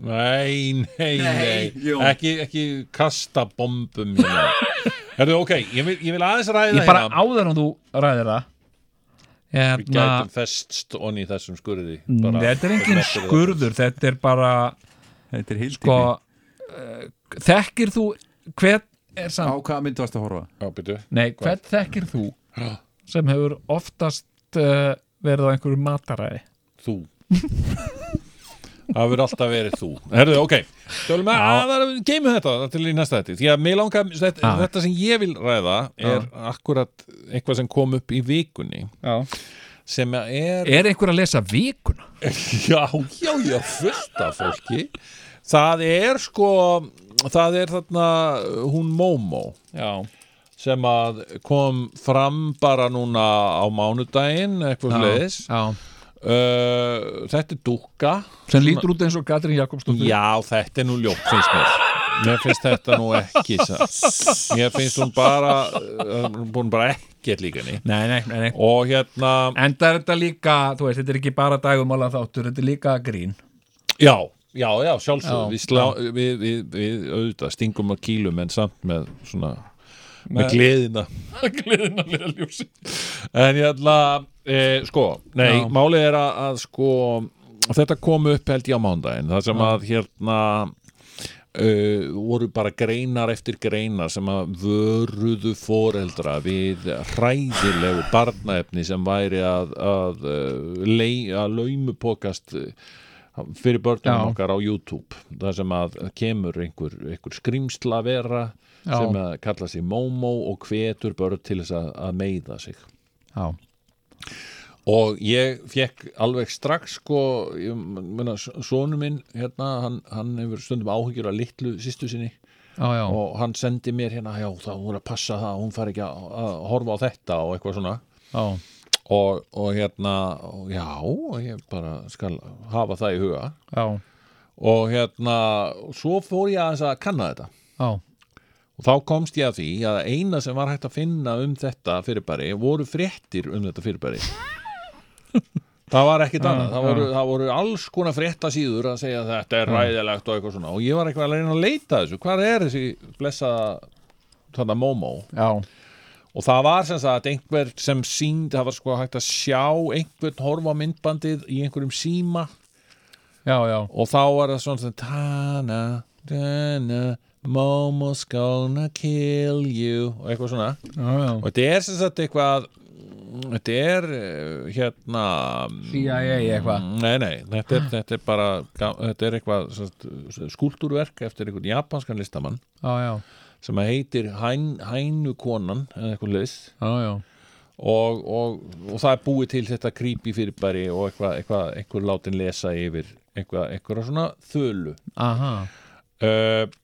C: Nei, nei, nei,
D: Jón.
C: ekki, ekki kasta bombum hérna. *laughs* Herðu, ok, ég vil, ég vil aðeins ræða
A: Ég bara
C: hérna
A: áður en þú ræðir það
C: Við
A: Hérna
C: gætum festst onni í þessum skurði
A: Nei,
C: bara-
A: Þetta er engin
C: Þetta er-
A: skurður, þetta er bara
D: Þetta er heiltími
A: sko, uh, Þekkir þú hver er
D: Á
A: samt,
D: hvaða myndu varst að horfa?
C: Já, byrju
A: nei, hvern þekkir þú
C: Já.
A: sem hefur oftast uh, verið á einhverju mataræði
C: Þú Það verður alltaf verið þú Herðu, ok, tölum við
A: Já.
C: að geimum þetta til í næsta þetta Því að mér langar, þetta,
A: Já.
C: þetta sem ég vil ræða er akkurat eitthvað sem kom upp í vikunni
A: Já.
C: sem er,
A: Er einhver að lesa vikuna?
C: já, já, já, fullt af fólki Það er sko, það er þarna uh, hún Momo
A: Já,
C: sem að kom fram bara núna á mánudaginn eitthvað leiðis
A: já.
C: uh, Þetta er dúkka
A: Sem lítur út eins og Katrín Jakobsdóttir
C: Já, þetta er nú ljótt finnst mér Mér finnst þetta nú ekki satt. Mér finnst hún bara uh, hún er búin bara ekkert líka henni
A: Nei, nei, nei, nei
C: Og hérna,
A: En það er þetta líka, þú veist, þetta er ekki bara dagumála þáttur, þetta er líka grín
C: já, já, já, sjálfsög
A: Já,
C: við, slá, við, við, við auðvitað stingum að kýlum en samt með svona
A: Með-
C: með gleðina gleðina liða ljósi En hérna, e, sko Nei,
A: Já.
C: málið er að, að sko þetta kom upp held ég á mándaginn það sem að hérna uh, voru bara greinar eftir greinar sem að vöruðu foreldra við hræðilegu barnaefni sem væri að, að, uh, lei, að laumupokast uh, fyrir börnum
A: Já.
C: okkar á YouTube það sem að kemur einhver, einhver skrimsla vera
A: Já.
C: sem að kalla sig Momo og hvetur börn til þess að, að meiða sig
A: Já,
C: og ég fekk alveg strax sko, ég meina sonu minn hérna, hann, hann hefur stundum áhyggjur að litlu sýstu sinni
A: já, já
C: og hann sendi mér hérna, já þá hún er að passa það hún fari ekki að, að horfa á þetta og eitthvað svona
A: Já,
C: og, og hérna, og já og ég bara skal hafa það í huga
A: já,
C: og hérna, svo fór ég aðeins að kanna þetta
A: já,
C: og þá komst ég að því að eina sem var hægt að finna um þetta fyrirbæri voru fréttir um þetta fyrirbæri það var ekkit annað það voru, það voru alls konar fréttasíður að segja að þetta er ræðilegt og eitthvað svona og ég var eitthvað að reyna að leita að þessu hvað er þessi blessa þarna Momo
A: já,
C: og það var sem sagt einhver sem sínd það var sko hægt að sjá einhvern horfa á myndbandið í einhverjum síma
A: já, já
C: og þá var það svona sem, Tana, Tana Momo's gonna kill you og eitthvað svona
A: Já, já,
C: og þetta er sem sagt eitthvað mm, þetta er eh, hérna
A: CIA eitthvað
C: mm, nei nei, þetta er, þetta er bara ga- þetta er eitthvað sem sagt, skúltúrverk eftir einhvern japanskan listamann
A: Já, já,
C: sem að heitir Hæn, Hænukonan eða eitthvað leis
A: já, já
C: og, og, og það er búið til þetta creepy fyrirbæri og eitthvað, eitthvað einhver látin lesa yfir eitthvað, eitthvað svona þölu
A: Aha,
C: uh,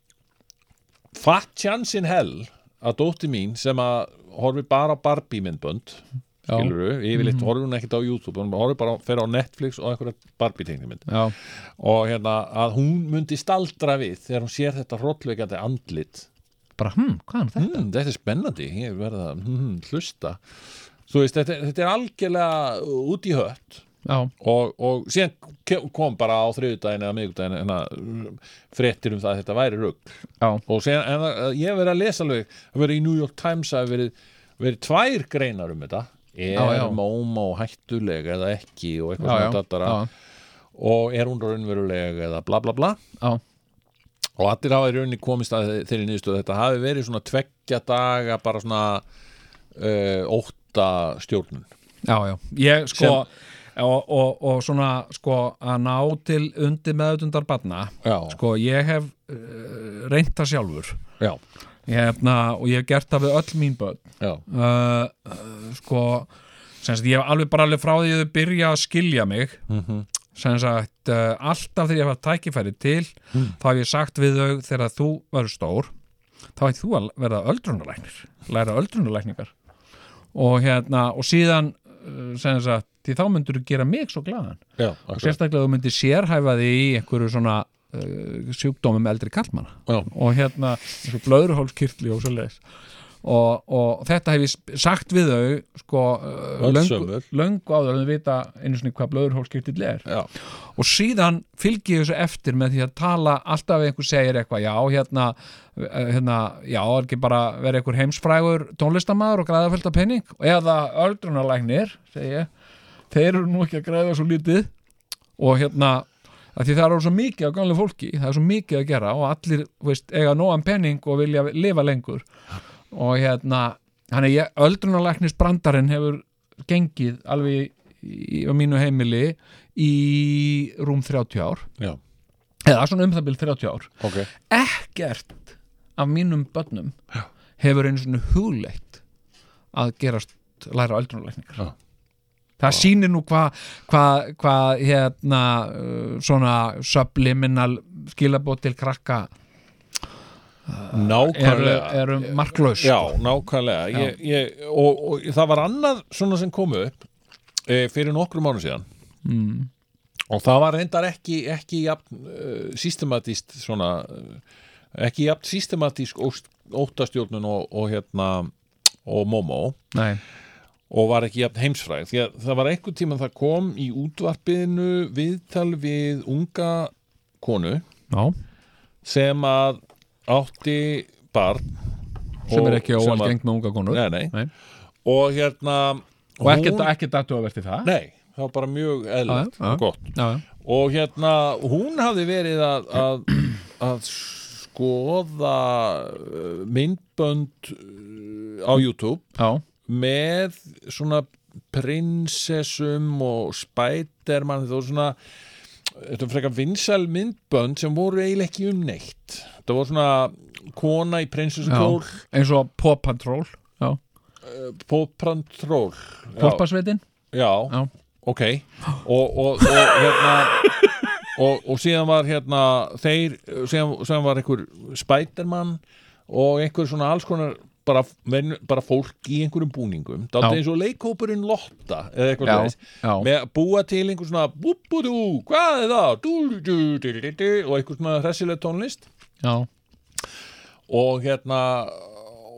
C: Fatt Jansin Hell að dótti mín sem að horfi bara á Barbie myndbönd
A: Já. Mhm.
C: skiluru, yfirleitt horfi hún ekkert á YouTube hún horfi bara, á- fer á Netflix og einhverja Barbie teiknimynd
A: já,
C: og hérna að hún myndi staldra við þegar hún sér þetta hrottleikandi andlit
A: bara, hm, hvað er þetta?
C: mm, þetta er spennandi, ég verða að mm, hlusta þú veist, þetta, þetta er algjörlega út í hött
A: Já,
C: og, og síðan ke- kom bara á þriðudaginn eða miðgudaginn hérna, fréttir um það að þetta væri rugg
A: já,
C: og síðan, en, það- ég hef verið að lesa alveg að verið í New York Times að verið, verið tvær greinar um þetta er
A: Já, já.
C: Momo hættulega eða ekki og eitthvað
A: já, já,
C: svona dattara
A: já,
C: og er hún raunverulega eða bla bla bla
A: já,
C: og allir hafa í rauninni komist að þe- þeirri nýðstöð þetta hafi verið svona tveggja daga bara svona uh, ótta stjórnun
A: já, já Ég, sko,
C: Sem-
A: og, og, og svona, sko, að ná til undir meðutundar barna
C: já,
A: Sko, ég hef uh, reynt það sjálfur
C: já,
A: Ég hefna, og ég hef gert það við öll mín börn
C: já,
A: uh, uh, sko sem sagt, ég hef alveg bara alveg frá því að þau byrja að skilja mig sem sagt, uh, alltaf þegar ég hef að tækifæri til þá hef ég sagt við þau þegar þú verður stór þá ætti þú að verða öldrunalæknir læra öldrunalækningar og hérna, og síðan uh, sem sagt, því þá myndur þú gera mig svo glaðan
C: já,
A: og
C: akkurat.
A: sérstaklega þú myndir sérhæfa því í einhverju svona uh, sjúkdómum eldri kallmanna
C: já,
A: og hérna eins og blöðruhólskirtli og svo leiðis og, og þetta hef ég sp- sagt við þau sko, uh,
C: Öll
A: löngu,
C: sömur.
A: löngu áður en þau vita einu sinni hvað blöðurhólskiptill er
C: Já.
A: og síðan fylgi ég þessu eftir með því að tala alltaf ef einhver segir eitthvað já, hérna, eh, hérna já, er ekki bara verið einhver heimsfrægur tónlistamaður og græða fullt af penning eða öldrunarlæknir, segi ég þeir eru nú ekki að græða svo lítið og hérna að því það eru svo mikið af gamlega fólki það er svo mikið að gera og allir þú veist, eiga nógan penning og vilja lifa lengur og hérna hann er öldrunarlæknis brandarinn hefur gengið alveg í, í, á mínu heimili í rúm 30 ár
C: Já.
A: eða svona um það byrð 30 ár
C: Ok.
A: ekkert af mínum börnum
C: Já.
A: hefur einu svona hugleitt að gerast læra öldrunalækningar
C: Já.
A: það sýnir nú hvað hva, hva, hérna uh, svona subliminal skilabót til krakka eru,
C: Nákvæmlega.
A: eru marklaus
C: Já, nákvæmlega. Ég, ég, og, og það var annað svona sem kom upp e, fyrir nokkrum mánu síðan
A: mm.
C: og það var reyndar ekki, ekki jafn, uh, systematíst svona, uh, ekki jafn systematísk óst, óttastjórnun og, og hérna og Momo
A: nei,
C: og var ekki jafn heimsfræg því að það var einhvern tímann það kom í útvarpinu viðtal við unga konu
A: já,
C: sem að átti barn
A: sem
C: og-
A: er ekki
C: sem var-
A: óalgengt með unga konur
C: Nei, nei.
A: Nei.
C: og hérna
A: og ekkert
C: hún-
A: ekki datuvert í það
C: Nei, það var bara mjög eðlilegt
A: Já, já.
C: og gott
A: já, já.
C: og hérna, hún hafði verið að, að, að skoða uh, myndbönd uh, á YouTube
A: já,
C: með svona prinsessum og spædermann þetta voru svona þetta var frekar vinsæl myndbönd sem voru eiginlega ekki um neitt þetta voru svona kona í prinsessukól
A: eins og Paw Patrol já.
C: Póprantról
A: Hvolpasveitin
C: Já,
A: Já.
C: ok og, og, og hérna og, og síðan var hérna þeir, síðan, síðan var einhver Spiderman og einhver svona alls konar bara, menn, bara fólk í einhverjum búningum það
A: Já.
C: er eins og leikhópurinn Lotta eða eitthvað
A: Já,
C: svoleiðis.
A: já.
C: með að búa til einhver svona búbúdú, hvað er það dú, dú, dú, dú, dú, og einhver svona hressileg tónlist
A: já,
C: og hérna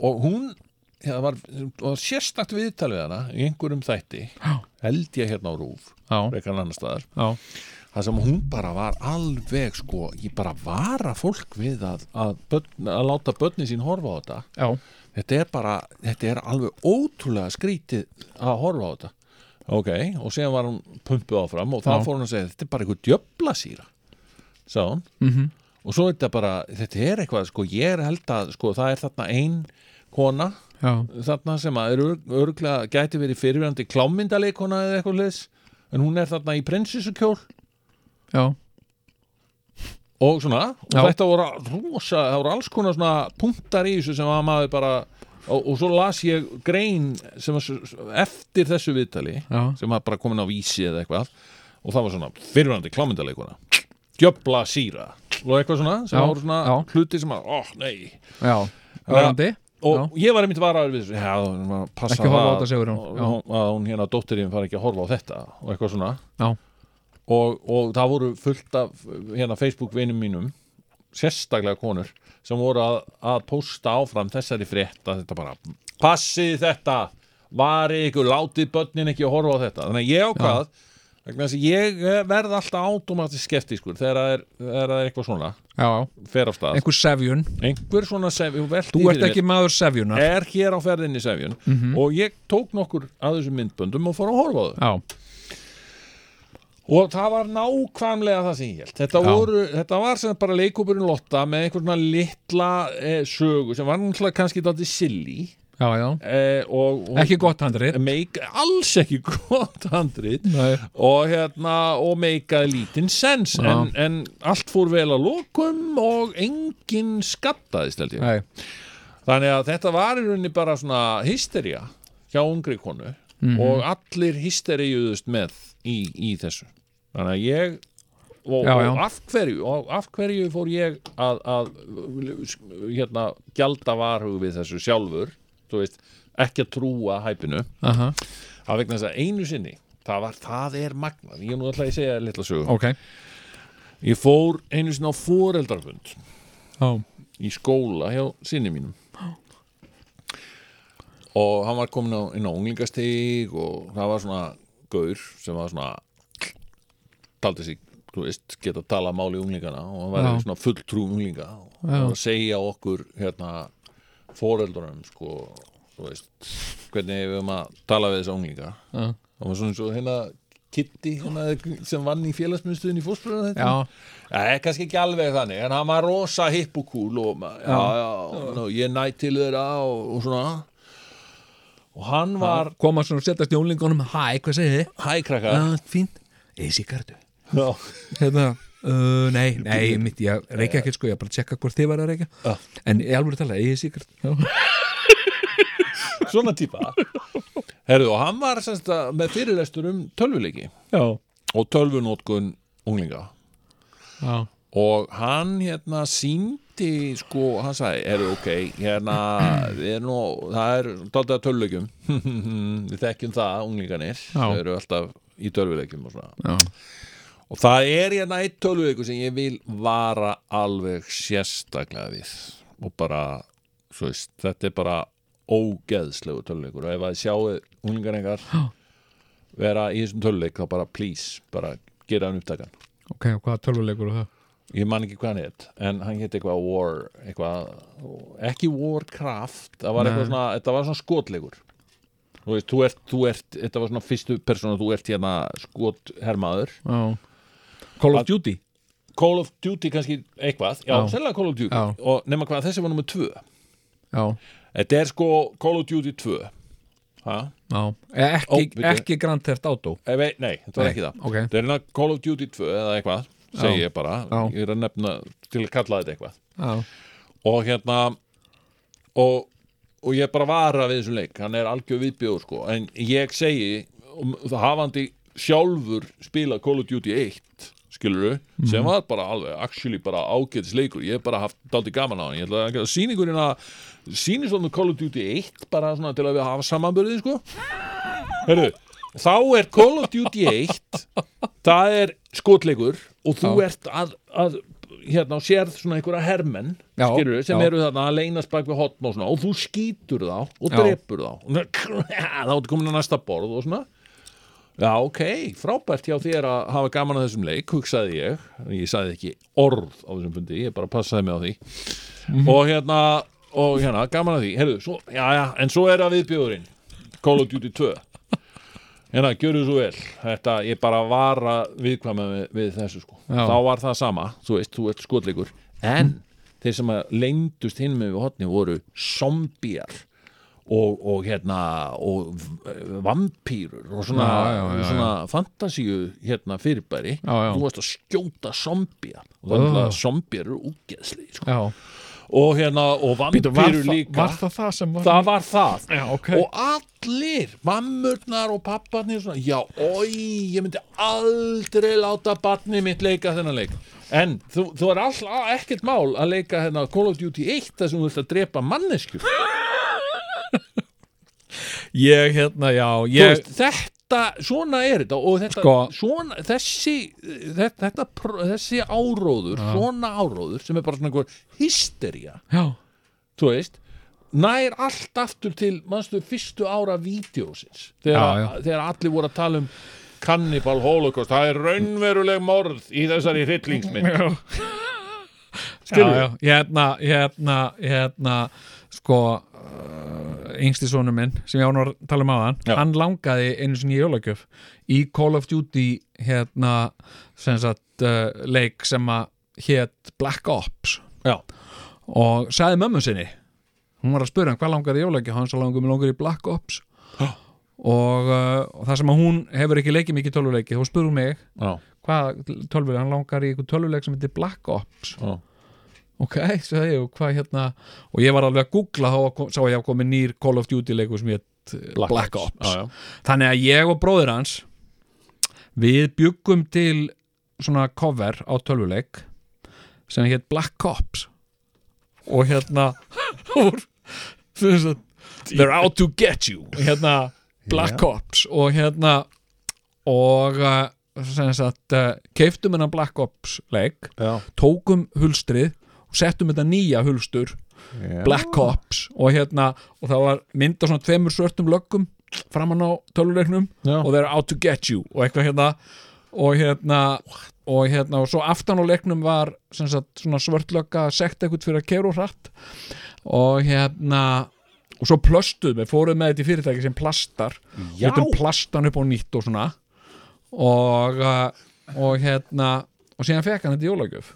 C: og hún hérna var, var sérstakt viðtal við hana í einhverjum þætti
A: Já.
C: held ég hérna á rúf
A: já,
C: frekar en annar staðar
A: já,
C: það sem hún bara var alveg sko ég bara vara fólk við að að, börn, að láta börnin sín horfa á þetta
A: já.
C: þetta er bara, þetta er alveg ótrúlega skrítið að horfa á þetta ok, og síðan var hún pumpuð áfram og þá
A: Já.
C: fór hún að segja, þetta er bara eitthvað djöfla síra sagði hún
A: Mhm.
C: og svo er þetta bara, þetta er eitthvað sko, ég er held að, sko, það er þarna ein kona,
A: já.
C: þarna sem að er örglega, gæti verið fyrirverandi klámyndaleikona eða eitthvað leis en hún er þarna í prinsessukjól
A: já.
C: og svona, og
A: Já.
C: þetta voru rosa, það voru alls konar svona punktar í þessu sem að maður bara og, og svo las ég grein sem að, eftir þessu viðtali
A: Já.
C: sem að bara komin á vísi eða eitthvað og það var svona fyrirvændi klámyndarleikuna djöbla síra og eitthvað svona sem
A: Já,
C: voru svona
A: já.
C: hluti sem að, óh, nei
A: já. Verandi?
C: og ég var einmitt varaður við þessu já, hún var að passa
A: Ekki horfa á
C: það
A: þetta, segir hún.
C: og-
A: Já.
C: og- að hún hérna dóttirinn fari ekki að horfa á þetta og eitthvað svona
A: Já.
C: og, og það voru fullt af hérna Facebook vinum mínum sérstaklega konur sem voru að, að posta áfram þessari frétt að þetta bara, passið þetta varið ykkur, látið börnin ekki að horfa á þetta, þannig að ég ákvað vegna þess að ég eh, verð alltaf automatist skeptískur þegar það er, þegar það er eitthvað svona,
A: Já,
C: fer af stað
A: einhver sefjun
C: einhver svona sefjun, velti
A: Þú
C: fyrir
A: ert
C: mér
A: ekki Mhm. maður sefjunar
C: er hér á ferðinni sefjun og ég tók nokkur að þessum myndböndum og fór að horfa á þau
A: Já,
C: og það var nákvæmlega það sem ég held þetta,
A: Já.
C: voru, þetta var sem sagt bara leikúpurinn Lotta með einhver svona litla eh, sögu sem var náttúrulega kannski dátti silly
A: já, já
C: eh, og, og
A: Ekki gott handrið
C: meik, alls ekki *laughs* gott handrit
A: Nei.
C: og hérna og meikaði lítinn sens
A: Já.
C: en, en allt fór vel að lokum og enginn skattaðist held ég
A: Nei,
C: Þannig að þetta var í rauninni bara svona hystería hjá ungri konu
A: Mhm.
C: og allir hysteríuðust með í, í þessu. Þannig að ég og,
A: Já, já.
C: og af hverju og af hverju fór ég að, að hérna gjalda varhug við þessu sjálfur þú veist, ekki að trúa hæpinu
A: aha,
C: að vegna þess að einu sinni það, var, það er magnað, ég er nú ætla að segja þér litla sögum
A: ok
C: ég fór einu sinni á foreldrafund
A: Já,
C: í skóla hjá sinni mínum og hann var komin á, inn á unglingastig og það var svona gaur sem var svona taldi sig, þú veist, geta að tala máli unglingana og hann var
A: Já.
C: svona fulltrú unglinga og
A: Já.
C: hann var að segja okkur hérna foreldunum sko, þú veist hvernig við höfum að tala við þessa unglinga
A: Já.
C: það var svona svo hérna Kitty hérna, sem vann í félagsmyndstöðin í fórspröðan þetta
A: Já.
C: Nei, kannski ekki alveg þannig, en hann var rosa hipp og kúl og ma- já, já, já, ég nætt til þeirra og, og svona og hann var
A: koma svona og setjast í unglingunum hæ, hvað segir þið?
C: hækrakka
A: Já, fínt, eða sigardu
C: já, *laughs*
A: hérna, uh, nei, nei, mitt ég reykja ekki sko, ég bara tjekka hvort þið var að reykja
C: Já.
A: en ég alveg tala, eða sigardu
C: svona típa Herðu, og hann var semst að með fyrirlestur um tölvuleiki
A: Já,
C: og tölvunótkun unglinga
A: já,
C: og hann hérna síndi sko, hann sagði, er ok hérna, við erum nú það er dálítið að tölvuleikum *laughs* við þekkjum það, unglinganir
A: Já.
C: þau eru alltaf í tölvuleikum og svona
A: já,
C: og það er hérna eitt tölvuveiku sem ég vil vara alveg sérstaklega við og bara, svo veist, þetta er bara ógeðslegu tölvuveikur og ef að sjáu unglingar engar vera í þessum tölvuleik þá bara please, bara gera hann upptakan
A: ok, og hvaða tölvuleikur er það?
C: ég man ekki hvað hann hétt en hann hétt eitthvað War eitthvað, ekki Warcraft það var
A: Nei.
C: eitthvað svona, þetta var svona skotleikur þú veist, þú ert, þú ert þetta var svona fyrstu persónu, þú ert hérna skothermaður
A: Já. Call of Duty?
C: Call of Duty kannski eitthvað, já,
A: Já.
C: sérlega Call of Duty
A: Já.
C: og nema hvað, þessi var nummer 2
A: Já,
C: þetta er sko Call of Duty 2 ha?
A: já, Eh,
C: Ó,
A: ekki,
C: bíddu.
A: ekki Grand Theft Auto
C: Ef, ei- nei, þetta var
A: Nei,
C: ekki það
A: ok.
C: þetta er hérna Call of Duty 2 eða eitthvað segi
A: Já.
C: ég bara,
A: Já.
C: ég er að nefna til að kalla þetta eitthvað
A: Já,
C: og hérna og, og ég bara vara við þessum leik hann er algjör viðbjóður sko en ég segi, um, hafandi sjálfur spila Call of Duty 1 skilurðu, sem var bara alveg actually bara ágætis leikur, ég hef bara haft daldi gaman á hann, ég ætla að gera sýningurinn að sýnist honum Call of Duty 1 bara svona til að við hafa samanbörðið sko Heyrðu, þá er Call of Duty 1 það er skotleikur og þú
A: Já.
C: ert að, að hérna, og sérð svona einhverja hermenn
A: Já,
C: skilur, sem
A: já.
C: eru þarna að leynast bak við hotn og svona og þú skýtur þá og
A: Já.
C: drepur þá og það- *laughs* þá ertu komin að næsta borð og svona já ok, frábært hjá þér að hafa gaman að þessum leik, hugsaði ég ég sagði ekki orð á þessum fundi ég bara passaði mig á því
A: Mhm.
C: og hérna, og hérna, gaman að því heyrðu, svo, já já, en svo er að viðbjóðurinn Call of Duty 2 hérna, gjöru svo vel þetta, ég bara vara viðkvæma við, við þessu sko,
A: Já.
C: þá var það sama þú veist, þú ert skotleikur en þeir sem að lengdust hinn með við hotni voru zombjar og, og hérna og v- vampýrur og svona,
A: Já, já, já, já.
C: svona fantasíu hérna fyrirbæri
A: Já, já.
C: þú varst að skjóta zombjar og þannig
A: Oh.
C: að zombjar eru úgeðsli sko.
A: já
C: og hérna, og vampýrur líka
A: var það það sem var?
C: það var það
A: Já, ok
C: og allir, mammurnar og papparnir svona, já, oi ég myndi aldrei láta barnið mitt leika þennan leik en þú, þú er alltaf ekkert mál að leika hérna, Call of Duty 1 þar sem þú ert að drepa manneskjur
A: Ég, hérna, já,
C: Þú
A: ég
C: veist, þetta, svona er þetta og þetta,
A: Sko-
C: svona, þessi þetta, þetta, pr- þessi áróður svona áróður sem er bara svona einhver hystería,
A: Já,
C: þú veist nær allt aftur til manstu fyrstu ára vídeósins þegar,
A: Já, já.
C: þegar allir voru að tala um Cannibal Holocaust, það er raunveruleg morð í þessari hryllingsmynd
A: já
C: Skilurðu?
A: Já, já, hérna, hérna, hérna sko uh, yngsti sonu minn sem ég án að tala um aðan
C: Já.
A: hann langaði einu sinni í jólagjöf í Call of Duty hérna sem sagt uh, leik sem að hétt Black Ops
C: Já,
A: og sagði mömmu sinni hún var að spura hann hvað langar í jólagjöf hann svo langar mig langar í Black Ops
C: Já.
A: og, uh, og það sem að hún hefur ekki leikið mikið tölvuleiki þá spurði hún mig
C: já,
A: hvað tölvuleik, hann langar í einhver tölvuleik sem heitir Black Ops
C: já
A: ok, sagði ég, og hvað hérna og ég var alveg að googla þá kom, sá ég að komi nýr Call of Duty leikur sem hétt eh, Black, Ops,
C: já, já.
A: þannig að ég og bróðir hans við byggum til svona cover á tölvuleik sem hétt Black Ops og hérna *laughs* úr- sem sagt, they're out to get you hérna Black Ops og hérna og eh, sem sagt uh, keiftum hennan Black Ops leik
C: Já.
A: tókum hulstrið og settum þetta nýja hulstur Black Ops og hérna og það var mynda svona tveimur svörtum löggum framann á töluleiknum
C: Já.
A: og þeir are out to get you og eitthvað hérna og hérna og hérna og svo aftan á leiknum var sem sagt svona svörtlögga sekt eitthvað fyrir að keira og hratt og hérna og svo plöstuð með, fóruð með þetta í fyrirtæki sem plastar
C: Já.
A: út um plastan upp á nýtt og svona og uh, og hérna og síðan fekk hann þetta í jólagjöf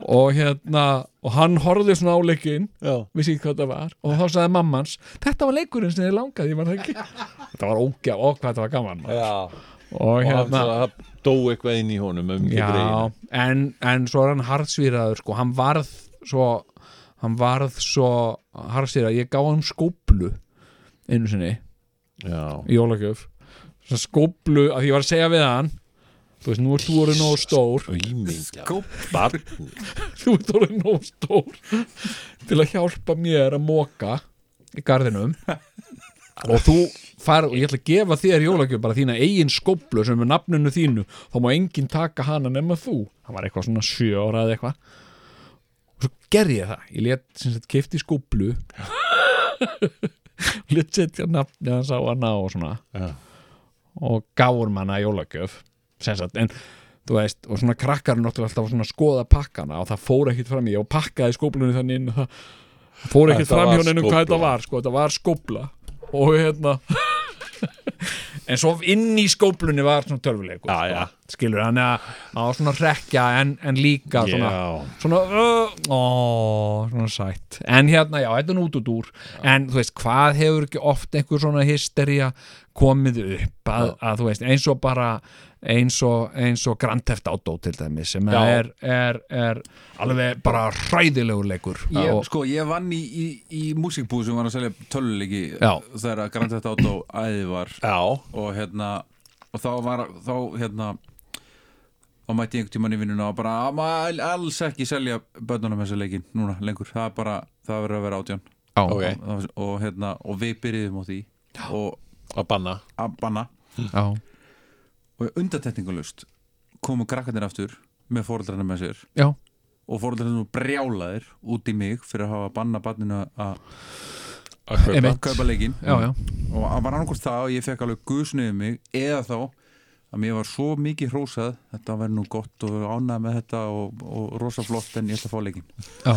A: og hérna og hann horfði svona á leikinn
C: Já.
A: vissi ekki hvað þetta var og þá sagði mammans þetta var leikurinn sem þið langaði ég man það ekki þetta var ógjaf og hvað þetta var gaman maður.
C: Já.
A: og
C: Og hann
A: hérna
C: það það dó eitthvað inn í honum um
A: já,
C: greina.
A: en, en svo er hann harðsvíraður sko, hann varð svo hann varð svo harðsvíraður, ég gá hann skóplu einu sinni
C: Já.
A: í jólagjöf Svo skóplu, að ég var að segja við hann þú veist, nú er þú orðið nógu stór *laughs*
C: Sko- Ímyndja.
D: Skóp.
C: Barn.
A: þú ert orðin nóg stór til að hjálpa mér að móka í garðinum og þú far og ég ætla að gefa þér jólagjöf bara þína eigin skóplu sem er með nafninu þínu þá má enginn taka hana nema þú hann var eitthvað svona sjö ára eða eitthvað og svo gerði ég það ég let sem sagt kefti *laughs* skóplu og let setja nafni hans á hana og svona
C: Já.
A: og gáur manna jólagjöf sem sagt, en þú veist og svona krakkar eru náttúrulega alltaf svona að skoða pakkana og það fór ekkit fram í og pakkaði skóplunni þannig inn og það fór ekkit
C: Þetta
A: fram
C: var
A: hjá neinum hvað
C: skófla.
A: þetta var sko, þetta var skópla og hérna *laughs* en svo inn í skóplunni var svona tölvuleikur
C: Já, já.
A: sko, skilur hann að á svona rekja en, en líka svona
C: Já.
A: svona, uh, ó, svona sætt en hérna, já, þetta er nút út úr en þú veist, hvað hefur ekki oft einhver svona hystería komið upp að, að þú veist, eins og bara eins og, eins og Grand Theft Auto til dæmi sem
C: Já.
A: er, er, er alveg bara hræðilegur leikur
D: Ég,
A: og,
D: sko, ég vann í, í, í músikbúð sem var að selja töluleiki
A: Já.
D: þegar að Grand Theft Auto æði var
C: Já.
D: og hérna og þá var, þá hérna þá mætti ég einhvern tímann í vinnuna og bara "Á, maður alls ekki selja börnunum þessa leikin núna lengur, það er bara það verður að vera átján
A: á,
C: Ok.
A: okay.
D: og, og hérna, og við byrjuðum á því og
C: Að banna.
D: að banna
A: á,
D: og undatekningalust komu krakkanir aftur með fóreldrarna með sér
A: já,
D: og fóreldrarna voru brjálaðir út í mig fyrir að hafa banna banninu að
C: Að kaupa.
A: Einmitt.
D: kaupa leikinn
A: já, já
D: og að var annarkvort það og ég fekk alveg guðsniðið mig eða þá að mér var svo mikið hrósað þetta verður nú gott og ánægð með þetta og, og rosa flott en ég ætla að fá leikinn
A: Já,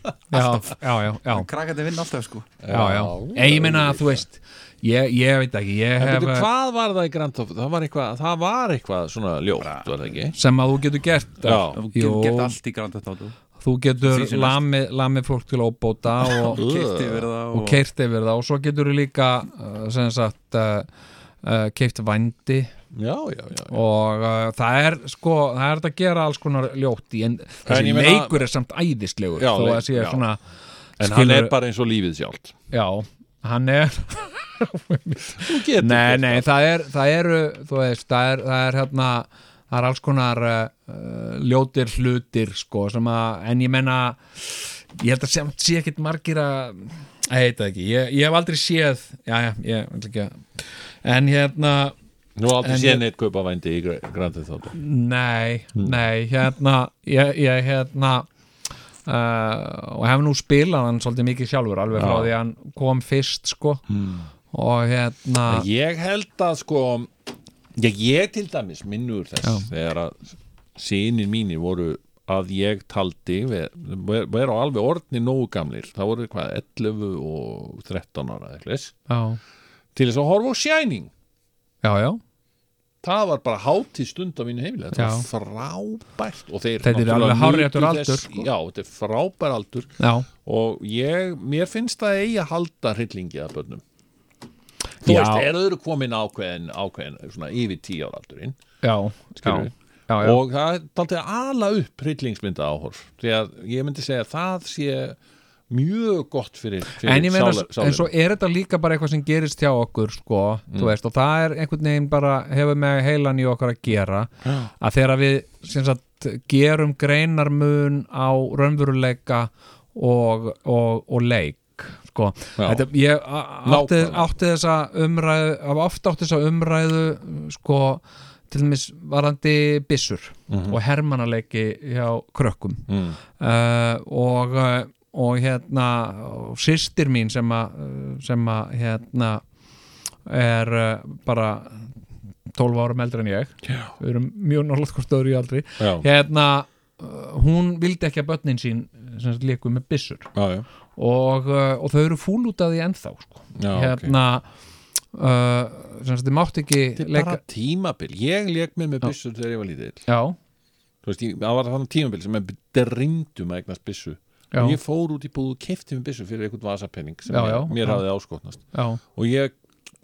A: já, já, já, já.
D: krakkandi vinn alltaf sko
A: Já, já, Ég, ég meina að þú veist ég, ég veit ekki, ég
C: En
A: hef
C: byrju, hvað var það í Grand Theft? Það var eitthvað, það var eitthvað svona ljótt, var það ekki?
A: sem að þú getur gert
C: Já.
D: þú getur
A: Jú.
D: gett allt í Grand Theft Auto
A: þú getur
D: Því sem næst.
A: lamið lami fólk til óbóta
C: *laughs*
A: og,
D: keitt yfir það
A: og
D: og,
A: keirt yfir það og svo getur þú líka uh, sem sagt uh, uh, keift vændi
C: Já, já, já.
A: og uh, það er sko það er þetta að gera alls konar ljótt í en þessi
C: ég meina-
A: leikur er samt æðislegur
C: Já,
A: þó að
C: leik-
A: það sé
C: já.
A: svona
C: En hann
A: skilur-
C: er bara eins og lífið sjálft.
A: já, hann er
C: Þú getur
A: nei,
C: gert
A: nei, það er það eru, þú veist, það er, það er hérna, það er alls konar uh, ljótir hlutir sko, sem að, en ég menna ég held að sem sé ekkit margir að ég veit það ekki, ég, ég hef aldrei séð já, já, ég ætla ekki að en hérna,
C: Nú hef aldrei
A: En-
C: séð neitt kaupa vændi í Gra- Grand Theft Auto.
A: nei
C: Hmm.
A: nei, hérna, ég, ég hérna uh, og hef nú spilað hann svolítið mikið sjálfur alveg frá
C: Já. Hmm.
A: því að hann kom fyrst sko mm. og hérna
C: Ég held að sko, já, ég til dæmis minnur þess þegar að sínir mínir voru að ég taldi, við erum alveg orðni nógu gamlir, það voru hvað, 11 og 13 ára eða eitthvað,
A: já,
C: til þess að horfa á Shining.
A: já, já
C: það var bara hátíð stund á mínu heimili þetta
A: Já.
C: var frábært og þeir
A: Þetta er
C: náttúrulega
A: alveg hárréttur
C: nutu
A: aldur,
C: þess-
A: sko.
C: já, þetta er frábær aldur
A: já
C: og ég, mér finnst það eigi að halda hryllingi að börnum þú
A: Já.
C: veist, eru eru komin ákveðin, ákveðin svona yfir tíu ára aldurinn
A: já, já,
C: Skilurðu?
A: já, já.
C: og það er daldið að ala upp hryllingsmynda áhorf því að ég myndi segja að það sé mjög gott fyrir, fyrir
A: en ég meina,
C: sálar-
A: en svo
C: sálina.
A: er þetta líka bara eitthvað sem gerist hjá okkur sko, þú
C: Mm.
A: veist, og það er einhvern veginn bara hefur með heilan í okkar að gera að þegar við sem sagt, gerum greinarmun á raunveruleika og, og, og leik sko,
C: Já.
A: þetta, ég a- átti,
C: Nákvæmlega.
A: átti þessa umræðu af- oft átti þessa umræðu sko til dæmis varandi byssur
C: Mhm.
A: og hermanaleiki hjá krökkum
C: Mm.
A: uh, og, uh, og hérna og systir mín sem að uh, sem að hérna er uh, bara 12 árum eldri en ég
C: Já.
A: við erum mjög nálaðt hvort stöður í aldri
C: Já.
A: hérna, uh, hún vildi ekki að börnin sín sem sagt, leiku með byssur
C: Já, já.
A: og, uh, og þau eru fúl út af því ennþá sko.
C: Já,
A: hérna uh, sem sagt, þið mátt ekki
C: Þetta er
A: leika
C: bara tímabil, ég leik mér með byssur þegar ég var lítill
A: já,
C: Þú veist, ég, það var þannig tímabil sem ég drindum að eignast byssu
A: Já.
C: og ég fór út í búð og kefti mér byssu fyrir einhvern vasapenning sem
A: Já, já,
C: ég, mér
A: já.
C: hafði áskotnast
A: já,
C: og ég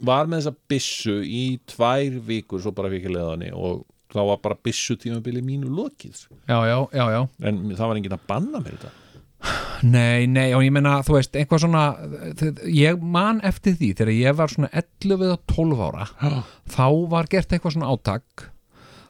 C: var með þessa byssu í tvær vikur svo bara fikk ég leðanni og þá var bara byssu tímabili mínu lokið sko.
A: já, já, já, já.
C: en það var enginn að banna mér þetta
A: Nei, nei, og ég meina, þú veist, eitthvað svona þ- ég man eftir því þegar ég var svona 11 eða 12 ára
C: Já.
A: þá var gert eitthvað svona átak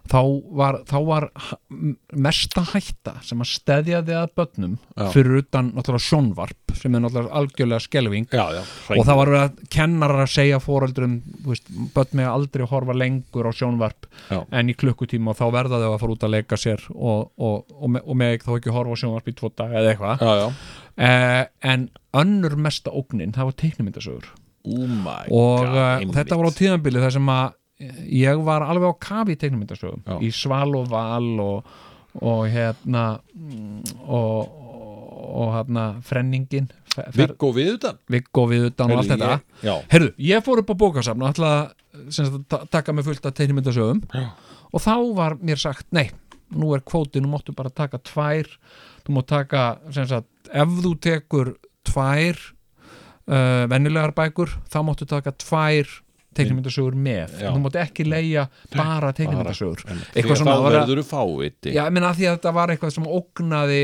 A: þá var, þá var h- m- mesta hætta sem að steðjaði að börnum
C: Já.
A: fyrir utan náttúrulega sjónvarp sem er náttúrulega algjörlega skelving
C: Já, já,
A: og það var verið að kennarar að segja fóreldrum, þú veist, börn með aldrei að horfa lengur á sjónvarp
C: Já.
A: en í klukkutíma og þá verða þau að fara út að leika sér og, og, og, me, og með þá ekki horfa á sjónvarp í tvo daga eða eitthvað
C: Já, já,
A: eh, en önnur mesta ógnin það var teiknumyndasögur
C: oh my
A: og
C: god
A: eh,
C: einmitt.
A: þetta var á tíðanbili þar sem að eh, ég var alveg á kafi í teiknumyndasögum
C: Já.
A: í sval og val og, og hérna mm, og, og, og hérna frenningin fer- fer-
C: Viggo við þetta
A: Viggo við utan og allt þetta
C: Já,
A: Herðu, ég fór upp á bókasafn og ætlaði sem sagt, að ta- taka mig fullt af teiknumyndasögum
C: Já.
A: og þá var mér sagt nei, nú er kvóti, nú máttu bara taka tvær þú mátt taka sem sagt, ef þú tekur tvær uh, venjulegar bækur þá máttu taka tvær teiknumyndasögur með
C: Já.
A: þú mátt ekki leia bara teiknumyndasögur
C: en
A: eitthvað
C: þegar
A: svona
C: þá
A: var að-
C: verður þú fáviti
A: Já, ég meina að því að þetta var eitthvað sem ógnaði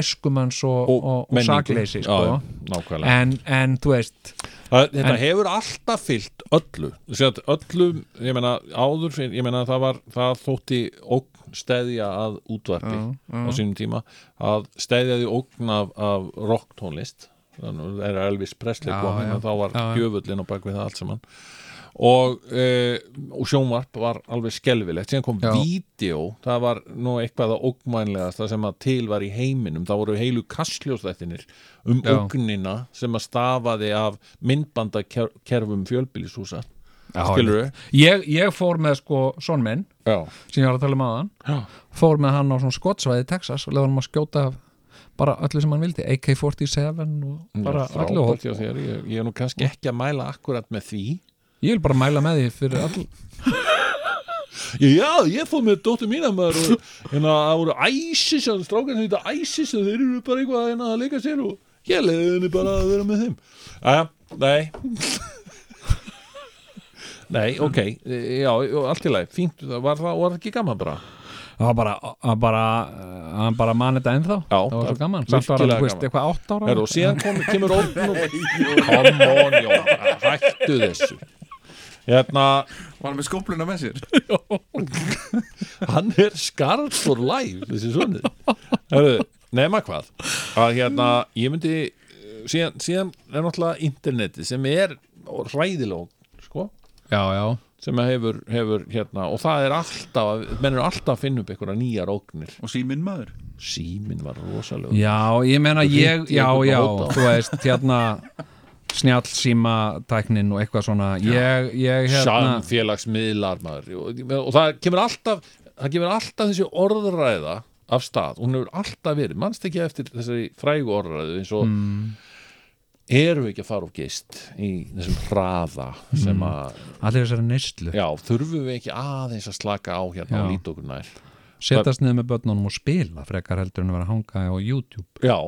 A: æskumanns og, og, og, og
C: menningu.
A: sakleysi
C: Já,
A: sko.
C: nákvæmlega
A: en, en þú veist
C: Það, þetta
A: En-
C: hefur alltaf fyllt öllu Sett, öllu, ég meina áður fyrir, ég meina það var, það þótti ógn steðja að útvarpi á sínum tíma, að steðjaði ógn af, af rocktónlist þannig að það er Elvis Presley
A: Já,
C: komin
A: já.
C: en þá var
A: Já, já.
C: gjöfullin á bak við það allt saman og, e, og sjónvarp var alveg skelfilegt, síðan kom
A: Já.
C: vídeo, það var nú eitthvað að ógmænlegasta sem að til var í heiminum það voru heilu kastljósþættinir um
A: Já.
C: ógnina sem að stafaði af myndbandakerfum fjölbýlishúsa
A: Já,
C: skilur þau?
A: ég, ég fór með sko sonminn
C: Já,
A: sem ég var að tala um aðan
C: já,
A: fór með hann á svona skottsvæði í Texas og lefa hann að skjóta af bara öllu sem hann vildi AK-47 og bara öllu
C: frábært
A: hótt
C: hjá þér ég, ég er nú kannski ekki að mæla akkurat með því
A: ég vil bara mæla með því fyrir all
C: Já, ég fór með dóttur mína
A: *laughs*
C: maður og hérna, það voru hérna, æsis og strákan sem þetta æsis og þeir eru bara eitthvað hérna, að leika sér og ég leiði henni bara að vera með þeim Æja, nei *laughs* Nei, ok, já, já, allt í lagi, fínt, það var það, var það ekki gaman bara
A: það var bara, að bara, hann bara man þetta ennþá
C: Já,
A: það var svo gaman,
C: virkilega
A: samt var hann, þú veist,
C: gaman.
A: eitthvað átt ára
C: Er, og síðan kom, kemur ógnum Come on, Jón, hættu þessu Hérna,
D: Var með skópluna með sér
C: hann er skarð for life, þessi svonið Hörðu, nema hvað að hérna, ég myndi eh, síðan, síðan er náttúrulega interneti sem er ræðilóg sko,
A: já, já,
C: sem að hefur, hefur hérna, og það er alltaf að- menn eru alltaf að finna upp einhverja nýjar ógnir
D: Og síminn maður
C: síminn var rosalegur
A: já, ég meina ég,
C: hringdi í
A: já,
C: einhvern
A: já,
C: hóp á.
A: þú veist, hérna snjallsíma tæknin og eitthvað svona ég, ég, hérna
C: samfélagsmiðlar maður og, og það kemur alltaf það kemur alltaf þessi orðræða af stað, hún hefur alltaf verið mannst ekki eftir þessari frægu orðræðu eins og
A: Mm.
C: erum við ekki að fara og geist í þessum hraða
A: Mm.
C: sem að,
A: allir þessari neyslu,
C: já, þurfum við ekki aðeins að slaka á hérna
A: Já.
C: og líta okkur nær
A: setast niður með börnunum og spila frekar heldur en að vera að hanga á YouTube
C: já,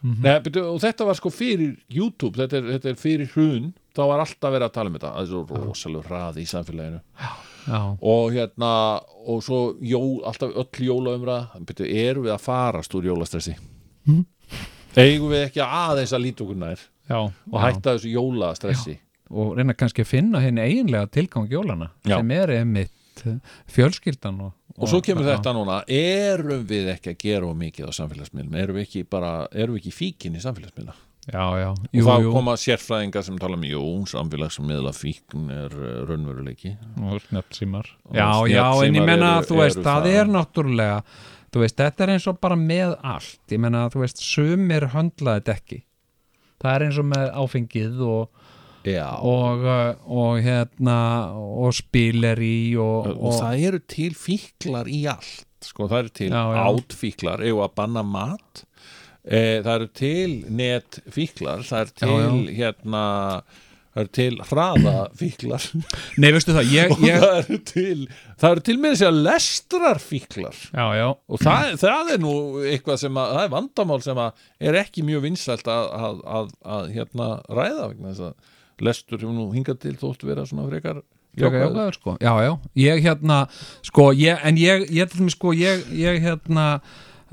A: Mhm.
C: Nei, byrju, og þetta var sko fyrir YouTube, þetta er, þetta er fyrir hrun þá var alltaf verið að tala um þetta að þessu rosalegu hraði í samfélaginu
A: já,
C: og hérna og svo jól, alltaf öll jólaumra betur, erum við að farast úr jólastressi
A: Hmm?
C: eigum við ekki aðeins að líta okkur nær
A: já,
C: og hætta þessu jólastressi
A: og reyna kannski að finna henni eiginlega tilgang jólana
C: Já.
A: sem er einmitt eh, fjölskyldan og, hérna.
C: og svo kemur þetta núna erum við ekki að gera of mikið á samfélagsmiðlum erum við ekki bara, erum við ekki fíkin í samfélagsmiðla
A: já, já, já,
C: og
A: jú,
C: þá
A: jú
C: koma sérfræðinga sem tala um jú, samfélagsmiðla fíkn er eh, raunveruleiki
A: og snjallsímar já,
C: snjallsímar
A: já, en ég menna
C: eru-
A: að þú veist,
C: eru
A: það
C: það.
A: er náttúrulega þú veist, þetta er eins og bara með allt ég menna að þú veist, sumir höndla þetta ekki það er eins og með áfengið og,
C: já, og,
A: og, uh, og hérna og spileri og,
C: og, það eru til fíklar í allt sko, það eru til
A: Já, já.
C: átfíklar eigum að banna mat e, það eru til netfíklar það eru til hérna það eru til hraðafíklar *laughs*
A: nei, veistu það, ég,
C: og
A: ég
C: það eru til það eru til með þess að lestrarfíklar
A: já, já,
C: og það, það er nú eitthvað sem að, það er vandamál sem að er ekki mjög vinsælt að, að, að, að hérna ræða vegna þess að lestur hefur nú hingað til þótt vera svona frekar
A: Frekar
C: jákvæður.
A: jákvæður sko, já, já, ég hérna sko, ég, en ég, ég til mig sko ég, ég hérna uh,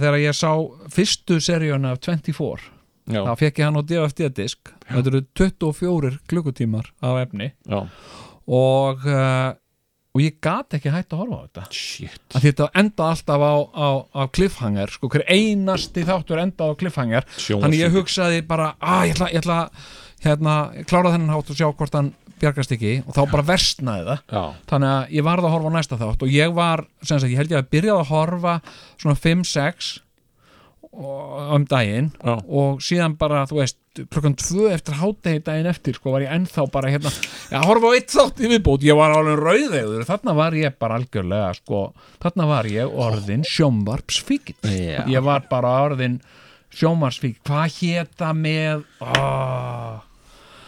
A: þegar ég sá fyrstu seríuna af 24,
C: já,
A: þá fekk ég hann á DFD-disk, þetta eru 24 klukkutímar af efni
C: já,
A: og uh, og ég gat ekki hægt að horfa á þetta
C: shit
A: að þetta enda alltaf á, á, á cliffhanger, sko, hver einasti þáttur enda á cliffhanger,
C: Sjónvarpsvídeó.
A: þannig ég hugsaði bara, að ég ætla, ég ætla hérna, klára þennan hátt og sjá hvort hann bjargast ekki og þá bara versnaði það
C: já,
A: þannig að ég varð að horfa á næsta þátt og ég var, sem sagt, ég held ég að byrjaði að horfa svona 5-6 og- um daginn
C: já,
A: og síðan bara, þú veist, klukkan 2 eftir hátegi daginn eftir, sko, var ég ennþá bara hérna, að horfa á eitt þátt í viðbót ég var alveg rauðegur, þarna var ég bara algjörlega, sko, þarna var ég orðin sjómvarpsfíkill
C: Já.
A: ég var bara orðin sjómvarpsfíkill, hvað hétta með ah. aaaah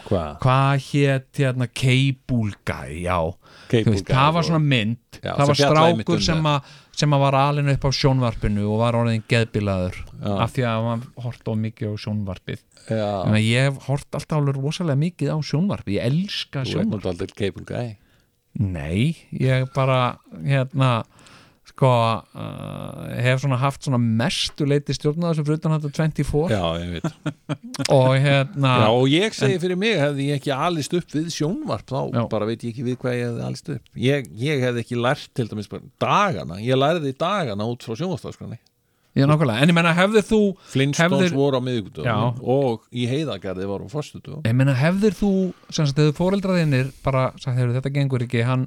C: hvað
A: hvað hétt hérna Keibulgæ, já
C: Cable
A: Þú veist,
C: Guy
A: það var
C: og-
A: svona mynd
C: Já,
A: það
C: sem
A: var
C: fjallaði einmitt um
A: strákur sem, a, sem að var alinu upp á sjónvarpinu og var orðin geðbilaður
C: Já.
A: af því að hann hort á mikið á sjónvarpið
C: já,
A: Þannig að ég hef hort alltaf alveg rosalega mikið á sjónvarpið ég elska
C: þú veit
A: sjónvarpið
C: nú aldrei cable guy
A: Nei, ég bara hérna sko uh, hef svona haft svona mestu leiti stjórnaðar sem frutan hættu 24
C: já, ég veit
A: og hérna
C: já, og ég segi fyrir mig, hefði ég ekki alist upp við sjónvarp þá,
A: Já.
C: bara veit ég ekki við hvað ég hefði alist upp ég, ég hefði ekki lært til dæmis bara dagana, ég lærði dagana út frá sjónvarpstafskrani
A: ég nákvæmlega, en ég menna hefði þú
C: Flintstones
A: Hefðir-
C: voru á
A: Já.
C: miðvikudöðum og í heiðagarði voru á fórstudöðum
A: Ég meina, hefðir þú, sem sagt, hefur fóreldraðinir bara sagt, hefur þetta gengur ekki, hann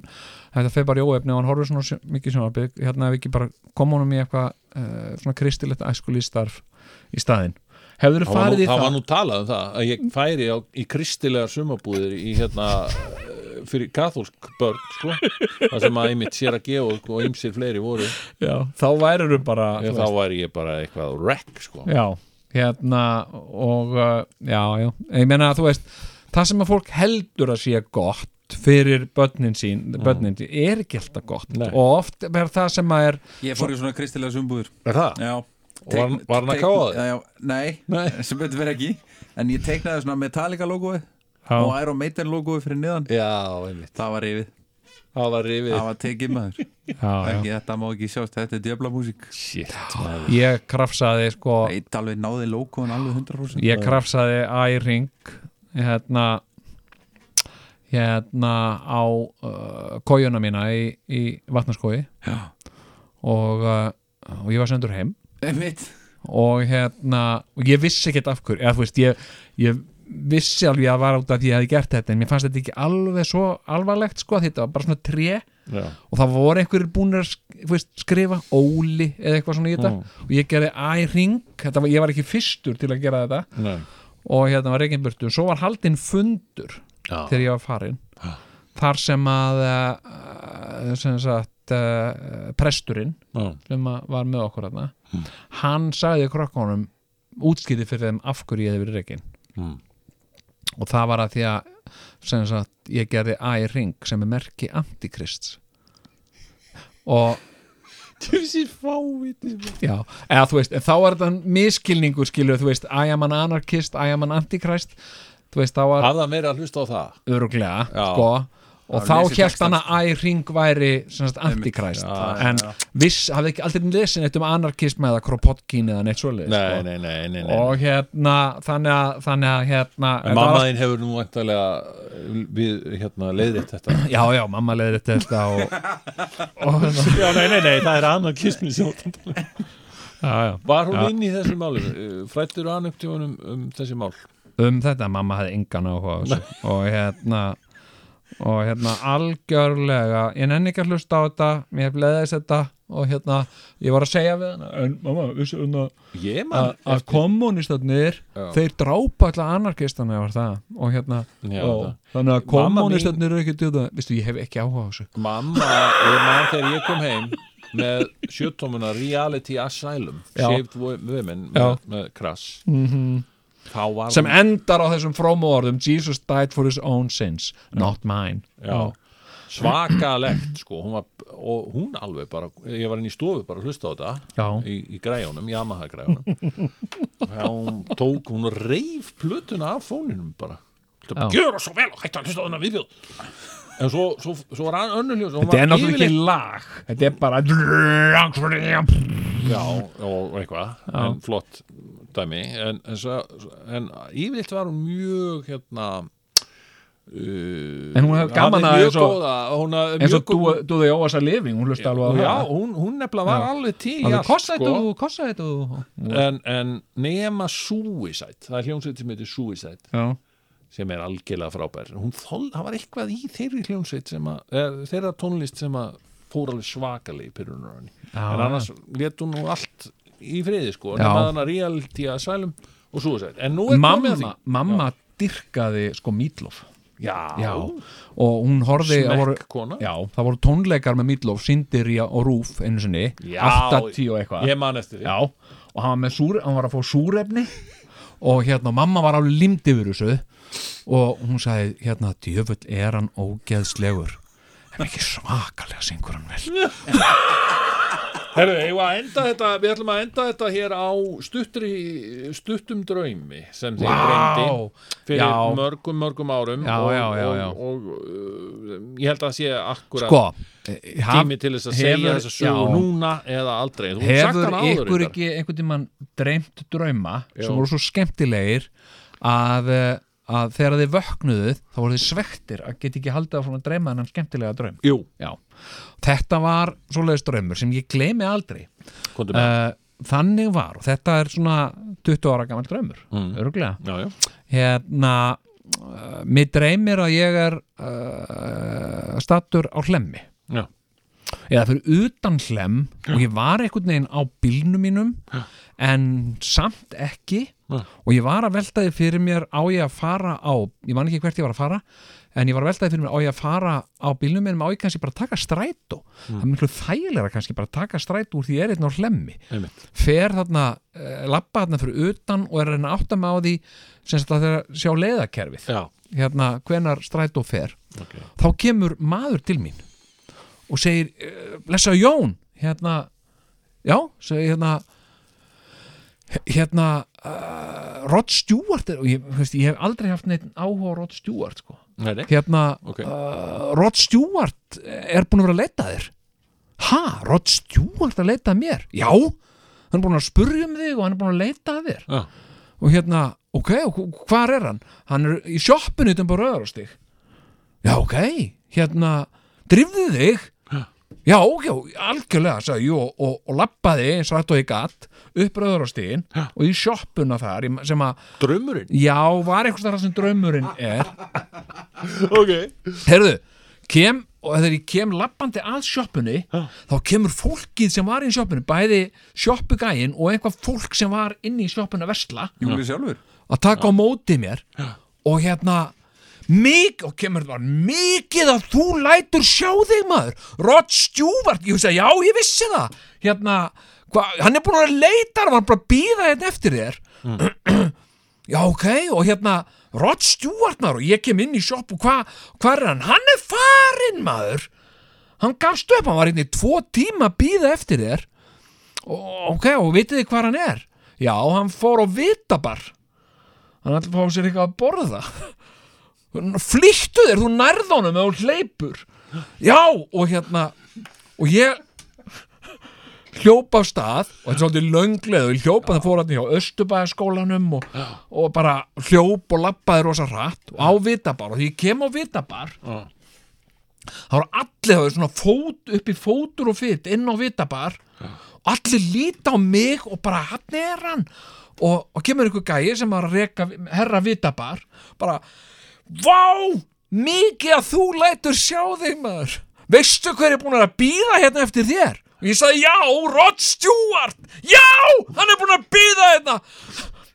A: þetta fer bara í óefni og hann horfir svona sjö- mikið sjónarbygg, hérna hefur ekki bara koma honum í eitthvað uh, svona kristilegt æskulístarf í staðinn. Hefur þú
C: Það var,
A: farið
C: nú,
A: í
C: það var
A: það?
C: nú talað um það að ég færi á, í kristilegar sumabúðir í hérna eh, fyrir katholsk börn sko, það sem að einmitt sér að gefa og ymsir fleiri voru
A: Já, þá værið þú bara
C: Ég- þá væri ég bara eitthvað á wreck sko.
A: Já, hérna og uh, já, já, ég meina þú veist, það sem að fólk heldur að sé gott fyrir börnin sín, börnin sín, er ekki alltaf gott
C: Mm. Nei.
A: og oft er það sem að er
D: Ég fór í svona kristilega sumbúður
C: er það?
D: Já
C: Og var hann- var hann að káfa þig?
D: Já, já, Nei, *laughs*
C: Nei.
D: sem betur verið ekki En ég teiknaði svona Metallica logoið
A: Já.
D: og Iron Maiden logoið fyrir niðan
C: Já, einmitt,
D: Það var yfir,
C: það var rifið
D: það var tekið maður
A: já,
D: ekki, Þetta má ekki sjást, þetta er djöfla músík
C: Shit, maður.
A: ég krafsaði sko
D: Eitt alveg náði logoin alveg 100%
A: ég krafsaði æring hérna hérna á uh, kójuna mína í, í vatnarskói
D: Já.
A: og, uh, og ég var sendur heim
D: Einmitt
A: og hérna og ég vissi ekkert af hverju eða þú veist ég, ég vissi alveg að var út af því að ég hefði gert þetta en mér fannst þetta ekki alveg svo alvarlegt sko þetta var bara svona tré
C: Já.
A: og það voru einhverjir búnir að sk- þú veist, skrifa óli eða eitthvað svona í þetta og ég gerði æring, þetta var, ég var ekki fyrstur til að gera þetta
C: Nei.
A: og hérna var reikin burtu svo var haldinn fundur
C: Já.
A: þegar ég var farin
C: Já.
A: þar sem að eh, sem sagt eh, presturinn
C: Já.
A: sem að var með okkur hérna
C: Hmm.
A: hann sagði krökkunum útskýti fyrir þeim af hverju ég hefði verið reikin
C: Mm.
A: og það var að því að sem sagt ég gerði æring sem er merki antikrists og
C: Þessi fáviti
A: Já, eða þú veist, en þá er þetta miskilningur skilur, þú veist, I am an anarchist, I am an antichrist, þú veist, þá var
C: Hafða meira að hlusta á það
A: öruglega,
C: Já.
A: sko, og
D: Já,
A: þá
D: lesið
A: hélt
D: textann,
A: hann
C: sko.
A: að æring væri sem sagt antichrist, en viss, hafði ekki aldrei lesin eitt um anarchism eða kropotkin eða neitt svoleiðis,
C: Nei,
A: sko.
C: nei, nei, nei, nei.
A: Og hérna, þannig að, þannig að, hérna
C: En
A: þetta var
C: mamma þín hefur nú væntalega við hérna leiðið þetta
A: allt- Já, já, mamma leiðir
C: *laughs*
A: þetta og, og, og
C: um. Já, nei, nei, nei, það er annar kismin sem
A: já, já.
C: Var hún
A: Já.
C: inn í þessu máli? Eh, Frættur hann upp til honum um þessi mál?
A: um þetta mamma hafði engan áhuga á þessu. og hérna og hérna algjörlega ég nenni ekki að hlusta á þetta mér bleðist þetta og hérna ég var að segja við hana en mamma, vissu um að
C: Ég
A: að- að kommunistarnir
C: Já.
A: þeir drápa alltaf anarkistana var það og hérna
C: Ah, Já,
A: og,
C: þetta.
A: þannig að
C: Mamma mín-
A: kommunistarnir eru ekki djóða vistu, ég hef ekki áhuga á þessu
C: Mamma, ég man þegar ég kom heim með sjötómuna Reality Asylum
A: Já.
C: Shaved Wo- Women
A: Já. Mhm.
C: með, með Crash mm -hmm. Þá var
A: sem endar á þessum frómu orðum Jesus died for his own sins, not mine
C: já, svakalegt sko, hún var, og hún alveg bara ég var inn í stofu bara að hlusta á þetta
A: Já.
C: í, í græjónum, Yamaha græjónum hún tók, hún reif plötuna af fóninum bara
A: Já.
C: Þetta gjöra svo vel og hætti að hlusta á þennan viðbjóð en svo, svo, svo var hann önnur hljós
A: þetta er náttúrulega ekki lag þetta er bara
C: Já, og eitthvað, en flott dæmi, en, en, svo, en yfirleitt var hún mjög hérna uh,
A: En hún hefði gaman
C: hafði
A: að
C: mjög
A: eins og-
C: góða, hún hafði
A: eins og
C: mjög góða-
A: Do They Owe Us a Living hún hlusta alveg á
C: Já,
A: það
C: hún, hún nefnilega var
A: Já.
C: alveg til í
A: Alveg,
C: allt,
A: kossa
C: sko.
A: þetta og kossa þetta og
C: en, en nema Suicide, það er hljónsveit sem heitir Suicide
A: já,
C: sem er algjörlega frábær hún þol, það var eitthvað í þeirri hljónsveit sem að, eh, þeirra tónlist sem að fór alveg svakalega í pyrrunar henni
A: Já,
C: en annars létt hún nú allt í friði sko,
A: Já.
C: nema þannig að reality að sælum og Suicide, en nú er
A: mamma,
C: komið að því
A: mamma dyrkaði sko Meatloaf
C: já,
A: já, og hún horfði það voru,
C: smekk kona
A: já, það voru tónleikar með Meatloaf Sindiria og Rúf einu sinni
C: Já.
A: 80 og eitthvað
C: ég man eftir því
A: já, og hann var, með súr, hann var að fá súrefni og hérna mamma var alveg limd yfir þessu og hún sagði hérna djöfull er hann ógeðslegur en ekki svakalega syngur hann vel
C: Herru, eigum við að enda þetta, við ætlum að enda þetta hér á stuttri, stuttum draumi sem þið
A: Vá.
C: dreymdi fyrir
A: Já.
C: mörgum, mörgum árum
A: Já,
C: og,
A: já, já, já.
C: og, og uh, ég held að það sé akkurat
A: sko, eh, haf-
C: tími til þess að segja
A: hefur-
C: þessa sögu
A: já.
C: núna eða aldrei, þú hefur sagt
A: Hefur
C: hann áður
A: ykkur
C: reyndar.
A: ekki einhvern tímann dreymt drauma
C: Jú.
A: sem voru svo skemmtilegir að, eh, að þegar þið vöknuðuð þá voru þið svektir að geta ekki haldið áfram að dreyma þennan skemmtilega draum
C: Jú,
A: Já. Þetta var svoleiðis draumur sem ég gleymi aldrei
C: komdu með
A: uh, Þannig var og þetta er svona 20 ára gammal draumur mm. öruglega
C: Já, já,
A: hérna uh, mér dreymir að ég er uh, stattur á hlemmi
C: já,
A: eða fyrir utan hlem og ég var einhvern veginn á bílnum mínum en samt ekki
C: Já.
A: og ég var að velta því fyrir mér á ég að fara á, ég man ekki hvert ég var að fara en ég var að velta því fyrir mér á ég að fara á bílnum mínum á ég kannski bara að taka strætó það er miklu þægilega kannski bara að taka strætó úr því ég er einn á hlemmi
C: einmitt
A: fer þarna, eh, lappa þarna fyrir utan og er að reyna að átta mig á því sem sagt að þeirra sjá leiðakerfið
C: Já,
A: hérna hvenar strætó fer
C: ok
A: þá kemur maður til mín og segir, eh, blessa Jón hérna, já segir hérna hérna uh, Rod Stewart er, og ég, þú veist, ég hef aldrei haft neitt áhuga á Rod Stewart sko.
C: Nei, nei,
A: hérna,
C: ok
A: uh, Rod Stewart er búin að vera að leita að þér ha, Rod Stewart að leita að mér já, hann er búin að spurja um þig og hann er búin að leita að þér
C: Já,
A: og hérna, ok, og hv- hvar er hann hann er í sjoppinu utan bara öðrastig já, ok, hérna drifðu þig já, ok, algjörlega, sagði ég og, og, og labbaði eins og þetta og ég gatt upp rauðurastigin og í sjoppuna þar í- sem að,
C: draumurinn
A: já, var einhvers þar sem draumurinn er
C: *laughs* Ok
A: Herðu, kem og þegar ég kem lappandi að sjoppunni þá kemur fólkið sem var í sjoppunni bæði sjoppugæin og eitthvað fólk sem var inni í sjoppunni að versla
D: Júlið sjálfur
A: að taka á móti mér og hérna mikið, og kemur það var mikið að þú lætur sjá þig maður Rod Stewart, ég hugsa, já ég vissi það hérna, hva, hann er búin að vera leita hann var bara að býða hérna eftir þér *clears throat* já ok, og hérna Rod Stewart maður og ég kem inn í sjoppu, hvað hva er hann? Hann er farinn maður hann gafst upp, hann var hérna í tvo tíma að býða eftir þér og, ok, og vitið þið hvað hann er? Já, hann fór á vitabar hann ætla að fá sér eitthvað að borða flýttu þér, þú nærð honum eða þú hleypur já, og hérna og ég hljópa á stað og þetta er svolítið löngleð og ég hljópa það fór hann hjá Östubæðaskólanum og, og bara hljóp og lappaði rosa hratt og á vitabar og því ég kem á vitabar
C: Já.
A: þá eru allir það er svona fót upp í fótur og fyrt inn á vitabar og allir líta á mig og bara hann er hann og, og kemur einhver gæi sem var að reka herra vitabar bara Vá, mikið að þú lætur sjá þig maður Veistu hver er búin að býða hérna eftir þér? Og ég sagði já, Rod Stewart Já, hann er búin að býða hérna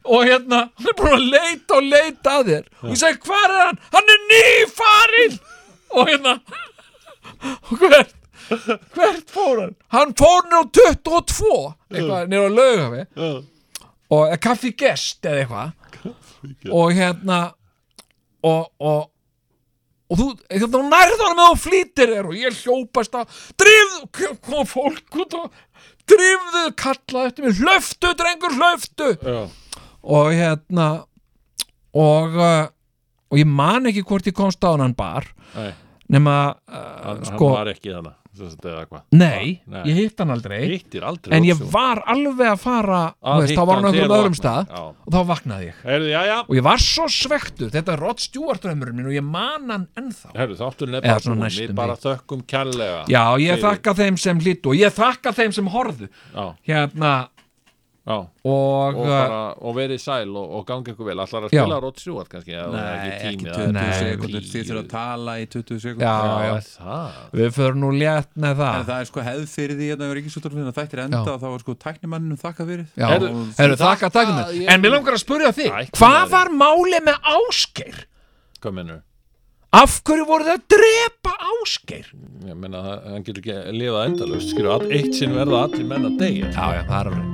A: Og hérna, hann er búin að leita og leita að þér Og ég sagði hvar er hann? Hann er nýfarinn Og hérna Og hvert? Hvert fór hann? Hann fór nýr á 22 Eitthvað, nýr á laugafi Og eða kaffi gest eða eitthvað Og hérna og, og, og þú, hérna, þú nærð hann með og flýtir þér og ég hljópast að drifðu, kom fólk út og drifðu, kallaði eftir mér hlöftu, drengur, hlöftu
C: Já.
A: og hérna og uh, og ég man ekki hvort ég komst á hann bar
C: Nei,
A: nema, uh,
C: hann,
A: sko
C: hann var ekki þannig sem þetta eða hvað
A: nei,
C: Nei.
A: ég hitt hann aldrei
C: Hittir aldrei
A: en ég
C: Rod Stewart.
A: var alveg að fara þú
C: Að
A: veist, þá
C: hitta
A: var hann á
C: þegar
A: einhverjum
C: þú
A: öðrum
C: vaknaðir.
A: stað og þá vaknaði ég
C: Já, heyrðu, já, já
A: og ég var svo svektur, þetta er Rod Stewart draumurinn minn og ég man hann ennþá
C: Herru, þátturinn er
A: Eða
C: bara
A: svona
C: búinn,
A: næstum
C: við bara þökkum kærlega
A: Já, ég
C: Fyrir-
A: þakka þeim sem hlýttu og ég þakka þeim sem horfðu
C: Já,
A: hérna
C: já,
A: og,
C: og bara, og verið sæl og, og gangi ykkur vel Ætlar að
A: Já.
C: spila Rod Stewart kannski eða það er
D: Nei, ekki
C: tími,
D: 20
A: Nei,
D: sekundur,
C: tíu.
D: þið þurfa að tala í 20 sekundur
A: Já.
C: Já, já, það
A: við förum nú létt með
D: En
A: það
D: það er sko hefð fyrir því að það er ekki svolítið að þættir enda
A: Já.
D: og þá var sko tæknimanninum þakka fyrir
A: Já,
C: Heyrðu,
A: heyrðu, þakka
C: þakka-
A: takkum
C: ég-
A: En mér langar að spurja þig,
C: Æ,
A: hvað
C: maður.
A: var málið með Ásgeir?
C: Hvað mennur?
A: Af hverju voru þau að drepa Ásgeir?
C: Ég meina, hann getur ekki lifað endalaust Skilur, all- eitt sinn verða allir menn að deyja
A: Já, já, það er alveg